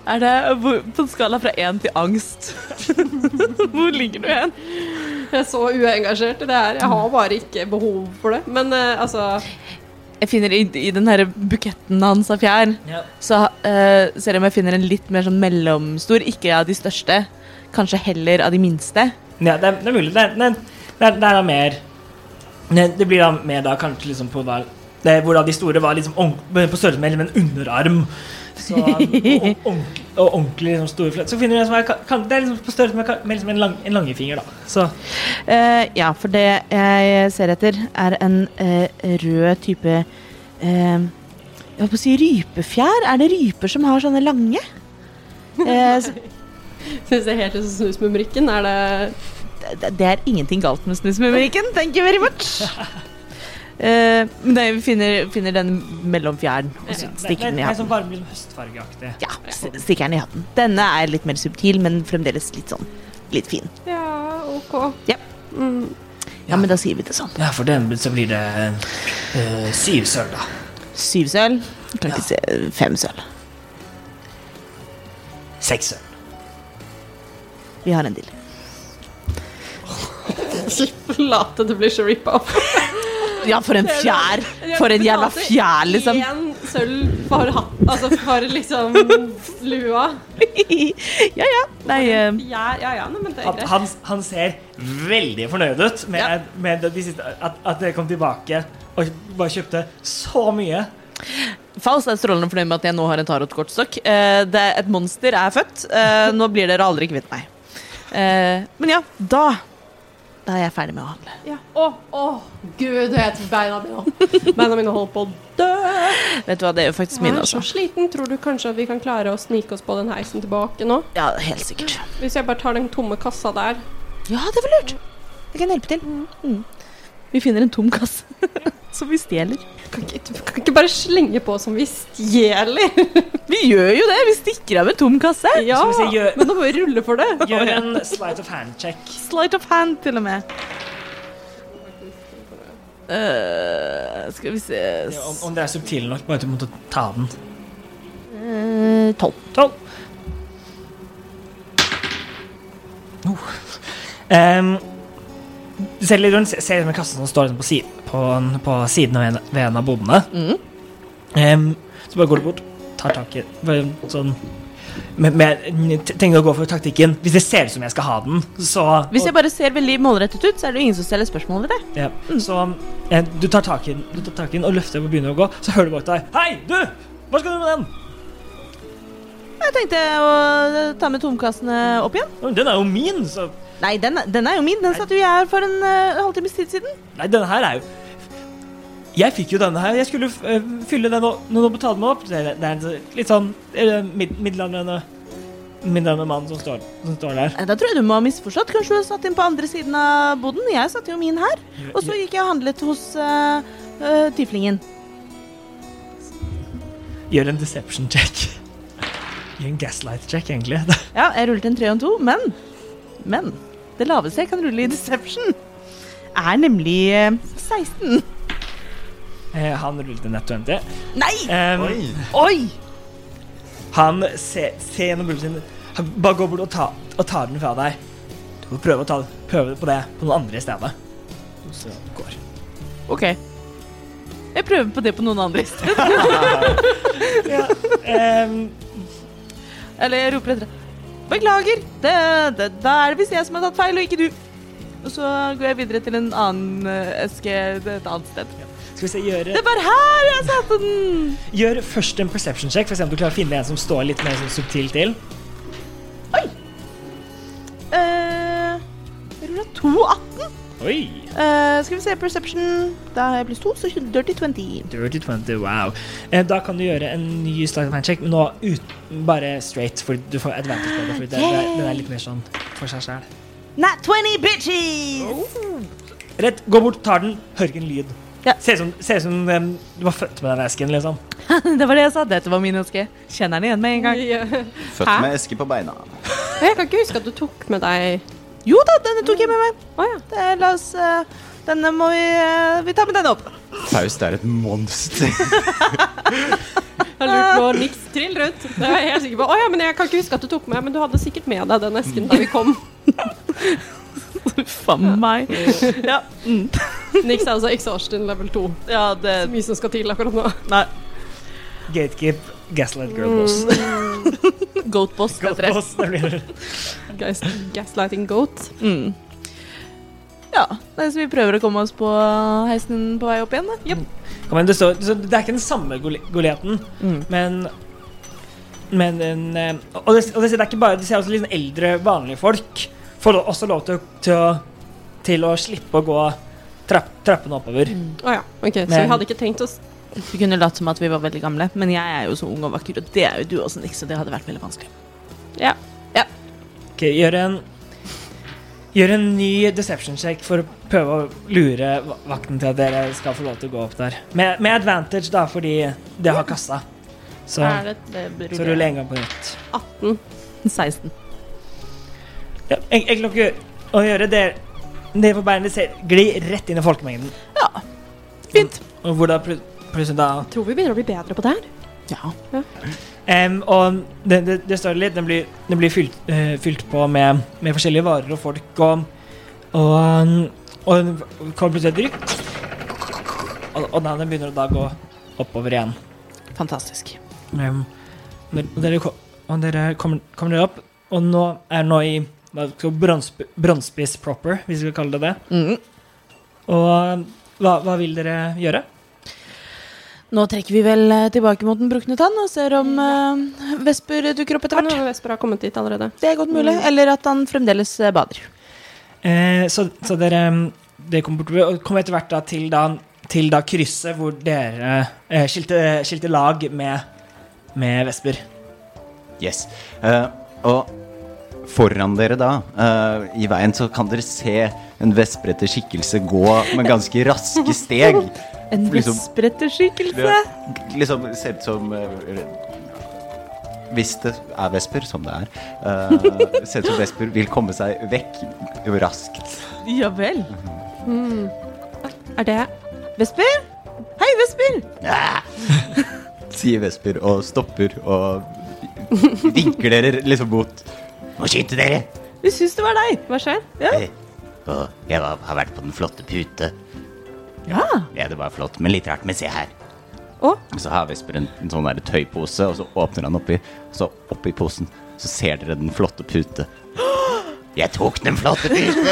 Er det hvor, på en skala fra én til angst? [LAUGHS] hvor ligger du hen?
[LAUGHS] Jeg er så uengasjert i det her. Jeg har bare ikke behov for det. Men eh, altså
Jeg finner i, i den her buketten hans av fjær,
Ja.
så eh, ser jeg om jeg finner en litt mer sånn mellomstor, ikke av de største, kanskje heller av de minste.
Ja, det er, det er mulig. Det er, det er, det er, det er da mer det, det blir da mer da kanskje liksom på hva det, Hvor da de store var liksom ordent- på størrelse med en underarm. Så, og, ordent- og ordentlig liksom store fløter. Så finner du en som er, kan- kan, det er liksom på størrelse med, med liksom en, lang, en langefinger, da. Så
Eh, ja, for det jeg ser etter, er en eh, rød type eh, Jeg holdt på å si rypefjær. Er det ryper som har sånne lange? Eh, så,
Det ser helt ut som Snusmumrikken. Er det
det, det er ingenting galt med snusmumrikken. Thank you very much. Eh, men nei, vi finner, finner den mellom fjæren og så
det,
stikker den i
er
hatten.
sånn varm, liksom høstfargeaktig.
Ja, s- stikker den i hatten. Denne er litt mer subtil, men fremdeles litt sånn litt fin.
Ja, OK.
Ja.
Mm.
Ja, men da sier vi det sånn.
Ja, for den så blir det eh, syv sølv, da.
Syv sølv. Kan ikke se fem sølv.
Seks sølv.
Vi har en deal.
Forlate at det blir så rippa opp. [LAUGHS]
Ja, for en fjær! For en jævla fjær, liksom.
Én sølv for hatt... Altså for liksom lua.
[LAUGHS] Ja, ja. Nei, eh,
Ja, ja, ja, nei, men det er
Han,
greit.
han, han ser veldig fornøyd ut med, med de siste, at, at dere kom tilbake og bare kjøpte så mye.
eh,
Faust er strålende fornøyd med at jeg nå har en tarotkortstokk. Eh, det- et monster er født. Eh, nå blir dere aldri kvitt meg. Eh, men ja, da
da er jeg ferdig med å handle.
Ja. Å, å, gud, jeg vet beina mine Beina mine holder på å dø.
Vet du hva, det gjør faktisk
Jeg
mine
er så
også.
sliten. Tror du kanskje at vi kan klare å snike oss på den heisen tilbake nå?
Ja, helt sikkert.
Hvis jeg bare tar den tomme kassa der.
Ja, det var lurt. Jeg kan hjelpe til. Mm. Vi finner en tom kasse. [LAUGHS] som vi stjeler.
Kan ikke, du kan ikke bare slenge på som vi stjeler.
[LAUGHS] Vi gjør jo det! Vi stikker av en tom kasse.
Ja,
Skal vi si gjør-
men da må vi rulle for det.
[LAUGHS] Gjør en slight of hand-check.
Slight of hand, til og med.
Eh, skal vi se
Om, om dere er subtile nok, bare til å måtte ta den.
Tolv.
Tolv. Oh. Em, du ser litt Ehm, rundt, ser- ser denne kassen som står liksom på, si, på, en- på siden av en, ved en av bodene. Mm. Em, så bare går du bort, tar tak i bare sånn med, med, Tenker å gå for taktikken. Hvis det ser ut som jeg skal ha den, så
Hvis jeg bare ser veldig målrettet ut, så er det jo ingen som stiller spørsmål ved det.
ja. Så eh, du tar tak i den Du tar tak i den og løfter opp og begynner å gå, så hører du bak deg Hei, du! Hva skal du med den?
Jeg tenkte å eh, ta med tomkassene opp igjen.
«Å, Den er jo min, så
Nei, den, er- den er jo min. Den satte jo jeg her for en eh, halvtimes tid siden.
Nei, denne her er jo Jeg fikk jo denne her. Jeg skulle eh, fylle den og, og betale meg opp. Det, er- det er en litt sånn eh, mid, middelaldrende Middelaldrende mann som står, som står der.
Nei, Eh, Da tror jeg du må ha misforstått. Kanskje du har satt inn på andre siden av boden. Jeg satte jo min her. Og så gikk jeg og handlet hos eh, eh, Tiflingen.
Gjør en deception check. Gjør en gaslight check, egentlig. [LAUGHS]
Ja, jeg rullet en 3 og en 2, men Men det laveste jeg kan rulle i Deception, er nemlig eh, 16.
Eh, han rullet en netto 50.
Nei!
Um,
Oi!
Han ser, ser gjennom bullen sin. Han bare går bort og, ta, og tar den fra deg. Du får prøve å ta, prøve på det på noen andre i stedet. Og så går.
OK. Jeg prøver på det på noen andre i sted.
Ehm,
Eller jeg roper etter deg. Beklager! Det, det, da er det visst jeg som har tatt feil, og ikke du. Og så går jeg videre til en annen eh, eske et annet sted.
skal vi se, gjøre,
Det var her jeg satte den!
gjør først en perception check for å se om du klarer å finne en som står litt mer sånn subtil til.
Eh, jeg rulla 2,18.
Oi!
Eh, skal vi se, Perception. Da har jeg pluss 2, så dirty 20.
Dirty 20, wow. Eh, da kan du gjøre en ny slag of handcheck, men nå uten bare straight, for du får advantage på det, for det, det, den er litt mer sånn for seg sjæl.
Not 20 bitches!
Rett, gå bort, tar den, hører ikke en lyd.
Ja.
Ser ut som, ser ut som ehm, du var født med den esken, liksom.
[LAUGHS] Det var det jeg sa. Dette var min ønske. Kjenner den igjen med en gang.
Født
Hæ?
med eske på beina.
eh, Jeg kan ikke huske at du tok med deg
Mm. Jo da, denne tok jeg med meg.
Å ja.
Det, la oss eh, Denne må vi eh, Vi tar med denne opp.
Faust er et monster.
[LAUGHS]
Jeg lurte på Nix [LAUGHS] trill rundt. Det var Ah. jeg helt sikker på. Å ja, men jeg kan ikke huske at du tok med, men du hadde sikkert med deg den esken da vi [LAUGHS] kom.
Faen meg. Ja. Mm.
Nix er altså exhaustion level 2.
ja, det
Det er mye som skal til akkurat nå.
Nei.
Gatekeep, Gaslight Girl Boss.
Goatboss heter Mm, det.
[LAUGHS] Boss, det blir det.
Guys, gaslighting goat.
Mm. Ja. Nei, så vi prøver å komme oss på heisen på vei opp igjen, da.
Kom igjen, det, står, så det er ikke den samme goli- Goliaten,
Mm.
men men en, eh, og, det, og det, det er ikke bare De ser også litt sånn eldre, vanlige folk. Får lo- også lov til, å- til, å, til å slippe å gå trapp, trappene oppover.
Mm.
Å ja, ok. Så
Men-
vi hadde ikke tenkt oss
Vi kunne latt som at vi var veldig gamle, men jeg er jo så ung og vakker, og det er jo du også, Nick, så det hadde vært veldig vanskelig.
Ok, gjør en Gjør en ny deception check for å prøve å lure va- vakten til at dere skal få lov til å gå opp der. Med, med advantage, da, fordi det har kassa. Så,
Er det, det
så ruller jeg en gang på nytt.
18.
16.
Ja, en- Egentlig å gjøre- å gjøre det nede på beina ser gli rett inn i folkemengden.
Ja. Fint.
Og hvor da plut- plutselig da
Tror vi begynner å bli bedre på det her.
Ja.
Em, Og det, det, det står litt, den blir, den blir fylt, eh, fylt på med, med forskjellige varer og folk og Og, um, og den kommer plutselig et rykk. Og, og da den begynner å da gå oppover igjen.
Fantastisk.
Em, når- og dere, ko- og dere kommer, kommer dere opp, og nå er nå i hva skal- bronsp- bronsespiss proper, hvis vi skal kalle det det.
Mm.
Og eh, hva, hva vil dere gjøre?
Nå trekker vi vel eh, tilbake mot den brukne tann og ser om eh, vesper dukker opp etter hvert. Mm.
Noen vesper har kommet dit allerede.
Det er godt mulig. Eller at han fremdeles eh, bader.
Eh, så, så dere, mm, dere kommer bortover, og kommer etter hvert da til, da, til da krysset hvor dere eh, skilte, skilte lag med, med Vesper.
Yes. Eh, og foran dere da, eh, i veien, så kan dere se en vespete skikkelse gå med ganske raske steg.
En
Liksom-
vesperetterskikkelse.
Det liksom ser ut som eh, Hvis det er vesper, som det er, eh, ser ut som vesper vil komme seg vekk raskt.
Ja vel. Mhm. Mm.
Er det
Vesper? Hei, Vesper!
Sier vesper og stopper og vinker dere liksom mot Må skynde dere!
Vi syns det var deg.
Hva skjer?
Eh, Og jeg var, har vært på den flotte pute.
Ja.
Ja, det var flott, men litt rart. Men se her.
Å?
Og Så har Vesper en, en sånn der tøypose, og så åpner han oppi. Så oppi posen så ser dere den flotte pute. [GASPS] Jeg tok den flotte pute!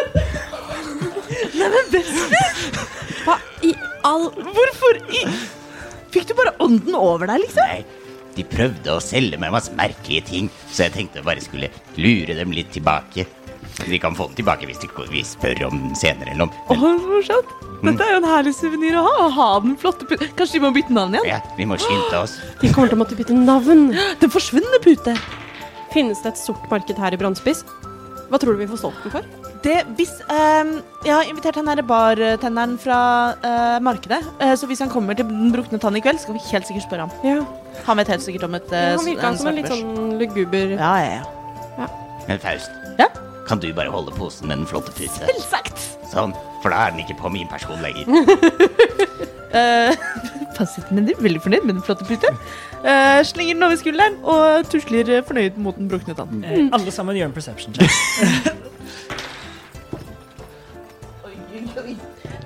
[LAUGHS]
Hva i all
Hvorfor i Fikk du bare ånden over deg, liksom?
Nei, de prøvde å selge meg masse merkelige ting, så jeg tenkte jeg bare skulle lure dem litt tilbake. De kan få den tilbake hvis de vi spør om den senere eller noe.
Å,
Men
så morsomt. Dette er jo en herlig suvenir å ha. Å ha den flotte pute. Kanskje de må bytte navn igjen?
ja, vi må skynde oss.
De kommer til å måtte bytte navn.
Den forsvunne pute.
Finnes det et sort marked her i Brannspiss? Hva tror du vi får solgt den for?
Det, hvis, ehm, jeg har invitert han her bartenderen fra eh, markedet, eh, så hvis han kommer til Den brukne tann i kveld, skal vi helt sikkert spørre ham.
Ja,
Han vet helt sikkert om et eh,
Han virka
en
som en litt
svartbørs.
sånn luguber
Ja, ja, ja.
Men Faust,
Ja?
kan du bare holde posen med den flotte pute?
Selvsagt.
Sånn, for da er den ikke på min person lenger.
Eh, Fasiten min er veldig fornøyd med den flotte pute. Eh, slenger den over skulderen og tusler eh, fornøyd mot den brukne tann.
Mm.
Eh, Alle sammen gjør en perception check.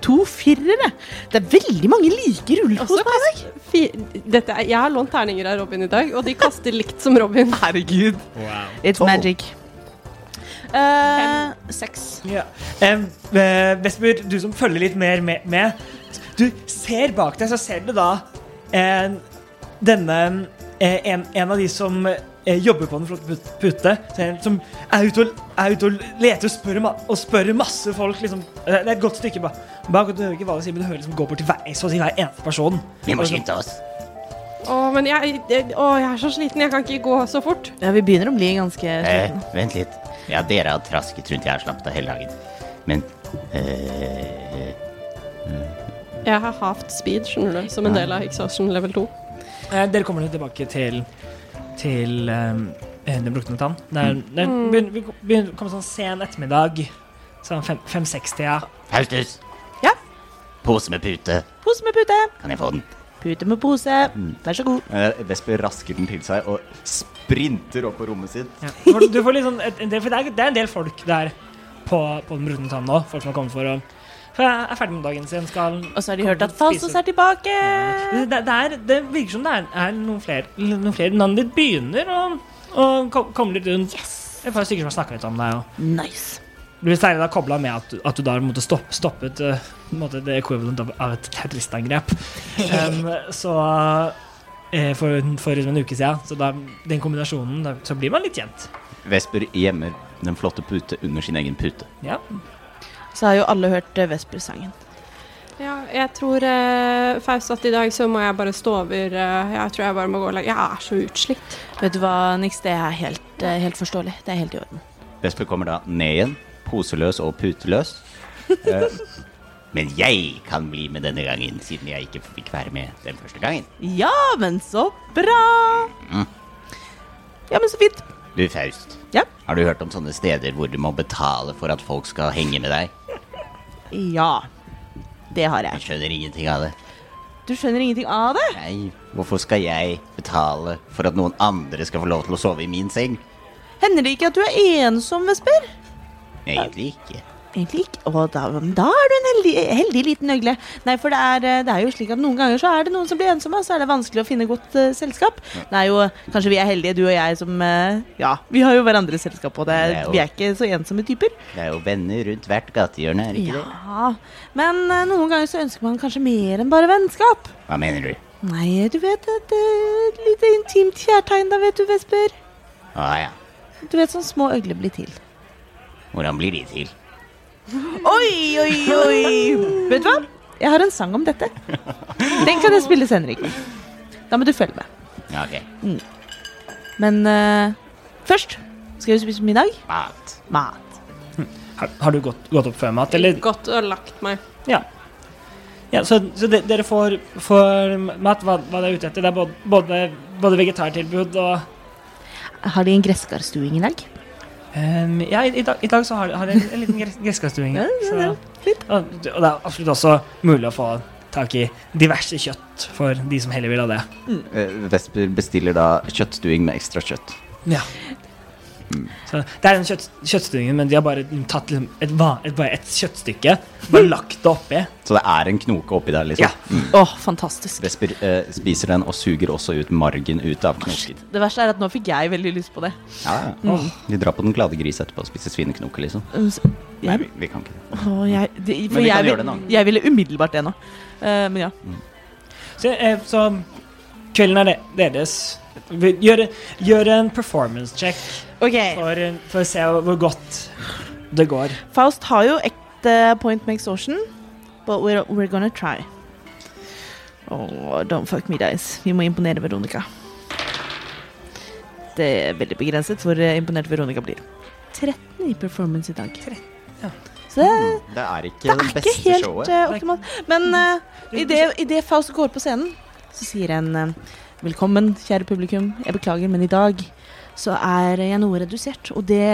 To firere. Det er veldig mange like ruller hos meg. i dag.
Fi- Dette er, jeg har lånt terninger av Robin i dag, og de kaster likt som Robin.
Herregud. It's
Tolv.
magic. Eh, seks.
Ja. Eh, eh, Vesper, du som følger litt mer med, med Du ser bak deg, så ser du da eh, denne eh, en, en av de som eh, jobber på Den flotte put- pute, ser- som er ute og, er ute og leter og spør, ma- og spør masse folk. Liksom. Eh, Det er et godt stykke ba- bak, og du hører ikke hva de sier, men du hører liksom gå bort til hver, så å si hver eneste person.
Vi må
Og så-
skynde oss.
Å, men jeg, jeg- å, jeg er så sliten, jeg kan ikke gå så fort.
Ja, vi begynner å bli ganske
Eh, vent litt. Ja, dere har trasket rundt. Jeg har slappet av hele dagen. Men eh,
Jeg har halvt speed, skjønner du, som en del av exhaustion level 2.
Eh, dere kommer nå tilbake til Til eh, Den brukne tann. Det
Mm.
er, det er, begynner, vi begynner å komme sånn sen ettermiddag. Sånn fem- 5-6-tida.
Faustus!
Ja?
Pose med pute.
Pose med pute.
Kan jeg få den?
Pute med pose. Vær så god.
Eh, Vesper rasker den til seg og sprinter opp på rommet sitt.
Ja. Du får- Du får litt sånn et- en del, for det er, det er en del folk der på, på Den brukne tann nå. Folk som har kommet for å for jeg er ferdig med dagen sin. Skal
Og så har de hørt at Falsos er tilbake.
det, det, det er, det virker som det er, er noen flere noen flere. Navnet ditt begynner å, å ko- komme litt rundt. Det er et par stykker som har snakka litt om deg. Og.
Nice.
Du blir særlig da kobla med at, du- at du da måtte stopp, stoppet eh, på en måte det equivalent av, av et [LAUGHS] terroristangrep. Um, så eh, for, for en uke siden. Så da, den kombinasjonen, da, så blir man litt kjent.
Vesper gjemmer den flotte pute under sin egen pute.
Ja.
Så har jo alle hørt eh, Vesper-sangen.
Ja, jeg tror eh, Faust at i dag så må jeg bare stå over eh, Jeg tror jeg bare må gå og legge Jeg er så utslitt.
Vet du hva, Nix, det er helt, eh, helt forståelig. Det er helt i orden.
Vesper kommer da ned igjen, poseløs og [LAUGHS] puteløs. Eh, Men jeg kan bli med denne gangen, siden jeg ikke fikk være med den første gangen.
Ja, men så bra! Ja, men så fint.
Du, Faust.
Ja.
Har du hørt om sånne steder hvor du må betale for at folk skal henge med deg?
Ja. Det har
Jeg
jeg.
skjønner ingenting av det.
Du skjønner ingenting av det?
Nei, hvorfor skal jeg betale for at noen andre skal få lov til å sove i min seng?
Hender det ikke at du er ensom, Vesper?
Egentlig ikke.
Egentlig ikke. Å, da, men da er du en heldig, heldig liten øgle. Nei, for det er, eh, det er jo slik at noen ganger så er det noen som blir ensomme, og så er det vanskelig å finne godt eh, selskap. Det er jo Kanskje vi er heldige, du og jeg, som eh, Ja, vi har jo hverandres selskap, og det,
Det er jo-
vi er ikke så ensomme typer.
Det er jo venner rundt hvert gatehjørne, er det ikke det?
Ja, men eh, noen ganger så ønsker man kanskje mer enn bare vennskap.
Hva mener du?
Nei, du vet at det er et lite intimt kjærtegn da, vet du, Vesper.
Å ja,
Du vet sånn små øgler blir til.
hvordan blir de til?
Oi, oi, oi! vet du hva? Jeg har en sang om dette. Den kan jeg spille senere i kveld. Da må du følge med.
Ja, ok,
Men eh, først skal vi spise middag.
mat.
Mat.
Har, har du gått, gått opp før mat, eller?
Godt og lagt meg.
Ja. Ja, så, så de, dere får, får mat, hva, hva det er ute etter. Det er både, både, både vegetartilbud og
Har de en gresskarstuing i dag?
Ehm, ja, i, i, dag, i dag så har, har jeg en, en liten gress- gresskarstuing.
Ja,
så- og, og det er absolutt også mulig å få tak i diverse kjøtt for de som heller vil ha det.
Eh, Vesper bestiller da kjøttstuing med ekstra kjøtt.
Så det er den kjøtt, kjøttstuingen, men de har bare tatt liksom et, va- et, bare et kjøttstykke, bare lagt det oppi.
Så det er en knoke oppi der, liksom.
Ja.
Åh, fantastisk.
Vesper eh, spiser den og suger også ut margen ut av knoken.
Det verste er at nå fikk jeg veldig lyst på det.
Ja, ja. Vi drar på Den glade gris etterpå og spiser svineknoke, liksom.
Um, s-
Nei,
Jeg,
vi, vi kan ikke det.
åh, jeg, det for
Men vi kan
jeg,
gjøre det en annen
vil- jeg ville umiddelbart det nå. Eh, men ja.
Så, eh, så kvelden er de- deres. Vi- Gjør, gjør en performance check
Ok.
for, for å se hvor godt det går.
Faust har jo ekte point med exhaustion, but we're, we're gonna try. Åh, don't fuck me, guys. Vi må imponere Veronica. Det er veldig begrenset hvor eh, imponert Veronica blir. 13 i performance i dag. Så det er
Det er
Det
ikke det,
er ikke
beste
helt
showet.
eh, optimalt. Men eh, i det- i det Faust går på scenen, så sier en eh, Velkommen, kjære publikum. Jeg beklager, men i dag så er jeg noe redusert. Og det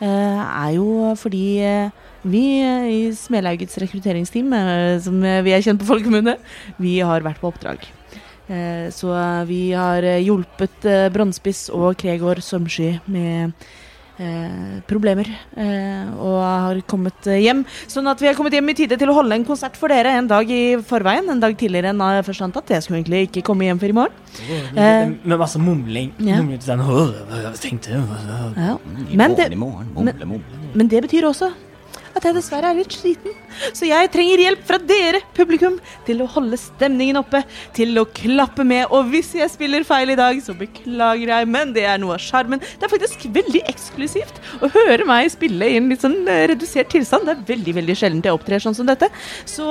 eh, er jo fordi eh, vi eh, i Smelaugets rekrutteringsteam, eh, som eh, vi er kjent på folkemunne, vi har vært på oppdrag. Eh, Så vi har eh, hjulpet eh, Brønnspiss og Kregor Sømsky med eh, problemer. eh, Og har kommet eh, hjem Sånn at vi har kommet hjem i tide til å holde en konsert for dere en dag i forveien. En dag tidligere enn jeg først antatt. Jeg skulle egentlig ikke komme hjem før i morgen. Eh,
Med masse mumling.
ja.
Mumling til den, «Åh, hva tenkte jeg?» Åh,
Ja.
Mm, I
Men
morgen,
det-
i morgen. Mumle, mumle.
Men det betyr også at jeg dessverre er litt sliten. Så jeg trenger hjelp fra dere, publikum, til å holde stemningen oppe, til å klappe med. Og hvis jeg spiller feil i dag, så beklager jeg, men det er noe av sjarmen. Det er faktisk veldig eksklusivt å høre meg spille i en litt sånn eh, redusert tilstand. Det er veldig veldig sjeldent jeg opptrer sånn som dette. Så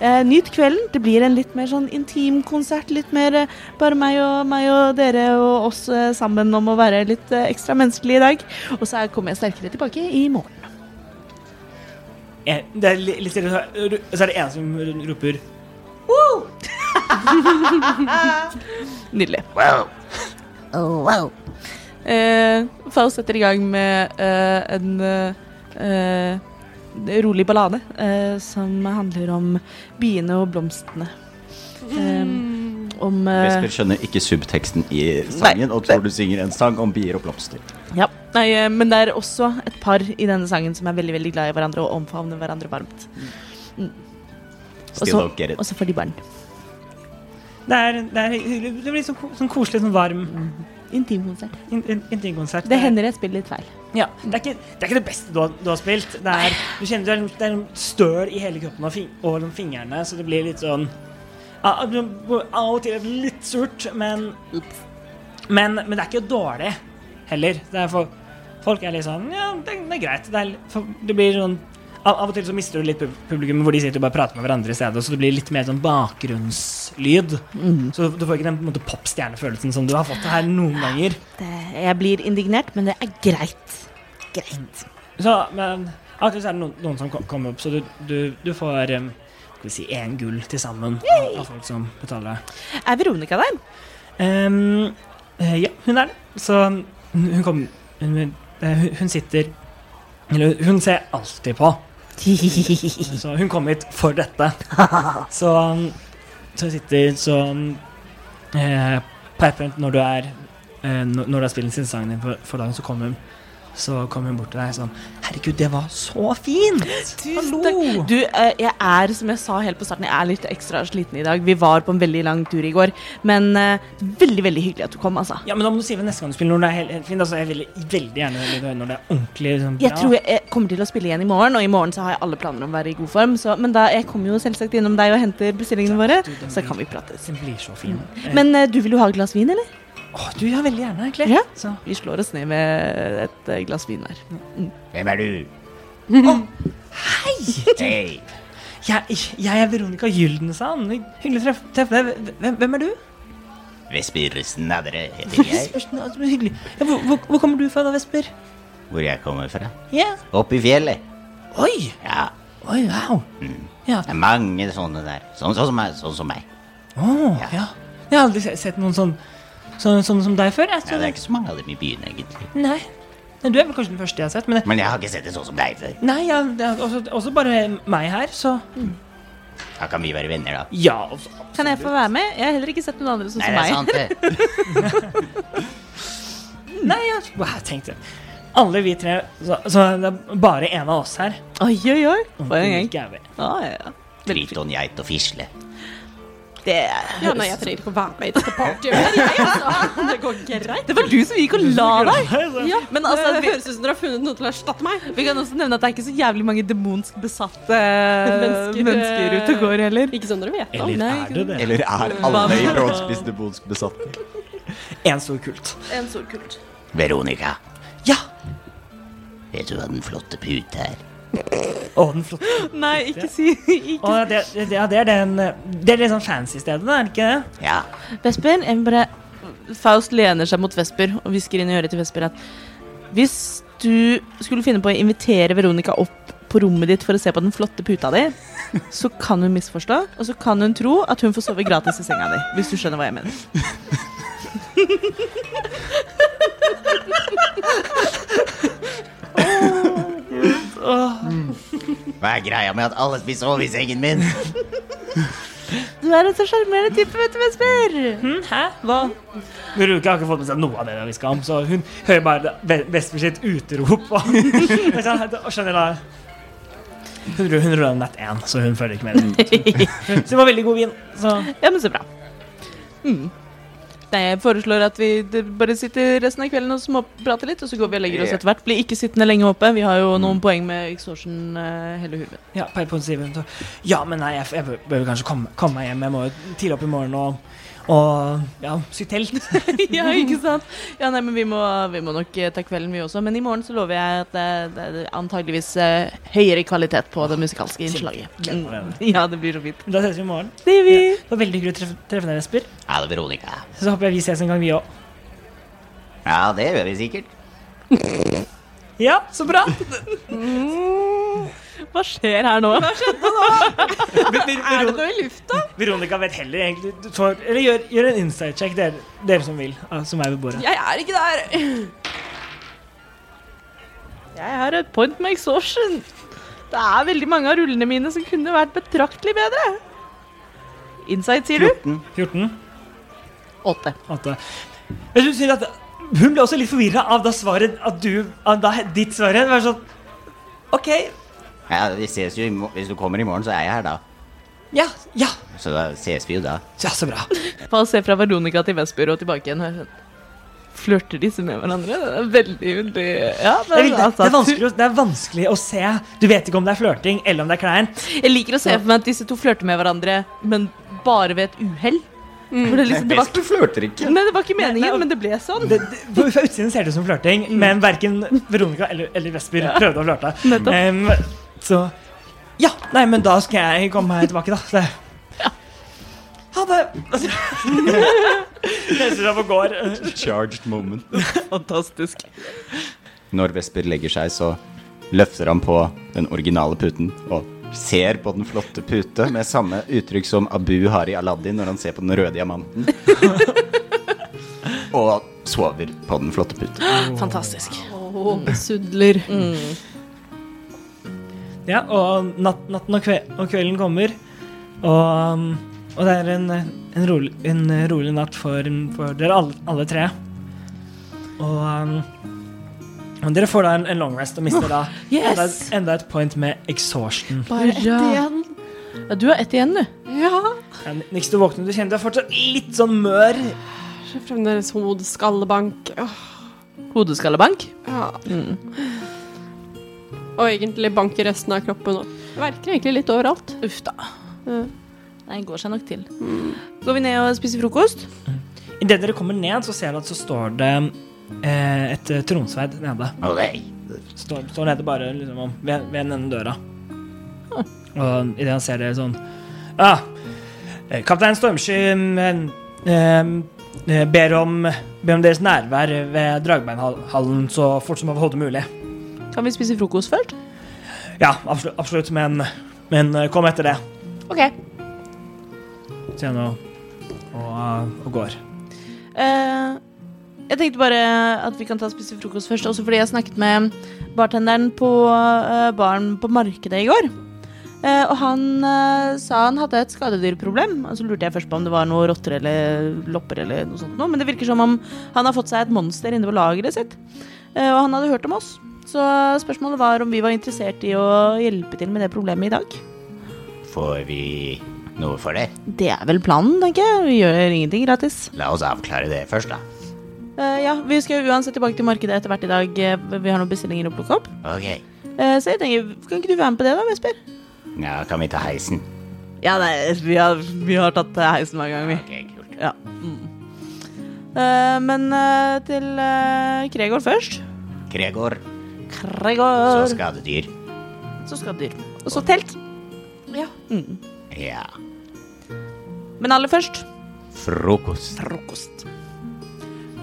eh, nyt kvelden. Det blir en litt mer sånn intim konsert. Litt mer eh, bare meg og, meg og dere og oss eh, sammen om å være litt eh, ekstra menneskelige i dag. Og så er- kommer jeg sterkere tilbake i morgen.
Eh, Det er li- litt stille, så er- så er det en som r- roper
Nydelig. Wow. Eh, Faust setter i gang med eh, en eh, eh, rolig ballade eh, som handler om biene og blomstene. Um, om eh,
Vesper skjønner ikke subteksten i sangen og tror du synger en sang om bier og blomster.
Ja. Nei, eh, men det er også et par i denne sangen som er veldig veldig glad i hverandre og omfavner hverandre varmt. Og
Still
så,
don't get it.
og så får de barn.
Det, er, det, er, hyggelig. det blir sånn, ko- sånn koselig, sånn varm
Intimkonsert.
in- in- intimkonsert.
Mm. Det hender jeg spiller litt feil.
Ja, det, er ikke, det er ikke det beste du har, du har spilt. Det er, du kjenner, det er, en- det er en støl i hele kroppen og, fing, og de fingrene, så det blir litt sånn ah, du- Av og til er det litt surt, men, men Men det er ikke dårlig heller. Det er for, folk er litt sånn Ja, det, det er greit. Det, er, litt- for, det blir sånn av, av og til så mister du litt pub- publikum hvor de sitter og bare prater med hverandre i stedet, så det blir litt mer sånn bakgrunnslyd. Så du får ikke den på en måte, popstjernefølelsen som du har fått her noen ganger.
Det, jeg blir indignert, men det er greit. Greit.
Så, men av og til så er det noen, noen som ko- kommer opp, så du, du, du får um, skal vi si én gull til sammen av, av folk som betaler.
Er Veronica der?
Ehm, eh, ja, hun er det. Så hun, hun kom hun, eh, hun- hun sitter Eller hun ser alltid
[LAUGHS]
på. Så hun kom hit for dette. Så, um, så hun sitter sånn eh, På et punkt når du er eh, når når du har spilt siste sangen din for, for dagen, så kommer hun så kommer hun bort til deg sånn Herregud, det var så fint!
Tusen
Hallo!
Du, eh, jeg er, som jeg sa helt på starten, jeg er litt ekstra sliten i dag. Vi var på en veldig lang tur i går, men eh, veldig, veldig hyggelig at du kom, altså.
Ja, men da må du si det neste gang du spiller når det er helt, helt fint. Altså, jeg vil veldig gjerne vil høre når det er ordentlig sånn,
Jeg tror jeg, jeg kommer til å spille igjen i morgen, og i morgen så har jeg alle planer om å være i god form, så, men da, jeg kommer jo selvsagt innom deg og henter bestillingene våre, så kan vi prates.
Den blir så fin. Eh,
Men eh, du vil jo ha et glass vin, eller?
Åh, du, ja, veldig gjerne, egentlig.
Ja.
Så,
Vi slår oss ned med et eh, glass vin hver.
Hvem er du? hei!
jeg, jeg er Veronica Gyldensand. Hyggelig å treffe, treffe deg. Hvem, hvem er du?
Vesper Snadre heter jeg.
Spørsmål, altså, men hyggelig. Ja, hvor, hvor, hvor kommer du fra da, Vesper?
Hvor jeg kommer fra.
Ja.
Opp i fjellet.
Oi!
Ja.
Oi, wow. Mm. Ja.
Det er mange sånne der. Sånn, sånn, som, meg, sånn som meg.
Åh, ja. Jeg har aldri se- sett noen sånn sånn, sånn som deg før. Jeg,
Ja,
så,
det er ikke så mange av dem i byen, egentlig.
Nei. Nei, Du er vel kanskje den første jeg har sett. Men
Men jeg har ikke sett det sånn som deg før.
nei, ja, det er også, også bare meg her, så
Da kan vi være venner, da.
Ja. Altså.
Kan jeg få være med? Jeg har heller ikke sett noen andre sånn
Nei,
som
det
meg.
er sant, det.
Nei, ja, wow, jeg tenkte Alle vi tre Så, så det er bare en av oss her.
Oi, oi, oi. For en gang.
Ulrikke er vel-
Å, ja, ja.
Triton, geit og fisle.
Det,
Ja, nei, jeg trenger ikke å være med i dette [LAUGHS] partyet. jeg,
[LAUGHS]
altså. Det går greit.
det var du som gikk og la deg.
Ja,
Men altså,
det
vi,
høres ut som dere har funnet noe til å erstatte meg.
vi kan også nevne at det er ikke så jævlig mange demonsk besatte
[LAUGHS]
Mennesker,
mennesker,
eh,
mennesker ute og går heller.
Ikke som dere vet om.
Eller er det det?
Eller er alle i brådspist debonsk besatt?
En stor kult.
En stor kult.
Veronica,
Ja!
vet du hva den flotte pute er?
Å, den flotte
Nei, ikke si [LAUGHS] ikke.
Å, det, det, ja, det er den eh, Det er litt sånn fancy stedet, er det ikke det?
Ja,
Vesper, jeg vil bare Faust lener seg mot Vesper og hvisker inn i øret til Vesper at hvis du skulle finne på å invitere Veronica opp på rommet ditt for å se på den flotte puta di,
[LAUGHS]
så kan hun misforstå, og så kan hun tro at hun får sove gratis i senga di. Hvis du skjønner hva jeg mener.
hva er greia med at alle vil sove i sengen min?
Du er en så sjarmerende type, vet du, Vesper.
Hæ? Hva? Veronica har ikke fått med seg noe av det vi skal om, så hun hører bare Ve- Vesper sitt utrop. Og, [LAUGHS] og skjønner da Hun ru- hun ruller nett én, så hun følger ikke med. [LAUGHS] Så det var veldig god vin. Så
Ja, men så bra. Mm. Nei, jeg foreslår at vi d- bare sitter resten av kvelden og småprater litt, og så går vi og legger oss etter hvert. Blir ikke sittende lenge oppe. Vi har jo noen poeng med extortion eh, hele hurven.
Ja, på et punkt sier hun så, Ja, men nei, jeg, jeg bør, bør vel kanskje komme, komme meg hjem. Jeg må jo tidlig opp i morgen og, og ja, sy telt.
[LAUGHS] ja, ikke sant? Ja, nei, men vi må, vi må nok eh, ta kvelden vi også. Men i morgen så lover jeg at det, det er antageligvis eh, høyere kvalitet på det musikalske innslaget.
Gleder meg
Mm. Ja, det blir så fint.
Da ses vi i morgen.
Det gjør vi.
Det var veldig hyggelig å treffe, treffe deg, Vesper.
Ja, det er Veronica.
Så håper jeg vi ses en gang, vi òg.
Ja, det gjør vi sikkert.
Ja, så bra!
Hva skjer her nå?
[LAUGHS] Er det noe i lufta?
Veronica vet heller egentlig du får, Eller gjør, gjør en insight-check, dere, dere som vil. ah, Som er ved bordet.
Jeg er ikke der.
Jeg har et point med exhaustion. Det er veldig mange av rullene mine som kunne vært betraktelig bedre. Insight, sier du?
14?
Åtte.
8. Jeg synes synd at hun ble også litt forvirra av da svaret at du av da ditt svar var sånn OK.
Ja, vi ses jo i mo- Hvis du kommer i morgen, så er jeg her da.
Ja. Ja.
Så da ses vi jo da.
Ja, så
[LAUGHS]
bra.
Fall ser fra Veronica til Vesper og tilbake igjen. og jeg er sånn, Flørter disse med hverandre? Det er veldig, veldig Ja,
Det er,
altså,
det, er vanskelig, å- det er vanskelig å se. Du vet ikke om det er flørting eller om det er kleint.
Jeg liker å se for meg at disse to flørter med hverandre, men bare ved et uhell.
Mm.
For det, liksom, det, var,
du flørter ikke.
nei, det var ikke meningen, men det ble sånn.
Det, det, på- fra utsiden ser det ut som flørting,
Mm.
men verken Veronica eller, eller Vesper prøvde å flørte.
Nettopp.
Em, så Ja, nei, men da skal jeg komme meg tilbake, da. Så, ha det.
[LAUGHS]
Reiser seg opp og går.
Charged moment.
Fantastisk.
Når Vesper legger seg, så løfter han på den originale puten og ser på den flotte pute med samme uttrykk som Abu har i Aladdin når han ser på den røde [LAUGHS] diamanten. og sover på den flotte pute.
Fantastisk.
Sudler.
Mm.
Ja, og natt, natten og, kve, og kvelden kommer, og, um, og det er en, en, rolig, en rolig natt for, for dere alle, alle tre. Og, um, dere får da en, en long rest og mister da enda,
Yes!
enda et point med exhaustion.
Bare ett igjen. Ja, du har ett igjen, du.
Ja, Niks du våkner, du kjenner du er fortsatt litt sånn mør.
Fremdeles hodeskallebank. Åh,
Hodeskallebank.
Ja. Og egentlig bank i resten av kroppen òg. Verker egentlig litt overalt.
Uff da.
Ja. Mm.
Nei, går seg nok til. Går vi ned og spiser frokost?
Idet dere kommer ned, så ser dere at så står det eh, et eh, tronsverd nede.
Og nei,
Står, står nede bare liksom, om- ved, ved denne døra. Og idet han ser dere sånn Ja, ah, kaptein Stormsky mm, eh, eh, ber, om, ber om deres nærvær ved Dragbeinhallen så fort som overhodet mulig.
Kan vi spise frokost først?
Ja, absolutt, absolutt men, men eh, kom etter det.
OK.
Sier han og, og, eh, og går.
Eh, jeg tenkte bare at vi kan ta og spise frokost først, også fordi jeg snakket med bartenderen på eh, baren på markedet i går. Eh, og han eh, sa han hadde et skadedyrproblem. Og så lurte jeg først på om det var noe rotter eller lopper eller noe sånt noe, men det virker som om han har fått seg et monster inne på lageret sitt. Eh, og han hadde hørt om oss. Så spørsmålet var om vi var interessert i å hjelpe til med det problemet i dag.
Får vi noe for det?
Det er vel planen, tenker jeg. Vi gjør ingenting gratis.
La oss avklare det først, da.
Eh, ja, vi skal uansett tilbake til markedet etter hvert i dag. Eh, Vi har noen bestillinger å plukke opp.
Ok.
Eh, så jeg tenker, kan ikke du være med på det da, Vesper?
Ja, kan vi ta heisen?
Ja, nei, vi har, vi har tatt eh, heisen hver gang, vi.
Ok, kult.
Ja. Mm. Eh, men eh, til eh, Kregor først.
Gregor, så
Kregor.
skadedyr.
Så skal dyr. Og så telt. Ja. Mm.
Ja.
Men aller først
Frokost.
frokost.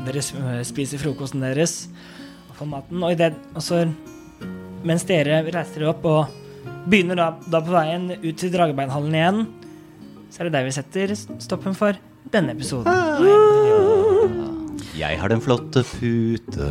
Dere sp- eh, spiser frokosten deres og får maten. Og, i det, og så, mens dere reiser dere opp og begynner da, da på veien ut til Dragebeinhallen igjen, så er det der vi setter stoppen for denne episoden.
Jeg har den flotte pute.